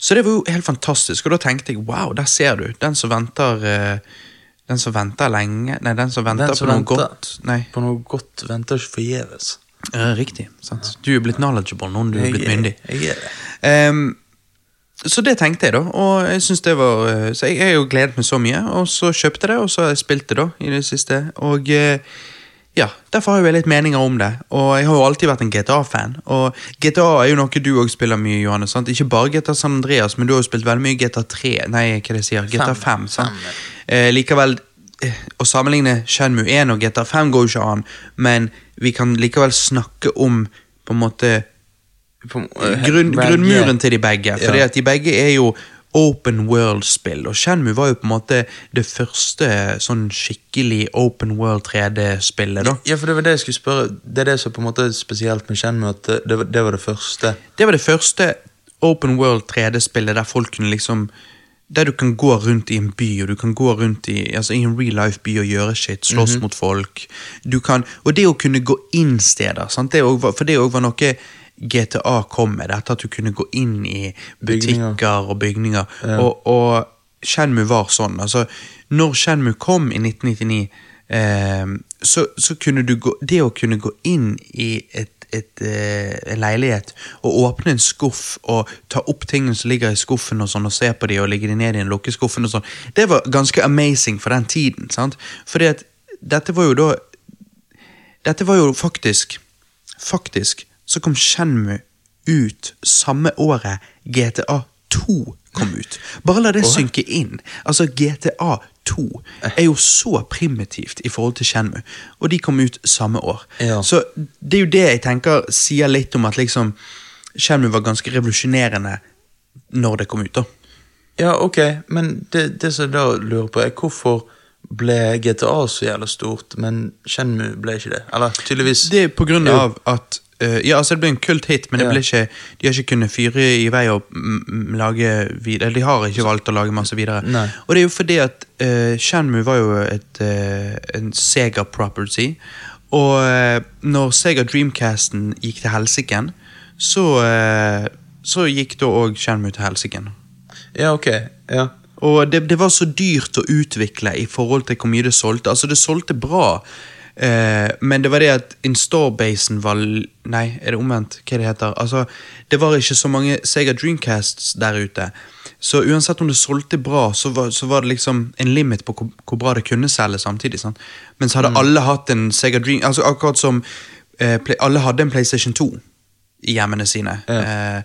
S1: Så det var jo helt fantastisk, og da tenkte jeg wow, der ser du. Den som venter eh, Den som venter lenge Nei, den som venter
S2: Den som
S1: på noe
S2: venter.
S1: godt. Nei,
S2: På noe godt venter ikke forgjeves.
S1: eh, riktig. Sant? Du er blitt knowledgeable nå når du er blitt myndig.
S2: Jeg er det.
S1: Ehm, så det tenkte jeg, da. Og jeg synes det var eh, Så jeg jeg har jo gledet meg så mye, og så kjøpte jeg det, og så har jeg spilt det da i det siste. Og eh, ja, derfor har jo jeg litt meninger om det. Og jeg har jo alltid vært en GTA-fan. Og GTA er jo noe du òg spiller mye, Johannes. sant? Ikke bare GTA San Andreas, men du har jo spilt veldig mye GTA 3 Nei, hva er det jeg sier? GTA 5. sant? Eh, likevel eh, å sammenligne Shenmue 1 og GTA 5 går jo ikke an, men vi kan likevel snakke om på en måte
S2: På,
S1: Grunn,
S2: Brand-
S1: grunnmuren til de begge. Fordi
S2: Eh, Ja.
S1: at de begge er jo open world-spill, og Shenmue var jo på en måte det første sånn skikkelig open world 3D-spillet, da.
S2: Ja, for det var det jeg skulle spørre. Det er det som på en måte er spesielt med Shenmue, at det- det, var- det var det første.
S1: Det var det første open world 3D-spillet der folk kunne liksom der du kan gå rundt i en by, og du kan gå rundt i, altså i en real life by og gjøre shit, slåss
S2: Mhm.
S1: mot folk. Du kan, og det å kunne gå inn steder, sant? Det også var, for det òg var noe GTA kom med, dette at du kunne gå inn i
S2: Bygninger.
S1: butikker og bygninger. Og, og Shenmue var sånn. Altså, når Shenmue kom i 1999, eh, så, så kunne du gå Det å kunne gå inn i et et, eh, en leilighet og åpne en skuff og ta opp tingene som ligger i skuffen og sånn, og se på de og legge de ned i den lukkeskuffen og sånn, det var ganske amazing for den tiden. sant? Fordi at dette var jo da Dette var jo faktisk Faktisk så kom Shenmue ut samme året GTA 2 kom ut. Bare la det synke inn. Altså, GTA 2 er jo så primitivt i forhold til Shenmue, og de kom ut samme år.
S2: Ja.
S1: Så det er jo det jeg tenker sier litt om at liksom Shenmue var ganske revolusjonerende når det kom ut, da.
S2: Ja, ok, men det, det som jeg da lurer på, er hvorfor ble GTA så jævla stort, men Shenmue ble ikke det? Eller tydeligvis
S1: Det er på grunn
S2: Jo.
S1: av at eh, Ja, altså det ble en kult hit, men det
S2: Ja.
S1: ble ikke, de har ikke kunnet fyre i vei og mm, mm, lage videre. Eller de har ikke valgt å lage masse videre.
S2: Nei.
S1: Og det er jo fordi at uh, Shenmue var jo et, eh, en Sega property. Og eh, når Sega Dreamcasten gikk til helsiken, så, eh, så gikk da òg Shenmue til helsiken.
S2: Ja, ok. Ja.
S1: Og det, det var så dyrt å utvikle i forhold til hvor mye det solgte. Altså, det solgte bra, eh, men det var det at installbasen var l- Nei, er det omvendt? Hva det heter? Altså, det var ikke så mange Sega Dreamcasts der ute. Så uansett om det solgte bra, så var, så var det liksom en limit på hvor, hvor bra det kunne selge samtidig. Sant? Mens hadde alle hatt en Sega Dream Altså akkurat som eh, play, alle hadde en PlayStation 2 i hjemmene sine eh,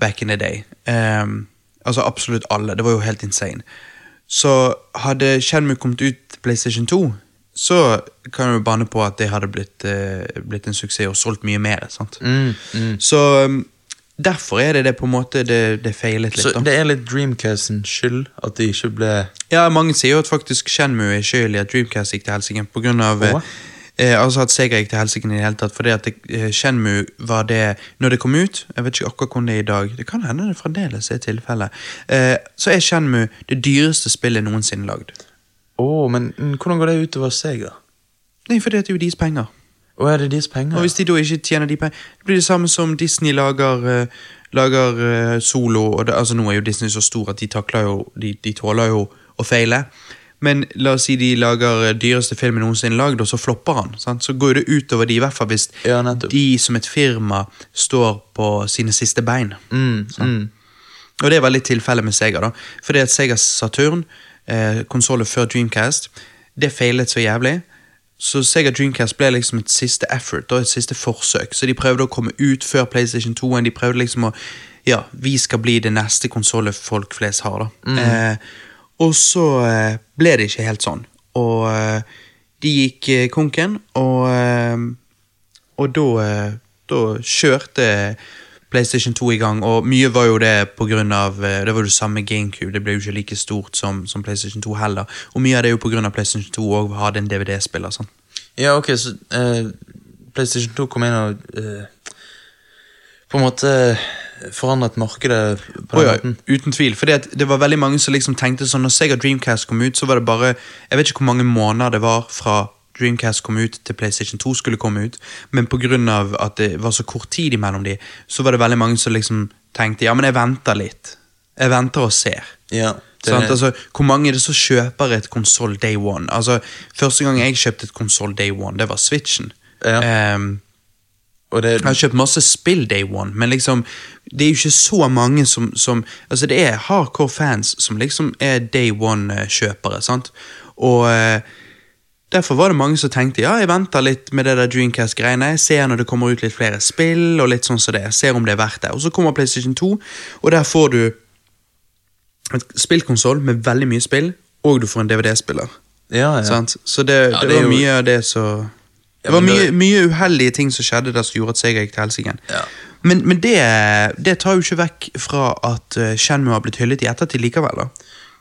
S1: back in the day. Ehm, altså absolutt alle. Det var jo helt insane. Så hadde Shenmue kommet ut PlayStation 2, så kan du bane på at det hadde blitt, eh, blitt en suksess og solgt mye mer. sant? Så um, derfor er det det på en måte det, det feilet litt.
S2: Så
S1: da.
S2: det er litt Dreamcasts skyld at de ikke ble
S1: Ja, mange sier jo at faktisk Shenmue er skyld i at Dreamcast gikk til helsike på grunn av eh,
S2: Hva?
S1: eh, Altså at Sega gikk til helsike i det hele tatt, fordi at det, eh, Shenmue var det Når det kom ut, jeg vet ikke akkurat hvordan det er i dag, det kan hende det fremdeles er tilfellet, eh, så er Shenmue det dyreste spillet noensinne lagd.
S2: Å, men mm, hvordan går det utover Sega?
S1: Nei, fordi at det er jo deres penger.
S2: Å, er det deres penger?
S1: Og hvis de da ikke tjener de pengene Det blir det samme som Disney lager, eh, lager eh, solo og det, altså Nå er jo Disney så stor at de takler jo De, de tåler jo å feile. Men la oss si de lager eh, dyreste filmen noensinne lagd, og så flopper han. Sant? Så går jo det utover de, i hvert fall hvis
S2: Ja, nettopp.
S1: de som et firma står på sine siste bein.
S2: Mm, mm.
S1: Og det var litt tilfellet med Sega. da Fordi at Sega Saturn, eh, konsollen før Dreamcast, det feilet så jævlig. Så Sega Dreamcast ble liksom et siste effort, da, et siste forsøk. Så de prøvde å komme ut før PlayStation 2. -en. De prøvde liksom å Ja, vi skal bli det neste konsollet folk flest har, da.
S2: Mm.
S1: Eh, og så eh, ble det ikke helt sånn. Og eh, de gikk eh, konken, og eh, og da, eh, da kjørte PlayStation 2 i gang, og mye var jo det på grunn av eh, Det var jo det samme GameCube, det ble jo ikke like stort som, som PlayStation 2 heller. Og mye av det er jo på grunn av PlayStation 2 òg hadde en DVD-spiller. sånn.
S2: Ja, ok, så eh, PlayStation 2 kom inn og eh, på en måte forandret markedet på
S1: Å
S2: den
S1: ja,
S2: måten.
S1: uten tvil. For det var veldig mange som liksom tenkte sånn Når Sega Dreamcast kom ut, så var det bare Jeg vet ikke hvor mange måneder det var fra Dreamcast kom ut til PlayStation 2 skulle komme ut, men pga. at det var så kort tid imellom de, så var det veldig mange som liksom tenkte Ja, men jeg venter litt. Jeg venter og ser.
S2: Ja, det,
S1: Sant? Altså, hvor mange er det som kjøper et konsoll day one? Altså, første gang jeg kjøpte et konsoll day one, det var Switchen.
S2: Ja.
S1: Ehm,
S2: og det,
S1: jeg har kjøpt masse spill day one, men liksom, det er jo ikke så mange som, som Altså, det er hardcore fans som liksom er day one-kjøpere, sant? Og eh, derfor var det mange som tenkte ja, jeg venter litt med det der Dreamcast-greiene. Jeg ser når det kommer ut litt flere spill, og litt sånn som det. Jeg ser om det er verdt det. Og så kommer PlayStation 2, og der får du et spillkonsoll med veldig mye spill, og du får en DVD-spiller.
S2: ja, ja.
S1: Sant? Så det, det,
S2: det er
S1: var
S2: jo-
S1: mye av det som Det var
S2: men
S1: mye,
S2: det-
S1: mye uheldige ting som skjedde der som gjorde at Sega gikk til helsike.
S2: Ja.
S1: Men, men det, det tar jo ikke vekk fra at eh, Shenmue har blitt hyllet i ettertid likevel. da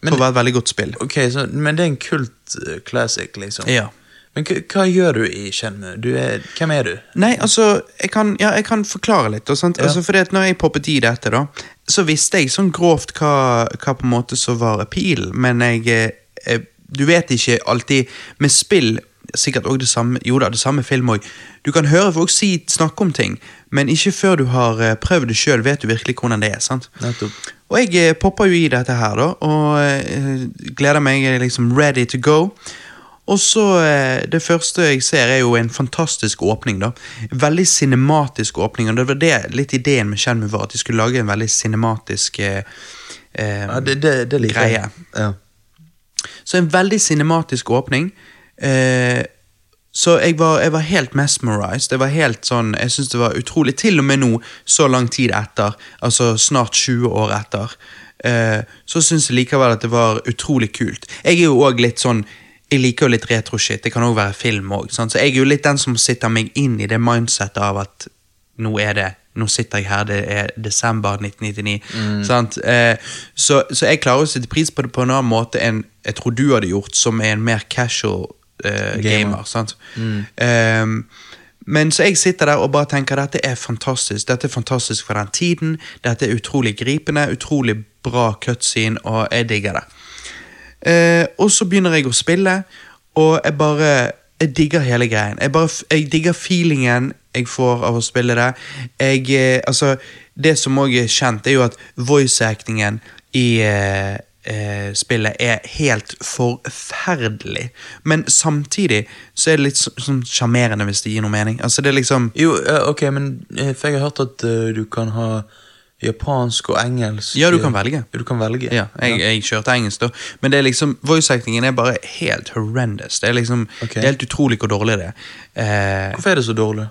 S1: For å være et veldig godt spill.
S2: Ok, så, men det er en kult eh, classic, liksom.
S1: Ja.
S2: Men hva- hva gjør du i Shenmue? Du er, hvem er du?
S1: Nei, altså, jeg kan, ja, jeg kan forklare litt. da, Sant? Altså, fordi at når jeg poppet i dette, da, så visste jeg sånn grovt hva, hva på en måte som var appeal, men jeg, eh, eh, Du vet ikke alltid Med spill, sikkert òg det samme Jo da, det samme film òg. Du kan høre folk si, snakke om ting, men ikke før du har eh, prøvd det sjøl, vet du virkelig hvordan det er. sant?
S2: Nettopp.
S1: Og jeg eh, popper jo i dette her, da, og eh, gleder meg. Jeg er liksom ready to go. Og så eh, Det første jeg ser, er jo en fantastisk åpning. da Veldig cinematisk åpning. Og det var det litt ideen med Shenmue var, at de skulle lage en veldig cinematisk eh, eh,
S2: Ja, det, det, det liker jeg.
S1: Greie.
S2: Ja.
S1: Så en veldig cinematisk åpning. Eh, så jeg var, jeg var helt mesmerized. Jeg var helt sånn, jeg synes det var utrolig, til og med nå, så lang tid etter, altså snart 20 år etter, eh, så syns jeg likevel at det var utrolig kult. Jeg er jo også litt sånn jeg liker jo litt retro-shit. Det kan òg være film. Også, sant? Så jeg er jo litt den som sitter meg inn i det mindsettet av at nå er det nå sitter jeg her, det er desember 1999. Sant? Eh, så, så jeg klarer å sette pris på det på en annen måte enn jeg tror du hadde gjort, som er en mer casual eh, gamer. sant? Ehm, men så jeg sitter der og bare tenker dette er fantastisk. Dette er fantastisk for den tiden. Dette er utrolig gripende, utrolig bra cutscene, og jeg digger det. Eh, og så begynner jeg å spille, og jeg bare Jeg digger hele greien. Jeg, bare, f- jeg digger feelingen jeg får av å spille det. Jeg, eh, altså, det som òg er kjent, er jo at voice-actingen i eh, eh, spillet er helt forferdelig. Men samtidig så er det litt så- sånn sjarmerende, hvis det gir noe mening. Altså, det er liksom
S2: Jo, eh, ok, men eh, for jeg har hørt at eh, du kan ha japansk og engelsk.
S1: Ja, du kan velge.
S2: Ja, du kan velge.
S1: Ja, jeg, jeg kjørte engelsk, da. Men det er liksom, voice-actingen er bare helt horrendous. Det er liksom,
S2: Ok.
S1: det er helt utrolig hvor dårlig det er. Eh,
S2: Hvorfor er det så dårlig?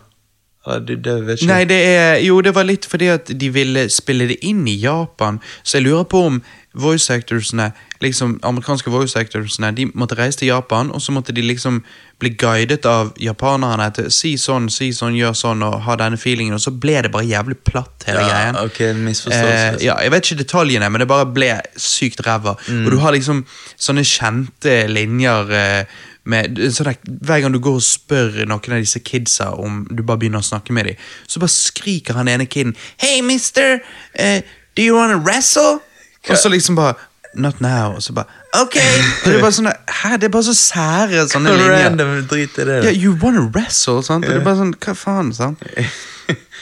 S2: Ja, det, det vet ikke.
S1: Nei,
S2: jeg.
S1: det er, jo, det var litt fordi at de ville spille det inn i Japan, så jeg lurer på om voice actorsene, liksom amerikanske voice actorsene, de måtte reise til Japan, og så måtte de liksom bli guidet av japanerne til si sånn, si sånn, gjør sånn, og ha denne feelingen, og så ble det bare jævlig platt hele
S2: Ja,
S1: greien.
S2: ok, en misforståelse.
S1: Eh, ja, jeg vet ikke detaljene, men det bare ble sykt ræva. Og du har liksom sånne kjente linjer eh, med, sånn der, Hver gang du går og spør noen av disse kidsa om du bare begynner å snakke med dem, så bare skriker han ene kiden Hey, mister! eh, do you wanna wrestle? Og så liksom bare Not now. Og så bare Ok! Og det er bare sånne, Hæ? Det er bare så sære sånne linjer.
S2: Random drit i det.
S1: Ja, you wanna wrestle, sant? Og det er bare sånn, hva faen, sant?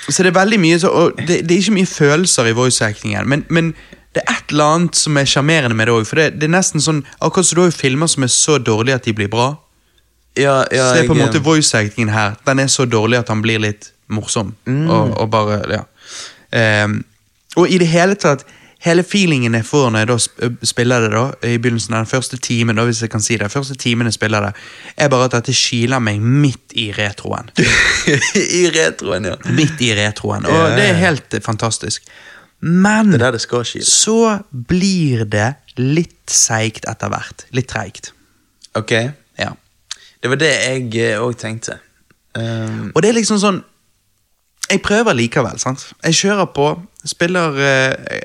S1: Så det er veldig mye så, og det, det er ikke mye følelser i voice-actingen, men, men det er et eller annet som er sjarmerende med det òg. For det, det er nesten sånn Akkurat som du har jo filmer som er så dårlige at de blir bra.
S2: Ja, ja,
S1: så det er på en
S2: jeg,
S1: måte voice-actingen her. Den er så dårlig at han blir litt morsom.
S2: Mm.
S1: Og, og bare, ja. Ehm, og i det hele tatt Hele feelingen jeg får når jeg da sp- eh, spiller det, da, i begynnelsen av den første timen, da, hvis jeg kan si det, første timen jeg spiller det, er bare at dette kiler meg midt i retroen.
S2: I retroen, ja. Det
S1: Midt i retroen. Og
S2: Ja, ja,
S1: det er
S2: ja.
S1: helt eh, fantastisk. Men
S2: er der det skal skje.
S1: så blir det litt seigt etter hvert. Litt treigt.
S2: Ok,
S1: Ja.
S2: det var det jeg òg tenkte. Ehm,
S1: Og det er liksom sånn Jeg prøver likevel, sant. Jeg kjører på, spiller eh,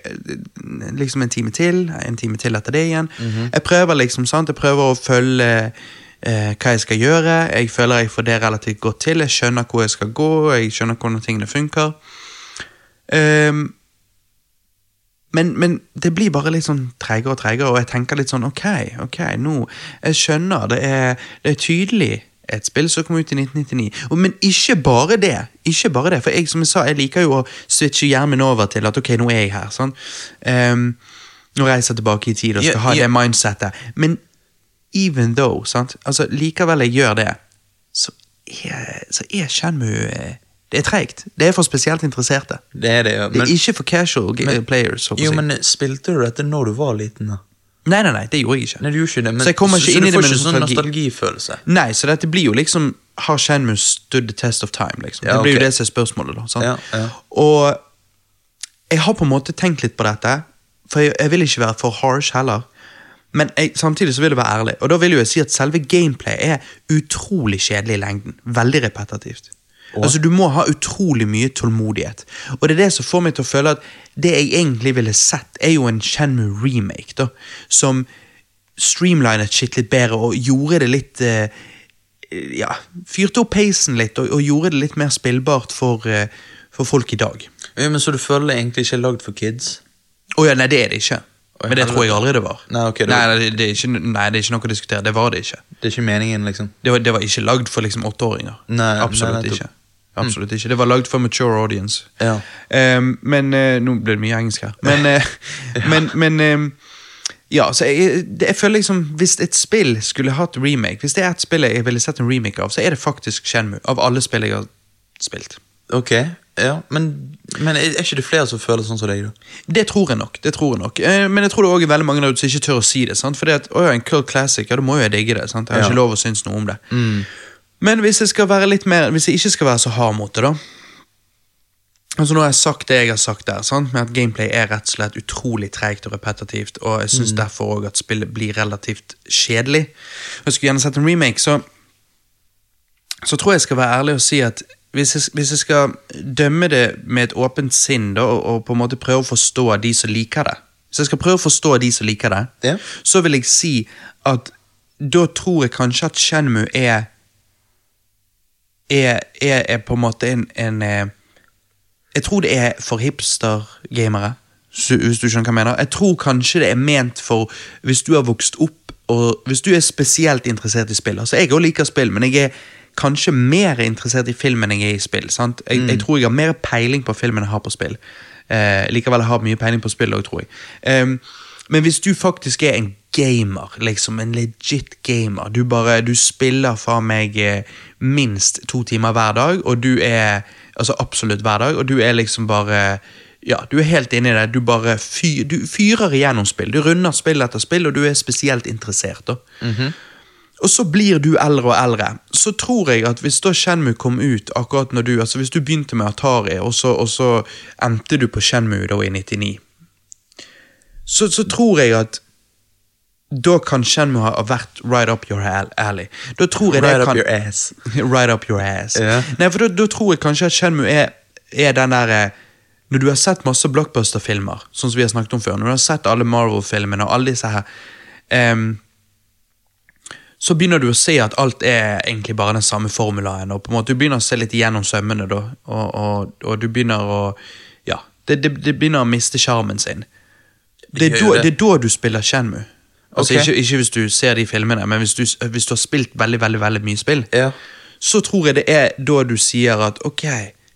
S1: liksom en time til, en time til etter det igjen.
S2: Mhm.
S1: Jeg prøver liksom, sant. Jeg prøver å følge eh, hva jeg skal gjøre. Jeg føler jeg får det relativt godt til. Jeg skjønner hvor jeg skal gå, jeg skjønner hvordan tingene funker. Ehm, Men, men det blir bare litt sånn tregere og tregere, og jeg tenker litt sånn ok, ok, nå Jeg skjønner, det er, det er tydelig et spill som kom ut i 1999. Og, men ikke bare det. ikke bare det, For jeg som jeg sa, jeg liker jo å switche hjernen min over til at ok, nå er jeg her. sånn. Ehm, nå reiser jeg tilbake i tid og skal
S2: Ja,
S1: ha
S2: ja.
S1: det mindsettet. Men even though, sant? altså likevel jeg gjør det, så er, så er Shenmue eh, Det er treigt. Det er for spesielt interesserte.
S2: det er det, ja.
S1: Det er
S2: Men,
S1: ikke for casual ga-
S2: men-
S1: players. håper jeg å
S2: jo,
S1: si.
S2: men spilte du dette når du var liten? da?
S1: Nei, nei, nei, det gjorde jeg ikke.
S2: Nei, du gjorde ikke det, men
S1: så jeg kommer ikke inn i det
S2: du får
S1: med
S2: ikke sånn
S1: nostalgi.
S2: nostalgifølelse?
S1: Nei, så dette blir jo liksom Har Shenmue stood the test of time? liksom.
S2: Ja,
S1: Det blir jo
S2: ok.
S1: det som er spørsmålet. da. Sant?
S2: Ja, ja.
S1: Og jeg har på en måte tenkt litt på dette, for jeg, jeg vil ikke være for harsh heller. Men jeg, samtidig så vil det være ærlig, og da vil jo jeg si at selve gameplay er utrolig kjedelig i lengden. Veldig repetitivt. Altså Du må ha utrolig mye tålmodighet. Og det er det som får meg til å føle at det jeg egentlig ville sett, er jo en Shenmue remake, da. Som streamlinet shit litt bedre og gjorde det litt eh, Ja, fyrte opp peisen litt og, og gjorde det litt mer spillbart for, eh, for folk i dag.
S2: Ja, men Så du føler det egentlig ikke er lagd for kids?
S1: Å ja, nei, det er det ikke. Men det tror jeg aldri det var.
S2: Nei, ok, det-
S1: nei, nei, det, er ikke, nei det er ikke noe å diskutere. Det var det ikke.
S2: Det er ikke meningen, liksom?
S1: Det var, det var ikke lagd for liksom åtteåringer.
S2: Nei,
S1: Absolutt
S2: nei, nettopp. Mm.
S1: ikke. Absolutt ikke. Det var lagd for mature audience.
S2: Ja.
S1: Ehm, men eh, Nå ble det mye engelsk her. Men, eh, men, men ehm, Ja, så jeg, det- jeg føler liksom Hvis et spill skulle hatt remake Hvis det er et spill jeg ville sett en remake av, så er det faktisk Shenmue. Av alle spill jeg har spilt.
S2: Ok, ja, men, men er er ikke det flere som føler sånn som deg, da?
S1: Det tror jeg nok. det tror jeg nok. Eh, Men jeg tror det også er veldig mange der ute som ikke tør å si det. sant? Fordi at, å ja, en cult classic, ja, da må jo jeg digge det. sant? Jeg har
S2: Ja.
S1: ikke lov å synes noe om det. Men hvis jeg skal være litt mer, hvis jeg ikke skal være så hard mot det, da Altså Nå har jeg sagt det jeg har sagt der, sant? med at gameplay er rett og slett utrolig treigt og repetitivt, og jeg syns derfor òg at spillet blir relativt kjedelig. Og Jeg skulle gjerne sett en remake, så så tror jeg jeg skal være ærlig og si at hvis jeg, hvis jeg skal dømme det med et åpent sinn da, og, og på en måte prøve å forstå de som liker det Hvis jeg skal prøve å forstå de som liker det,
S2: Ja.
S1: så vil jeg si at da tror jeg kanskje at Shenmue er er, er, er på en måte en, en eh, Jeg tror det er for hipster-gamere, su- hvis du skjønner hva jeg mener. Jeg tror kanskje det er ment for hvis du har vokst opp og hvis du er spesielt interessert i spill. Altså, jeg òg liker spill, men jeg er kanskje mer interessert i film enn jeg er i spill. sant? Jeg, jeg tror jeg har mer peiling på film enn jeg har på spill. Eh, likevel har jeg mye peiling på spill òg, tror jeg. Em, men hvis du faktisk er en gamer, liksom en legit gamer Du bare, du spiller fra meg eh, minst to timer hver dag, og du er Altså absolutt hver dag, og du er liksom bare ja, du er helt inne i det. Du bare fyr, du fyrer igjennom spill. Du runder spill etter spill, og du er spesielt interessert. da. Og så blir du eldre og eldre. Så tror jeg at hvis da Shenmue kom ut akkurat når du Altså hvis du begynte med Atari, og så, og så endte du på Shenmue da i 99 så, så tror jeg at da kan Shenmue ha vært right up your al- alley. Da tror jeg det
S2: Right up
S1: kan,
S2: your ass.
S1: right up your ass.
S2: Ja.
S1: Nei, for da, da tror jeg kanskje at Shenmue er, er den der eh, Når du har sett masse blockbuster-filmer, sånn som vi har snakket om før, når du har sett alle Marvel-filmene og alle disse her ehm, så begynner du å se at alt er egentlig bare den samme formulaen, og på en måte du begynner å se litt igjennom sømmene, da, og, og, og du begynner å Ja, det, det, det begynner å miste sjarmen sin. Det er,
S2: gjør
S1: da,
S2: det.
S1: det er da du spiller Shenmue. Altså,
S2: Ok.
S1: ikke, ikke hvis du ser de filmene, men hvis du, hvis du har spilt veldig veldig, veldig mye spill,
S2: Ja.
S1: så tror jeg det er da du sier at ok,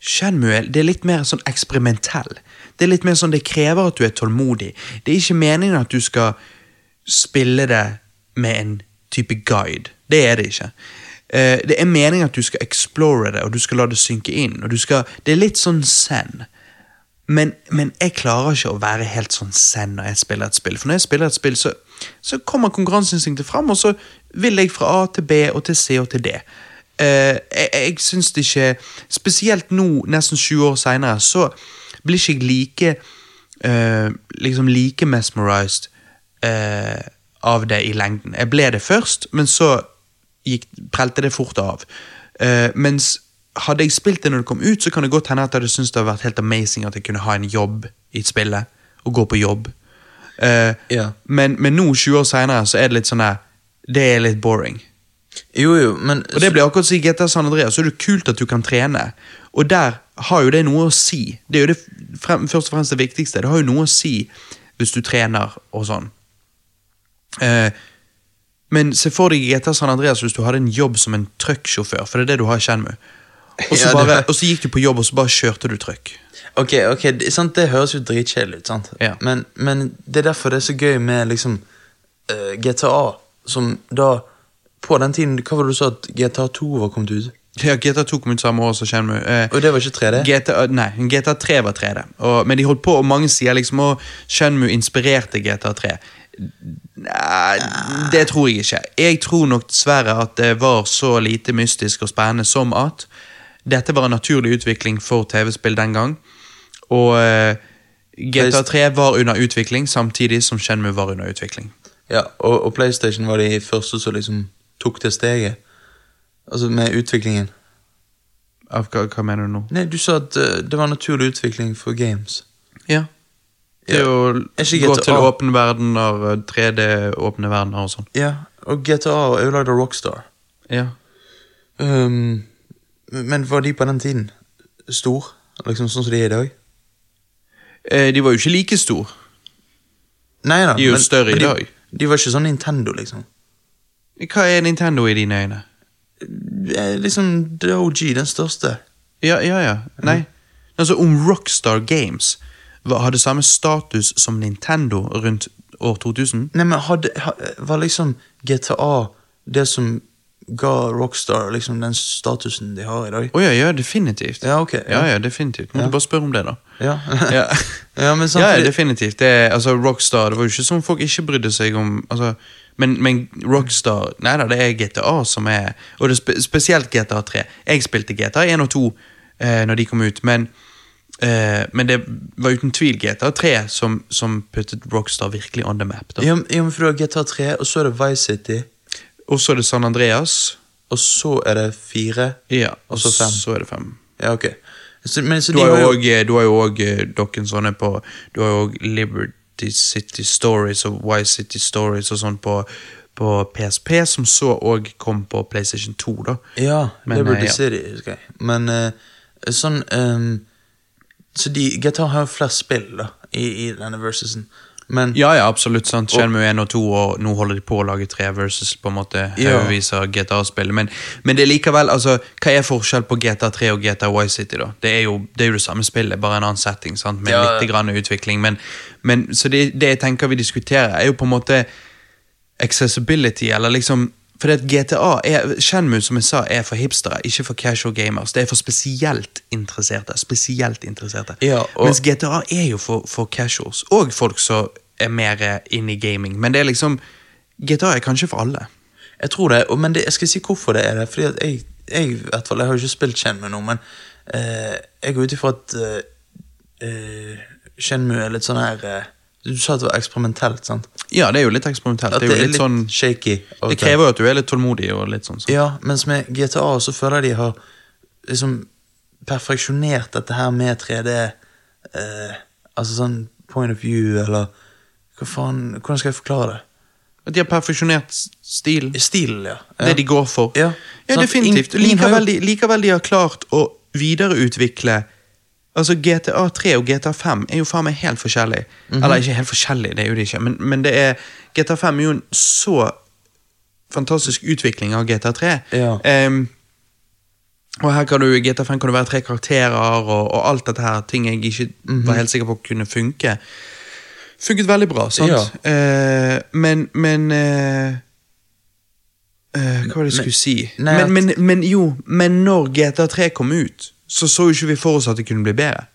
S1: Shenmue det er litt mer sånn eksperimentell. Det er litt mer sånn, det krever at du er tålmodig. Det er ikke meningen at du skal spille det med en type guide. Det er det ikke. Eh, Det er meningen at du skal explore det, og du skal la det synke inn. og du skal, Det er litt sånn zen. Men, men jeg klarer ikke å være helt sånn zen når jeg spiller et spill. For når jeg spiller et spill, så, så kommer konkurranseinstinktet fram, og så vil jeg fra A til B og til C og til D. Eh, jeg jeg syns det ikke Spesielt nå, nesten 20 år seinere, så blir ikke jeg like eh, Liksom like mesmerized eh, av det i lengden. Jeg ble det først, men så gikk, prelte det fort av. Eh, mens hadde jeg spilt det når det kom ut, så kan det godt hende at jeg hadde syntes det hadde vært helt amazing at jeg kunne ha en jobb i spillet, og gå på jobb. Eh,
S2: Ja.
S1: men, men nå, 20 år seinere, så er det litt sånn der Det er litt boring.
S2: Jo, jo, men
S1: Og det blir akkurat som i GTA San Andreas, så er det jo kult at du kan trene. Og der har jo det noe å si. Det er jo det f- frem, først og fremst det viktigste. Det har jo noe å si hvis du trener og sånn. Eh, men se for deg i GTA San Andreas hvis du hadde en jobb som en trøkksjåfør, for det er det du har i Shenmue. Og
S2: Ja,
S1: så
S2: det-
S1: bare- og så gikk du på jobb, og så bare kjørte du trøkk.
S2: Ok, ok, det, sant? det høres jo dritkjedelig ut, sant?
S1: Ja.
S2: Men, men det er derfor det er så gøy med liksom eh, GTA, som da På den tiden, hva var det du sa at GTA 2 var kommet ut?
S1: Ja, GTA 2 kom ut samme år som Shenmue. Eh,
S2: Og det var ikke 3D?
S1: GTA, nei, GTA 3 var 3D, og, men de holdt på, og mange sier liksom at Shenmue inspirerte GTA 3. Nei, det tror jeg ikke. Jeg tror nok dessverre at det var så lite mystisk og spennende som at dette var en naturlig utvikling for TV-spill den gang, og eh, GTA 3 var under utvikling samtidig som Shenmue var under utvikling.
S2: ja, og, og PlayStation var de første som liksom tok det steget. Altså med utviklingen.
S1: Av, hva, hva mener du nå?
S2: Nei, du sa at eh, det var naturlig utvikling for games.
S1: Ja. Det
S2: Ja.
S1: å
S2: Er ikke
S1: gå
S2: GTA
S1: til åpne verdener, 3D-åpne verdener og sånn.
S2: Ja, og GTA er jo lagd av Rockstar.
S1: Ja.
S2: Ehm, men var de på den tiden stor? Liksom sånn som de er i dag?
S1: Eh, de var jo ikke like stor.
S2: Nei da.
S1: De er jo større i
S2: de,
S1: dag.
S2: De var ikke sånn Nintendo, liksom.
S1: Hva er Nintendo i dine øyne?
S2: Eh, Liksom The OG, den største.
S1: Ja, ja, ja. Nei.
S2: Mhm.
S1: Altså, om Rockstar Games var- hadde samme status som Nintendo rundt år 2000?
S2: Nei, men hadde, ha- var liksom GTA det som ga Rockstar liksom den statusen de har i dag?
S1: Å ja, ja, definitivt.
S2: Ja, ok, ja.
S1: Ja, ja, definitivt. Måtte
S2: Ja.
S1: bare spørre om det, da.
S2: Ja.
S1: Ja,
S2: Ja, men
S1: ja,
S2: samtidig-
S1: definitivt. Det, er- altså, Rockstar, det var jo ikke sånn folk ikke brydde seg om altså, men, men Rockstar Nei da, det er GTA som er Og det er spe, spesielt GTA 3. Jeg spilte GTA 1 og 2 eh, når de kom ut, men eh, men det var uten tvil GTA 3 som, som puttet Rockstar virkelig on the map. Da.
S2: Ja, men- ja, men for du har GTA 3, og så er det Vice City,
S1: Og så er det San Andreas.
S2: og så er det 4.
S1: Ja,
S2: Og så fem.
S1: Så er det fem.
S2: Ja, ok. Så, men, så
S1: Du
S2: de
S1: har
S2: var
S1: jo òg Du har jo eh, òg noen sånne på Du har jo òg Liberty City Stories og Why City Stories og sånn på, på PSP, som så òg kom på PlayStation 2, da.
S2: Ja,
S1: Men,
S2: Liberty
S1: eh, ja.
S2: City, husker jeg. Men eh, sånn ehm, Så de, GTA har jo flere spill, da, i, i denne versusen. Men
S1: Ja, ja, absolutt. sant Shenmue 1 og 2, og nå holder de på å lage 3 versus på en måte
S2: Ja.
S1: haugevis av GTA-spill. Men, men det er likevel altså, Hva er forskjell på GTA3 og GTA Y City? da? Det er jo det, er jo det samme spillet, bare en annen setting sant? med
S2: Ja.
S1: litt grann utvikling. Men, men Så det, det jeg tenker vi diskuterer, er jo på en måte accessibility, eller liksom fordi at GTA er, Shenmue, som jeg sa, er for hipstere, ikke for casual gamers. Det er for spesielt interesserte. Spesielt interesserte.
S2: Ja, og-
S1: Mens GTA er jo for, for casuals, og folk som er mer eh, inne i gaming. Men det er liksom GTA er kanskje for alle.
S2: Jeg tror det, og, men det, jeg skal si hvorfor det er det. Fordi at jeg, jeg, i hvert fall, jeg har jo ikke spilt Shenmue nå, men eh, jeg går ut ifra at eh, eh, Shenmue er litt sånn her eh, Du sa at det var eksperimentelt, sant?
S1: Ja, det er jo litt eksperimentelt.
S2: At
S1: Det er jo litt sånn
S2: shaky. av og
S1: Det
S2: til.
S1: krever jo at du er litt tålmodig og litt sånn. sånn.
S2: Ja, mens med GTA så føler jeg de har liksom perfeksjonert dette her med 3D eh, Altså sånn point of view, eller hva faen Hvordan skal jeg forklare det?
S1: At de har perfeksjonert s- stilen.
S2: Stilen, ja.
S1: Det de går for.
S2: Ja.
S1: ja
S2: Sant?
S1: definitivt.
S2: Ingen- ingen har
S1: Likevel
S2: jo-
S1: de, likevel de har klart å videreutvikle Altså GTA 3 og GTA 5 er jo faen meg helt forskjellig.
S2: Mhm.
S1: Eller ikke helt forskjellig, det er jo de ikke, men, men det er GTA 5 er jo en så fantastisk utvikling av GTA 3.
S2: Ja.
S1: Ehm, og her kan du, i GTA 5 kan du være tre karakterer og, og alt dette her, ting jeg ikke
S2: Mhm.
S1: var helt sikker på kunne funke. Funket veldig bra, sant?
S2: Ja.
S1: Eh, men, men eh, eh, Hva var det jeg skulle si?
S2: nei,
S1: men,
S2: at-
S1: men, men jo, men når GTA3 kom ut, så så jo ikke vi for oss at det kunne bli bedre.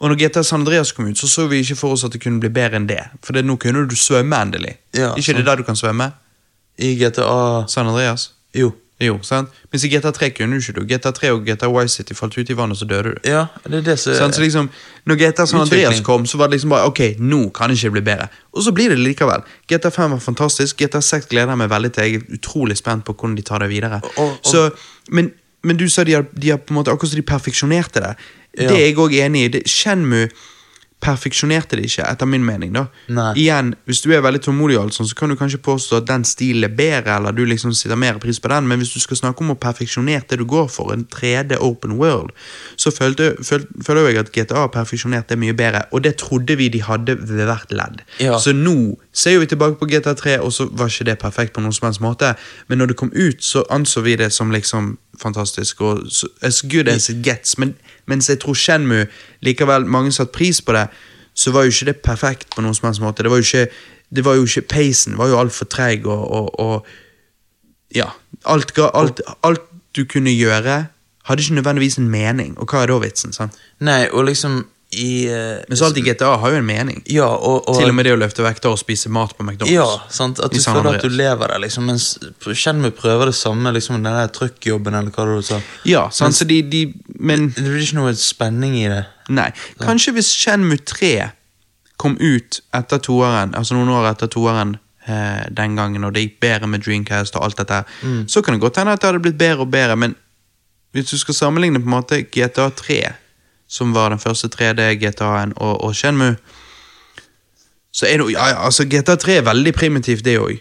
S1: Og når GTA San Andreas kom ut, så så vi ikke for oss at det kunne bli bedre enn det. For det, nå kunne du svømme endelig.
S2: Ja,
S1: ikke det
S2: sant.
S1: der du kan svømme?
S2: I GTA
S1: San Andreas?
S2: Jo.
S1: Jo, sant? Mens i GTA3 kunne du ikke det. GTA3 og GTA Wise City falt ut i vannet, så døde du.
S2: Ja, det er det som
S1: Sant? Så liksom, når GTA San Andreas
S2: Utvikling.
S1: kom, så var det liksom bare Ok, nå kan det ikke bli bedre. Og så blir det likevel. GTA5 var fantastisk. GTA6 gleder jeg meg veldig til. Jeg er utrolig spent på hvordan de tar det videre.
S2: Og- og-
S1: Så, men, men du sa de har, de har på en måte akkurat som de perfeksjonerte det.
S2: Ja.
S1: Det er jeg òg enig i. Det- Shenmue perfeksjonerte det ikke, etter min mening. da
S2: Nei.
S1: Igjen, Hvis du er veldig tålmodig, og alt sånt, så kan du kanskje påstå at den stilen er bedre, eller du liksom sitter mer pris på den, men hvis du skal snakke om å perfeksjonere det du går for, en 3D open world, så følte, føl, føler jeg at GTA perfeksjonerte det mye bedre, og det trodde vi de hadde ved hvert ledd.
S2: Ja.
S1: Så nå ser jo vi tilbake på GTA 3, og så var ikke det perfekt på noen som helst måte, men når det kom ut, så anså vi det som liksom fantastisk, og så- as good as it gets, men, mens jeg tror Shenmue, likevel mange satt pris på det, så var jo ikke det perfekt på noen som helst måte. Det var jo ikke, det var jo ikke pacen var jo altfor treg, og, og, og ja, alt, ga, alt, alt du kunne gjøre, hadde ikke nødvendigvis en mening, og hva er da vitsen, sant?
S2: Nei, og liksom i eh,
S1: Men så alt i GTA har jo en mening.
S2: Ja, og, og
S1: Til og med det å løfte vekter og spise mat på McDonald's.
S2: Ja, sant? At
S1: I
S2: du
S1: San
S2: føler at du
S1: Andreas.
S2: lever der, liksom. Mens Shenmue prøver det samme, liksom den der trykkjobben, eller hva det var du sa.
S1: Ja, sant, så de, de Men
S2: Det blir ikke noe spenning i det.
S1: nei. Kanskje hvis Shenmue 3 kom ut etter toeren, altså noen år etter toeren eh, den gangen, og det gikk bedre med Dreamcast og alt dette, så kan det godt hende at det hadde blitt bedre og bedre, men hvis du skal sammenligne på en måte GTA 3, som var den første 3D-GTA-en, og, og Shenmue, så er det jo Ja, ja, altså, GTA 3 er veldig primitivt, det òg.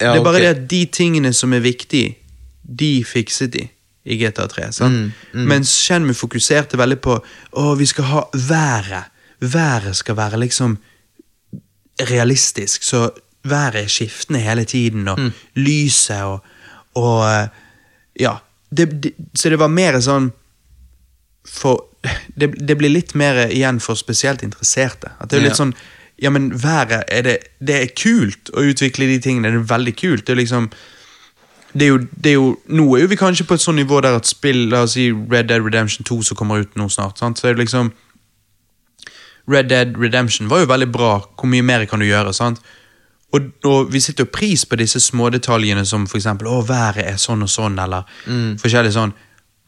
S2: Ja,
S1: det er bare
S2: ok.
S1: det at de tingene som er viktige, de fikset de i GTA 3. Sant?
S2: Mm,
S1: Mens Shenmue fokuserte veldig på å, vi skal ha været. Været skal være liksom realistisk, så været er skiftende hele tiden, og lyset og, og eh, Ja. Det, det, så det var mer sånn for det, det blir litt mer igjen for spesielt interesserte. At det er jo litt
S2: Ja.
S1: sånn Ja, men været er det Det er kult å utvikle de tingene. Det er veldig kult. Det er liksom det er, jo, det er jo, Nå er jo vi kanskje på et sånn nivå der at spill La oss si Red Dead Redemption 2 som kommer ut nå snart. sant? Så er det liksom Red Dead Redemption var jo veldig bra. Hvor mye mer kan du gjøre? sant? Og, og vi setter jo pris på disse smådetaljene som for eksempel å, været er sånn og sånn, eller forskjellig sånn.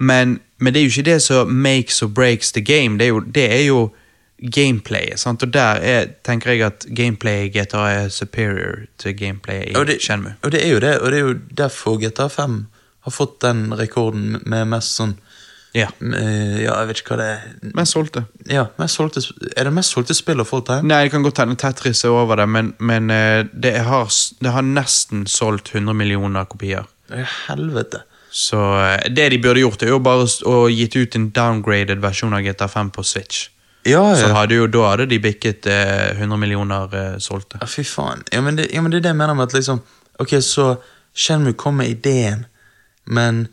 S1: Men, men det er jo ikke det som makes or breaks the game. Det er jo, det er jo gameplayet. sant? Og der er, tenker jeg at gameplayet i GTA er superior til gameplayet i
S2: Og det,
S1: Shenmue.
S2: og det er jo det, og det er jo derfor GTA 5 har fått den rekorden med mest sånn
S1: Ja.
S2: eh, Ja, jeg vet ikke hva det er
S1: Men solgte.
S2: Ja, mest solgte, sp- Er det mest solgte spill of all time?
S1: Nei, det kan godt hende Tetris er over det, men, men eh, det, har, s- det har nesten solgt 100 millioner kopier.
S2: Nei. Helvete.
S1: Så eh, det de burde gjort, er jo bare s- å gitt ut en downgraded versjon av GTA5 på Switch.
S2: Ja,
S1: Så
S2: ja.
S1: hadde jo, da hadde de bikket eh, 100 millioner eh, solgte.
S2: ja fy faen. Ja men, det, ja, men det er det jeg mener med at liksom Ok, så Shenmue kom med ideen, men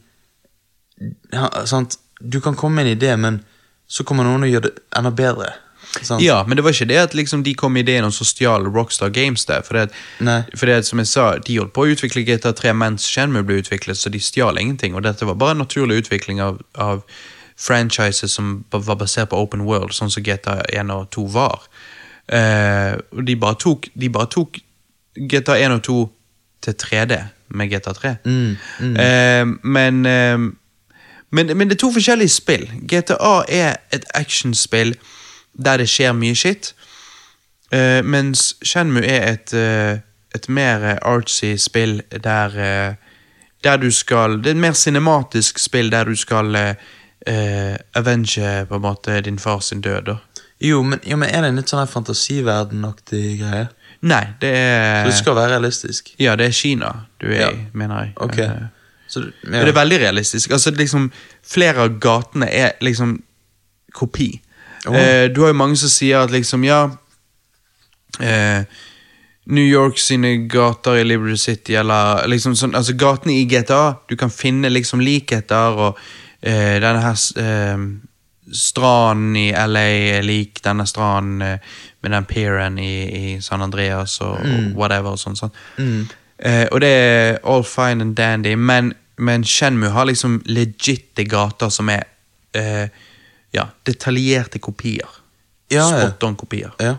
S2: ja, sant? Du kan komme med en idé, men så kommer noen og gjør det enda bedre. Sant?
S1: Ja, men det var ikke det at liksom, de kom med ideen, og så stjal Rockstar Games det. For det,
S2: Nei.
S1: for det som jeg sa, de holdt på å utvikle GTA3 mens Shenmue ble utviklet, så de stjal ingenting. Og dette var bare en naturlig utvikling av, av franchises som ba- var basert på open world, sånn som GTA1 og 2 var. Eh, og de bare tok, de bare tok GTA1 og 2 til 3D med GTA3. Eh, men, eh, men, men det er to forskjellige spill. GTA er et actionspill der det skjer mye shit. Eh, mens Shenmue er et, eh, et mer eh, artsy spill der, eh, der du skal Det er et mer cinematisk spill der du skal eh, eh, avenge på en måte din far sin død. Da.
S2: Jo, men, jo, men er det en litt sånn her fantasiverdenaktig greie?
S1: Nei, det er
S2: Så det skal være realistisk?
S1: Ja, det er Kina du er
S2: Ja.
S1: i, mener jeg.
S2: Ok.
S1: Eh,
S2: Så, du-
S1: Men
S2: ja.
S1: Det er veldig realistisk. Altså, liksom, flere av gatene er liksom kopi.
S2: Åh.
S1: Eh, du har jo mange som sier at liksom, ja eh, New York sine gater i Liberty City, eller liksom sånn Altså, gatene i GTA, du kan finne liksom likheter, og eh, denne her s- eh, Stranden i LA er lik denne stranden eh, med den peeren i, i San Andreas og,
S2: Mm.
S1: og whatever. og sånn, sånn. Eh, og det er all fine and dandy, men, men Shenmue har liksom legitte gater som er eh, ja, detaljerte kopier.
S2: Ja, ja.
S1: Spot on-kopier.
S2: ja.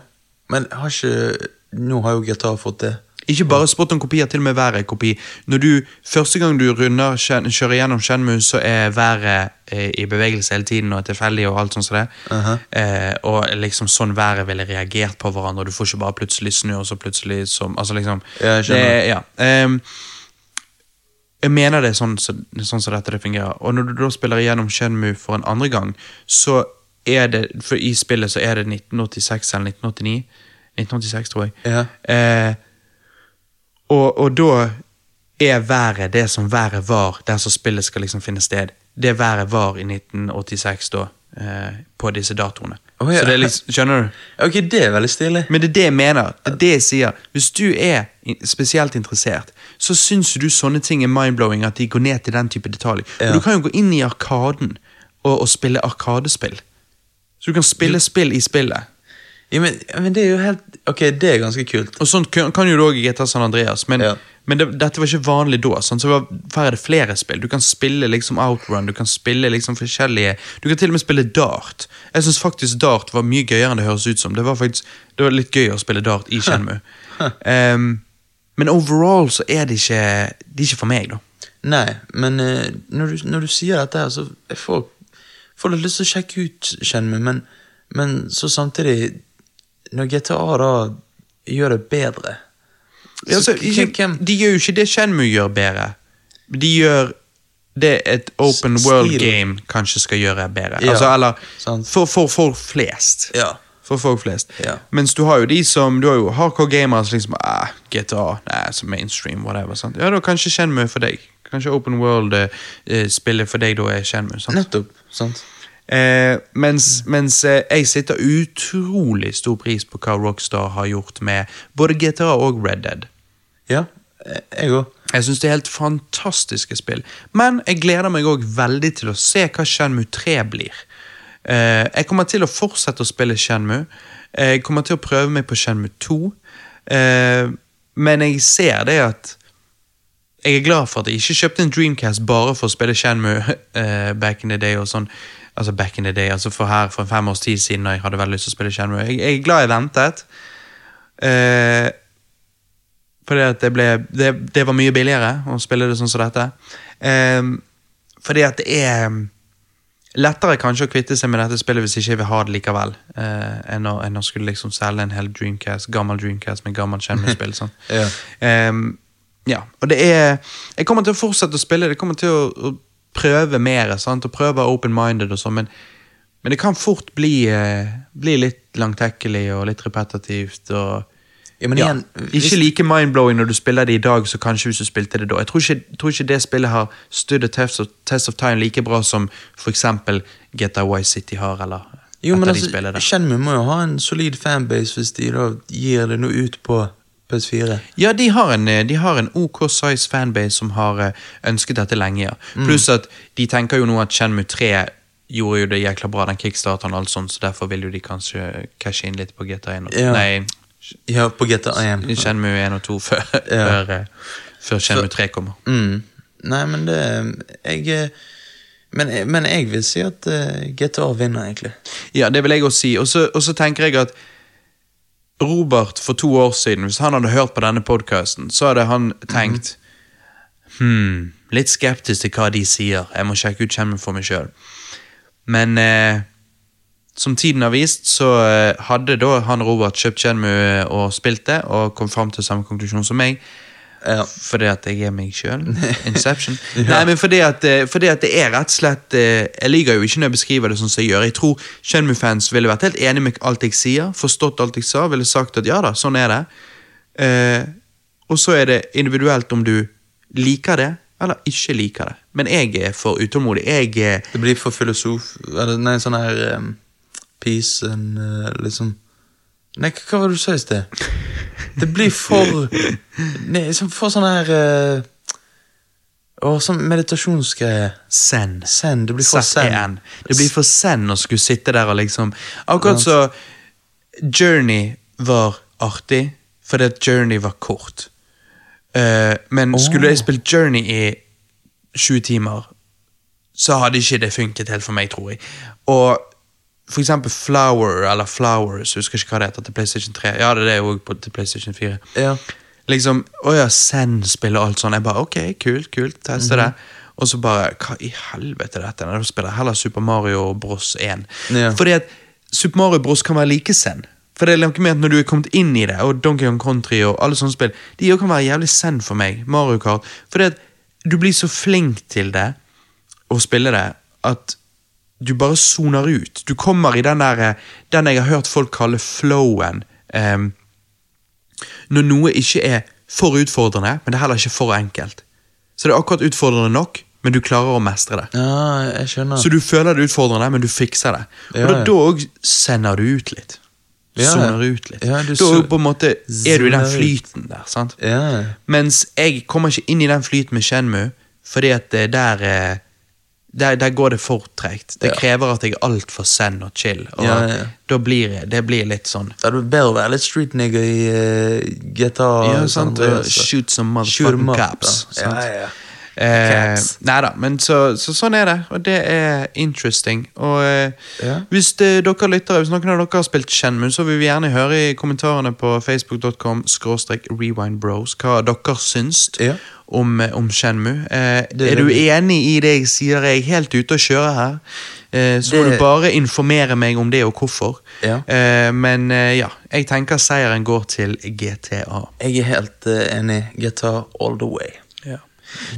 S2: Men har ikke Nå har jo GTA fått det.
S1: Ikke bare spot on kopier, til og med været er kopi. Når du, Første gang du runder, Shen- kjører gjennom Shenmue, så er været eh, i bevegelse hele tiden og er tilfeldig og alt sånt som det. eh, og liksom sånn været ville reagert på hverandre, og du får ikke bare plutselig snø, og så plutselig som Altså liksom
S2: Ja, jeg skjønner.
S1: det, ja. Ehm, jeg mener det er sånn som sånn som dette det fungerer. Og når du da spiller igjennom Shenmue for en andre gang, så er det For i spillet så er det 1986 eller 1989. 1986, tror jeg.
S2: Ja.
S1: Eh, og, og da er været det som været var, der som spillet skal liksom finne sted. Det været var i 1986 da, eh, på disse datoene.
S2: Å, ja.
S1: Så det er liksom, Skjønner du?
S2: Ok, det er veldig stilig.
S1: Men det er det jeg mener. Det er det jeg sier. Hvis du er in- spesielt interessert, så syns jo du sånne ting er mindblowing, at de går ned til den type detalj.
S2: Ja.
S1: Og du kan jo gå inn i Arkaden og, og spille Arkadespill. Så du kan spille spill i spillet.
S2: Ja, men, ja, men det er jo helt Ok, det er ganske kult.
S1: Og sånt kan, kan jo du òg i GTA San Andreas, men,
S2: Ja.
S1: men det, dette var ikke vanlig da. Sånn, så det var, her er det flere spill. Du kan spille liksom Outrun, du kan spille liksom forskjellige Du kan til og med spille dart. Jeg syns faktisk dart var mye gøyere enn det høres ut som. Det var faktisk det var litt gøy å spille dart i Shenmue. Ehm, men overall så er det ikke Det er ikke for meg, da.
S2: Nei, men eh, når, du, når du sier dette her, så jeg får får litt lyst til å sjekke ut Shenmue, men, men så samtidig Når GTA da gjør det bedre så
S1: Altså,
S2: k-
S1: ikke,
S2: hvem-
S1: de gjør jo ikke det Shenmue gjør bedre. De gjør det et open
S2: S-
S1: world
S2: stil.
S1: game kanskje skal gjøre bedre.
S2: Ja,
S1: altså, eller
S2: sant.
S1: for, for folk flest.
S2: Ja.
S1: For folk flest.
S2: Ja.
S1: Mens du har jo de som Du har jo hardcore gamere som liksom ah, GTA, nei, så mainstream, whatever. Sant? Ja, da kanskje Shenmue for deg. Kanskje Open World-spillet for deg da er Shenmue. Sant?
S2: Nettopp. Sant?
S1: Eh, mens mens eh, jeg sitter utrolig stor pris på hva Rockstar har gjort med både GTA og Red Dead.
S2: Ja, eh, jeg òg.
S1: Jeg synes det er helt fantastiske spill. Men jeg gleder meg òg veldig til å se hva Shenmue 3 blir. Eh, jeg kommer til å fortsette å spille Shenmue. Eh, Jeg kommer til å prøve meg på Shenmue 2. Eh, men jeg ser det at jeg er glad for at jeg ikke kjøpte en Dreamcast bare for å spille Shenmue eh, back in the day og sånn. Altså back in the day, altså for her for fem års tid siden da jeg hadde veldig lyst til å spille Shenmue. Jeg, jeg er glad jeg ventet. Eh, fordi at det, ble, det, det var mye billigere å spille det sånn som dette. Eh, fordi at det er ehm, lettere kanskje å kvitte seg med dette spillet hvis ikke jeg vil ha det likevel, eh, enn, å, enn å skulle liksom selge en hel Dreamcast, gammel Dreamcast med gammelt Shenmue-spill. sånn.
S2: Ja.
S1: Ehm, ja, og det er Jeg kommer til å fortsette å spille, det kommer til å, å prøve mer. Sant? Og prøve å være open-minded og sånn, men, men det kan fort bli, eh, bli litt langtekkelig og litt repetitivt. og
S2: Ja, men igjen, hvis-
S1: Ikke like mindblowing når du spiller det i dag, så kanskje hvis du spilte det da. Jeg tror ikke, tror ikke det spillet har stood the test of, test of time like bra som f.eks. GTA Wise City har, eller
S2: Jo,
S1: et av
S2: men
S1: de spillene
S2: altså,
S1: der.
S2: Shenmue må jo ha en solid fanbase hvis de da gir det noe ut på PS4.
S1: Ja, de har en, eh, de har en OK size fanbase som har eh, ønsket dette lenge. ja.
S2: Mm.
S1: Pluss at de tenker jo nå at Shenmue 3 gjorde jo det jækla bra, den kickstarteren og alt sånt, så derfor vil jo de kanskje cashe inn litt på GTA1 og
S2: Ja.
S1: Nei,
S2: Ja, på GTA1.
S1: Shenmue 1 og 2 før, før, eh, før Shenmue 3 kommer.
S2: Mm. Nei, men det Jeg eh, men, eh, men jeg vil si at eh, GTA vinner, egentlig.
S1: Ja, det vil jeg også si. Og så og så tenker jeg at Robert for to år siden, hvis han hadde hørt på denne podkasten, så hadde han tenkt Hm, litt skeptisk til hva de sier. Jeg må sjekke ut Chemmen for meg sjøl. Men eh, som tiden har vist, så eh, hadde da han Robert kjøpt Chenmu og spilt det, og kom fram til samme konklusjon som meg.
S2: Ja.
S1: Fordi at jeg er meg sjøl. Inception. Nei, men fordi at, eh, fordi at det er rett og slett eh, Jeg liker jo ikke når jeg beskriver det sånn som jeg gjør. Jeg tror Chenmu-fans ville vært helt enig med alt jeg sier, forstått alt jeg sa, ville sagt at ja da, sånn er det. Eh, og så er det individuelt om du liker det eller ikke liker det. Men jeg er for utålmodig. Jeg er
S2: Det blir for filosof... Eller, nei, sånn her um, Peace and eh, liksom Nei, hva hva var det du sa i sted? Det blir for Nei, sånn- for sånn her eh, Å, sånn meditasjonsgreie.
S1: zen.
S2: Zen. Det blir for zen.
S1: Z-E-N. Det blir for zen å skulle sitte der og liksom Akkurat så Journey var artig, fordi at Journey var kort. Eh, men skulle jeg spilt Journey i 20 timer, så hadde ikke det funket helt for meg, tror jeg. Og for eksempel Flower, eller Flowers, husker ikke hva det heter, til PlayStation 3. Ja, det er det òg til PlayStation 4.
S2: Ja.
S1: Liksom, å ja, Zen-spill og alt sånn. Jeg bare, ok, kult, kult, teste det. Og så bare, hva i helvete er dette? Nei, Da spiller jeg heller Super Mario Bros 1.
S2: Ja.
S1: Fordi at Super Mario Bros kan være like Zen. For det er noe med at når du er kommet inn i det, og Donkey Kong Country og alle sånne spill, de jo kan være jævlig Zen for meg, Mario Kart. Fordi at du blir så flink til det, å spille det, at du bare soner ut. Du kommer i den der, eh, den jeg har hørt folk kalle flowen. em, når noe ikke er for utfordrende, men det er heller ikke for enkelt. Så det er akkurat utfordrende nok, men du klarer å mestre det.
S2: ja, jeg skjønner.
S1: Så du føler det er utfordrende, men du fikser det. Og
S2: Ja,
S1: da,
S2: ja.
S1: da òg sender du ut litt. Du
S2: Ja, ja.
S1: soner ut litt.
S2: Ja, du
S1: da
S2: so-
S1: òg på en måte er du i den
S2: zoner ut.
S1: flyten der. sant?
S2: ja.
S1: Mens jeg kommer ikke inn i den flyten med Shenmue, fordi at det der eh, der, der går det for tregt. Det krever at jeg er altfor zen og chill. Og
S2: Ja, ja, ja.
S1: da blir jeg- det blir litt sånn
S2: Det hadde vært bedre å være litt street nigger i eh, GTA.
S1: Ja,
S2: San
S1: sant. Og
S2: Andreas.
S1: shoot some
S2: Shoot 'em
S1: motherfucking
S2: up,
S1: caps.
S2: da.
S1: sant?
S2: Ja, ja.
S1: Eh,
S2: Caps.
S1: nei da, men så, så sånn er det, og det er interesting. Og eh,
S2: Ja.
S1: hvis det, dere lyttere, hvis noen av dere har spilt Shenmue, så vil vi gjerne høre i kommentarene på facebook.com rewindbros hva dere syns
S2: Ja.
S1: om, om Shenmue. Eh,
S2: Det er
S1: er du
S2: det.
S1: enig i det jeg sier? Er jeg helt ute å kjøre her? Eh, så må
S2: Det-
S1: du bare informere meg om det og hvorfor.
S2: Ja.
S1: Eh, men eh, ja, jeg tenker seieren går til GTA.
S2: Jeg er helt eh, enig. GTA all the way.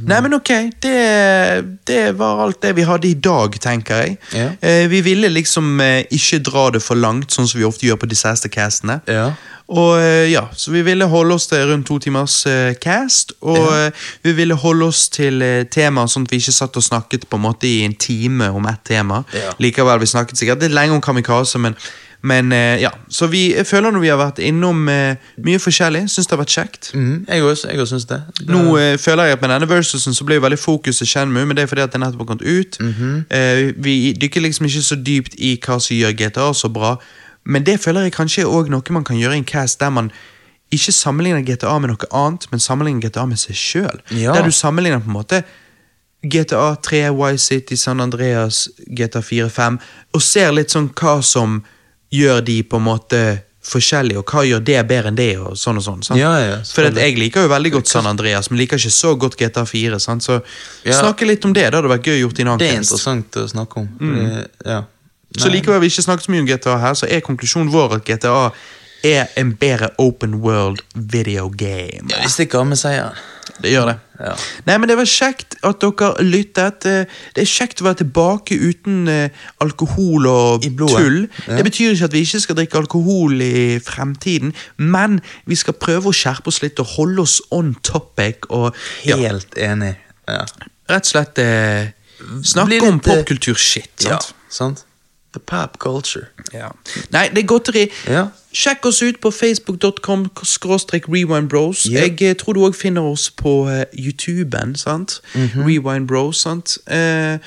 S1: Nei, men ok, det, det var alt det vi hadde i dag, tenker jeg.
S2: Ja.
S1: Eh, vi ville liksom eh, ikke dra det for langt, sånn som vi ofte gjør på disastercastene.
S2: Ja.
S1: Og eh, ja, så vi ville holde oss til rundt to timers eh, cast, og eh, vi ville holde oss til eh, temaer sånn at vi ikke satt og snakket på en måte i en time om ett tema.
S2: Ja.
S1: Likevel, vi snakket sikkert litt lenge om kamikaze, men, Men eh, ja, så vi jeg føler nå vi har vært innom eh, mye forskjellig. Syns det har vært kjekt.
S2: Mhm, jeg også, jeg også syns det. det
S1: Nå eh, føler jeg at med denne versusen så ble jo veldig fokuset Shenmue, men det er fordi at den nettopp har kommet ut.
S2: Mhm.
S1: eh, vi dykker liksom ikke så dypt i hva som gjør GTA så bra, men det føler jeg kanskje er også noe man kan gjøre i en cast der man ikke sammenligner GTA med noe annet, men sammenligner GTA med seg sjøl.
S2: Ja.
S1: Der du sammenligner på en måte GTA 3, Wise City, San Andreas, GTA 4, 5, og ser litt sånn hva som gjør de på en måte forskjellige, og hva gjør det bedre enn det, og sånn og sånn. sant?
S2: Ja, ja,
S1: For at
S2: selvfølgelig.
S1: jeg liker jo veldig godt San Andreas, men liker ikke så godt GTA 4. Sant? Så
S2: Ja.
S1: snakke litt om det. Det hadde vært gøy gjort i en
S2: det er
S1: annen cast.
S2: interessant å snakke om. Eh, ja.
S1: Mm. Så likevel har vi ikke snakket så mye om GTA her, så er konklusjonen vår at GTA er en bedre open world video game.
S2: Ja, De stikker av med seieren.
S1: Det gjør det.
S2: Ja.
S1: Nei, men Det var kjekt at dere lyttet. Eh, Det er kjekt å være tilbake uten eh, alkohol og
S2: I blodet.
S1: tull.
S2: Ja.
S1: Det betyr ikke at vi ikke skal drikke alkohol i fremtiden, men vi skal prøve å skjerpe oss litt og holde oss on topic. og ja,
S2: Helt enig. Ja.
S1: rett og slett eh, snakke
S2: Bli
S1: om
S2: litt, eh,
S1: popkultur-shit. sant?
S2: sant? The pop culture.
S1: Nei, det er godteri.
S2: Ja.
S1: Sjekk oss ut på facebook.com skråstrek rewind bros.
S2: Ja.
S1: Jeg eh, tror du òg finner oss på eh, YouTuben, sant?
S2: Mhm.
S1: Rewind bros, sant? Eh,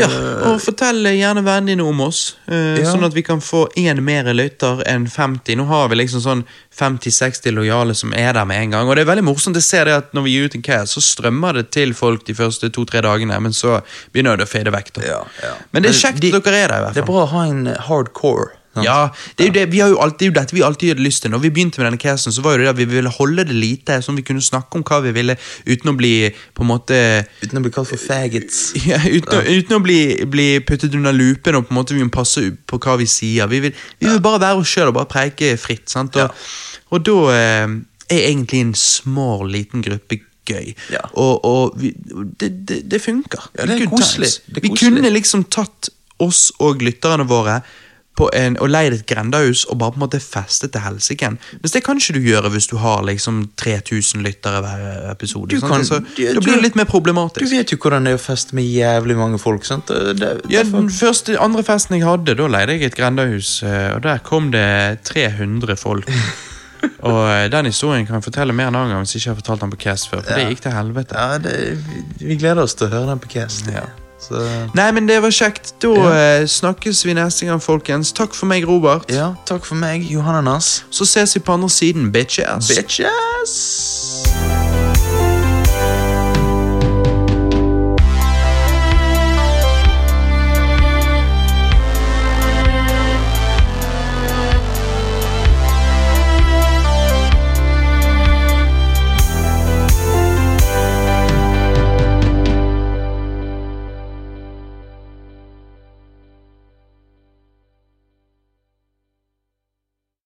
S1: ja, og fortell eh, gjerne vennene dine om oss, eh,
S2: Ja.
S1: sånn at vi kan få én mer lytter enn 50. Nå har vi liksom sånn 50-60 lojale som er der med en gang, og det er veldig morsomt. Jeg ser det at når vi gir ut en cast, så strømmer det til folk de første to-tre dagene, men så begynner det å fade vekk. da.
S2: Ja, ja.
S1: Men det er kjekt
S2: De-
S1: at dere er der, i hvert fall.
S2: Det er bra å ha en eh, hardcore. sant?
S1: Ja, det er jo det, vi har jo alltid, det er jo dette vi alltid hadde lyst til. Når vi begynte med denne casen, så var jo det at vi ville holde det lite, sånn at vi kunne snakke om hva vi ville, uten å bli på en måte
S2: Uten å bli kalt for faggots.
S1: ja, uten, å- uten å bli, bli puttet under lupen og på en måte vi må passe på hva vi sier. Vi vil, vi vil bare være oss sjøl og bare preike fritt. sant? Og, og da eh, er egentlig en smal, liten gruppe gøy.
S2: Ja.
S1: Og, og vi, det, det, det funker.
S2: Ja, det er
S1: Good
S2: koselig.
S1: times.
S2: Det er
S1: vi
S2: koselig.
S1: kunne liksom tatt oss og lytterne våre på en, og leid et grendehus og bare på en måte festet til helsike. Mens det kan ikke du gjøre hvis du har liksom 3000 lyttere hver episode.
S2: Du
S1: sant?
S2: kan-
S1: altså,
S2: du-
S1: da blir
S2: du-
S1: det litt mer problematisk.
S2: Du vet jo hvordan det er å feste med jævlig mange folk. sant? Det, det,
S1: Ja,
S2: derfor-
S1: den første, andre festen jeg hadde, da leide jeg et grendehus, eh, og der kom det 300 folk. og eh, den historien kan jeg fortelle mer en annen gang hvis ikke jeg har fortalt den på Cast før, for det gikk til helvete.
S2: ja, det, vi, vi gleder oss til å høre den på Cast.
S1: Ja.
S2: Så,
S1: Nei, men det var kjekt. Da eh, snakkes vi neste gang, folkens. Takk for meg, Robert.
S2: ja, takk for meg, Johananas.
S1: Så ses vi på andre siden, bitches.
S2: Bitches!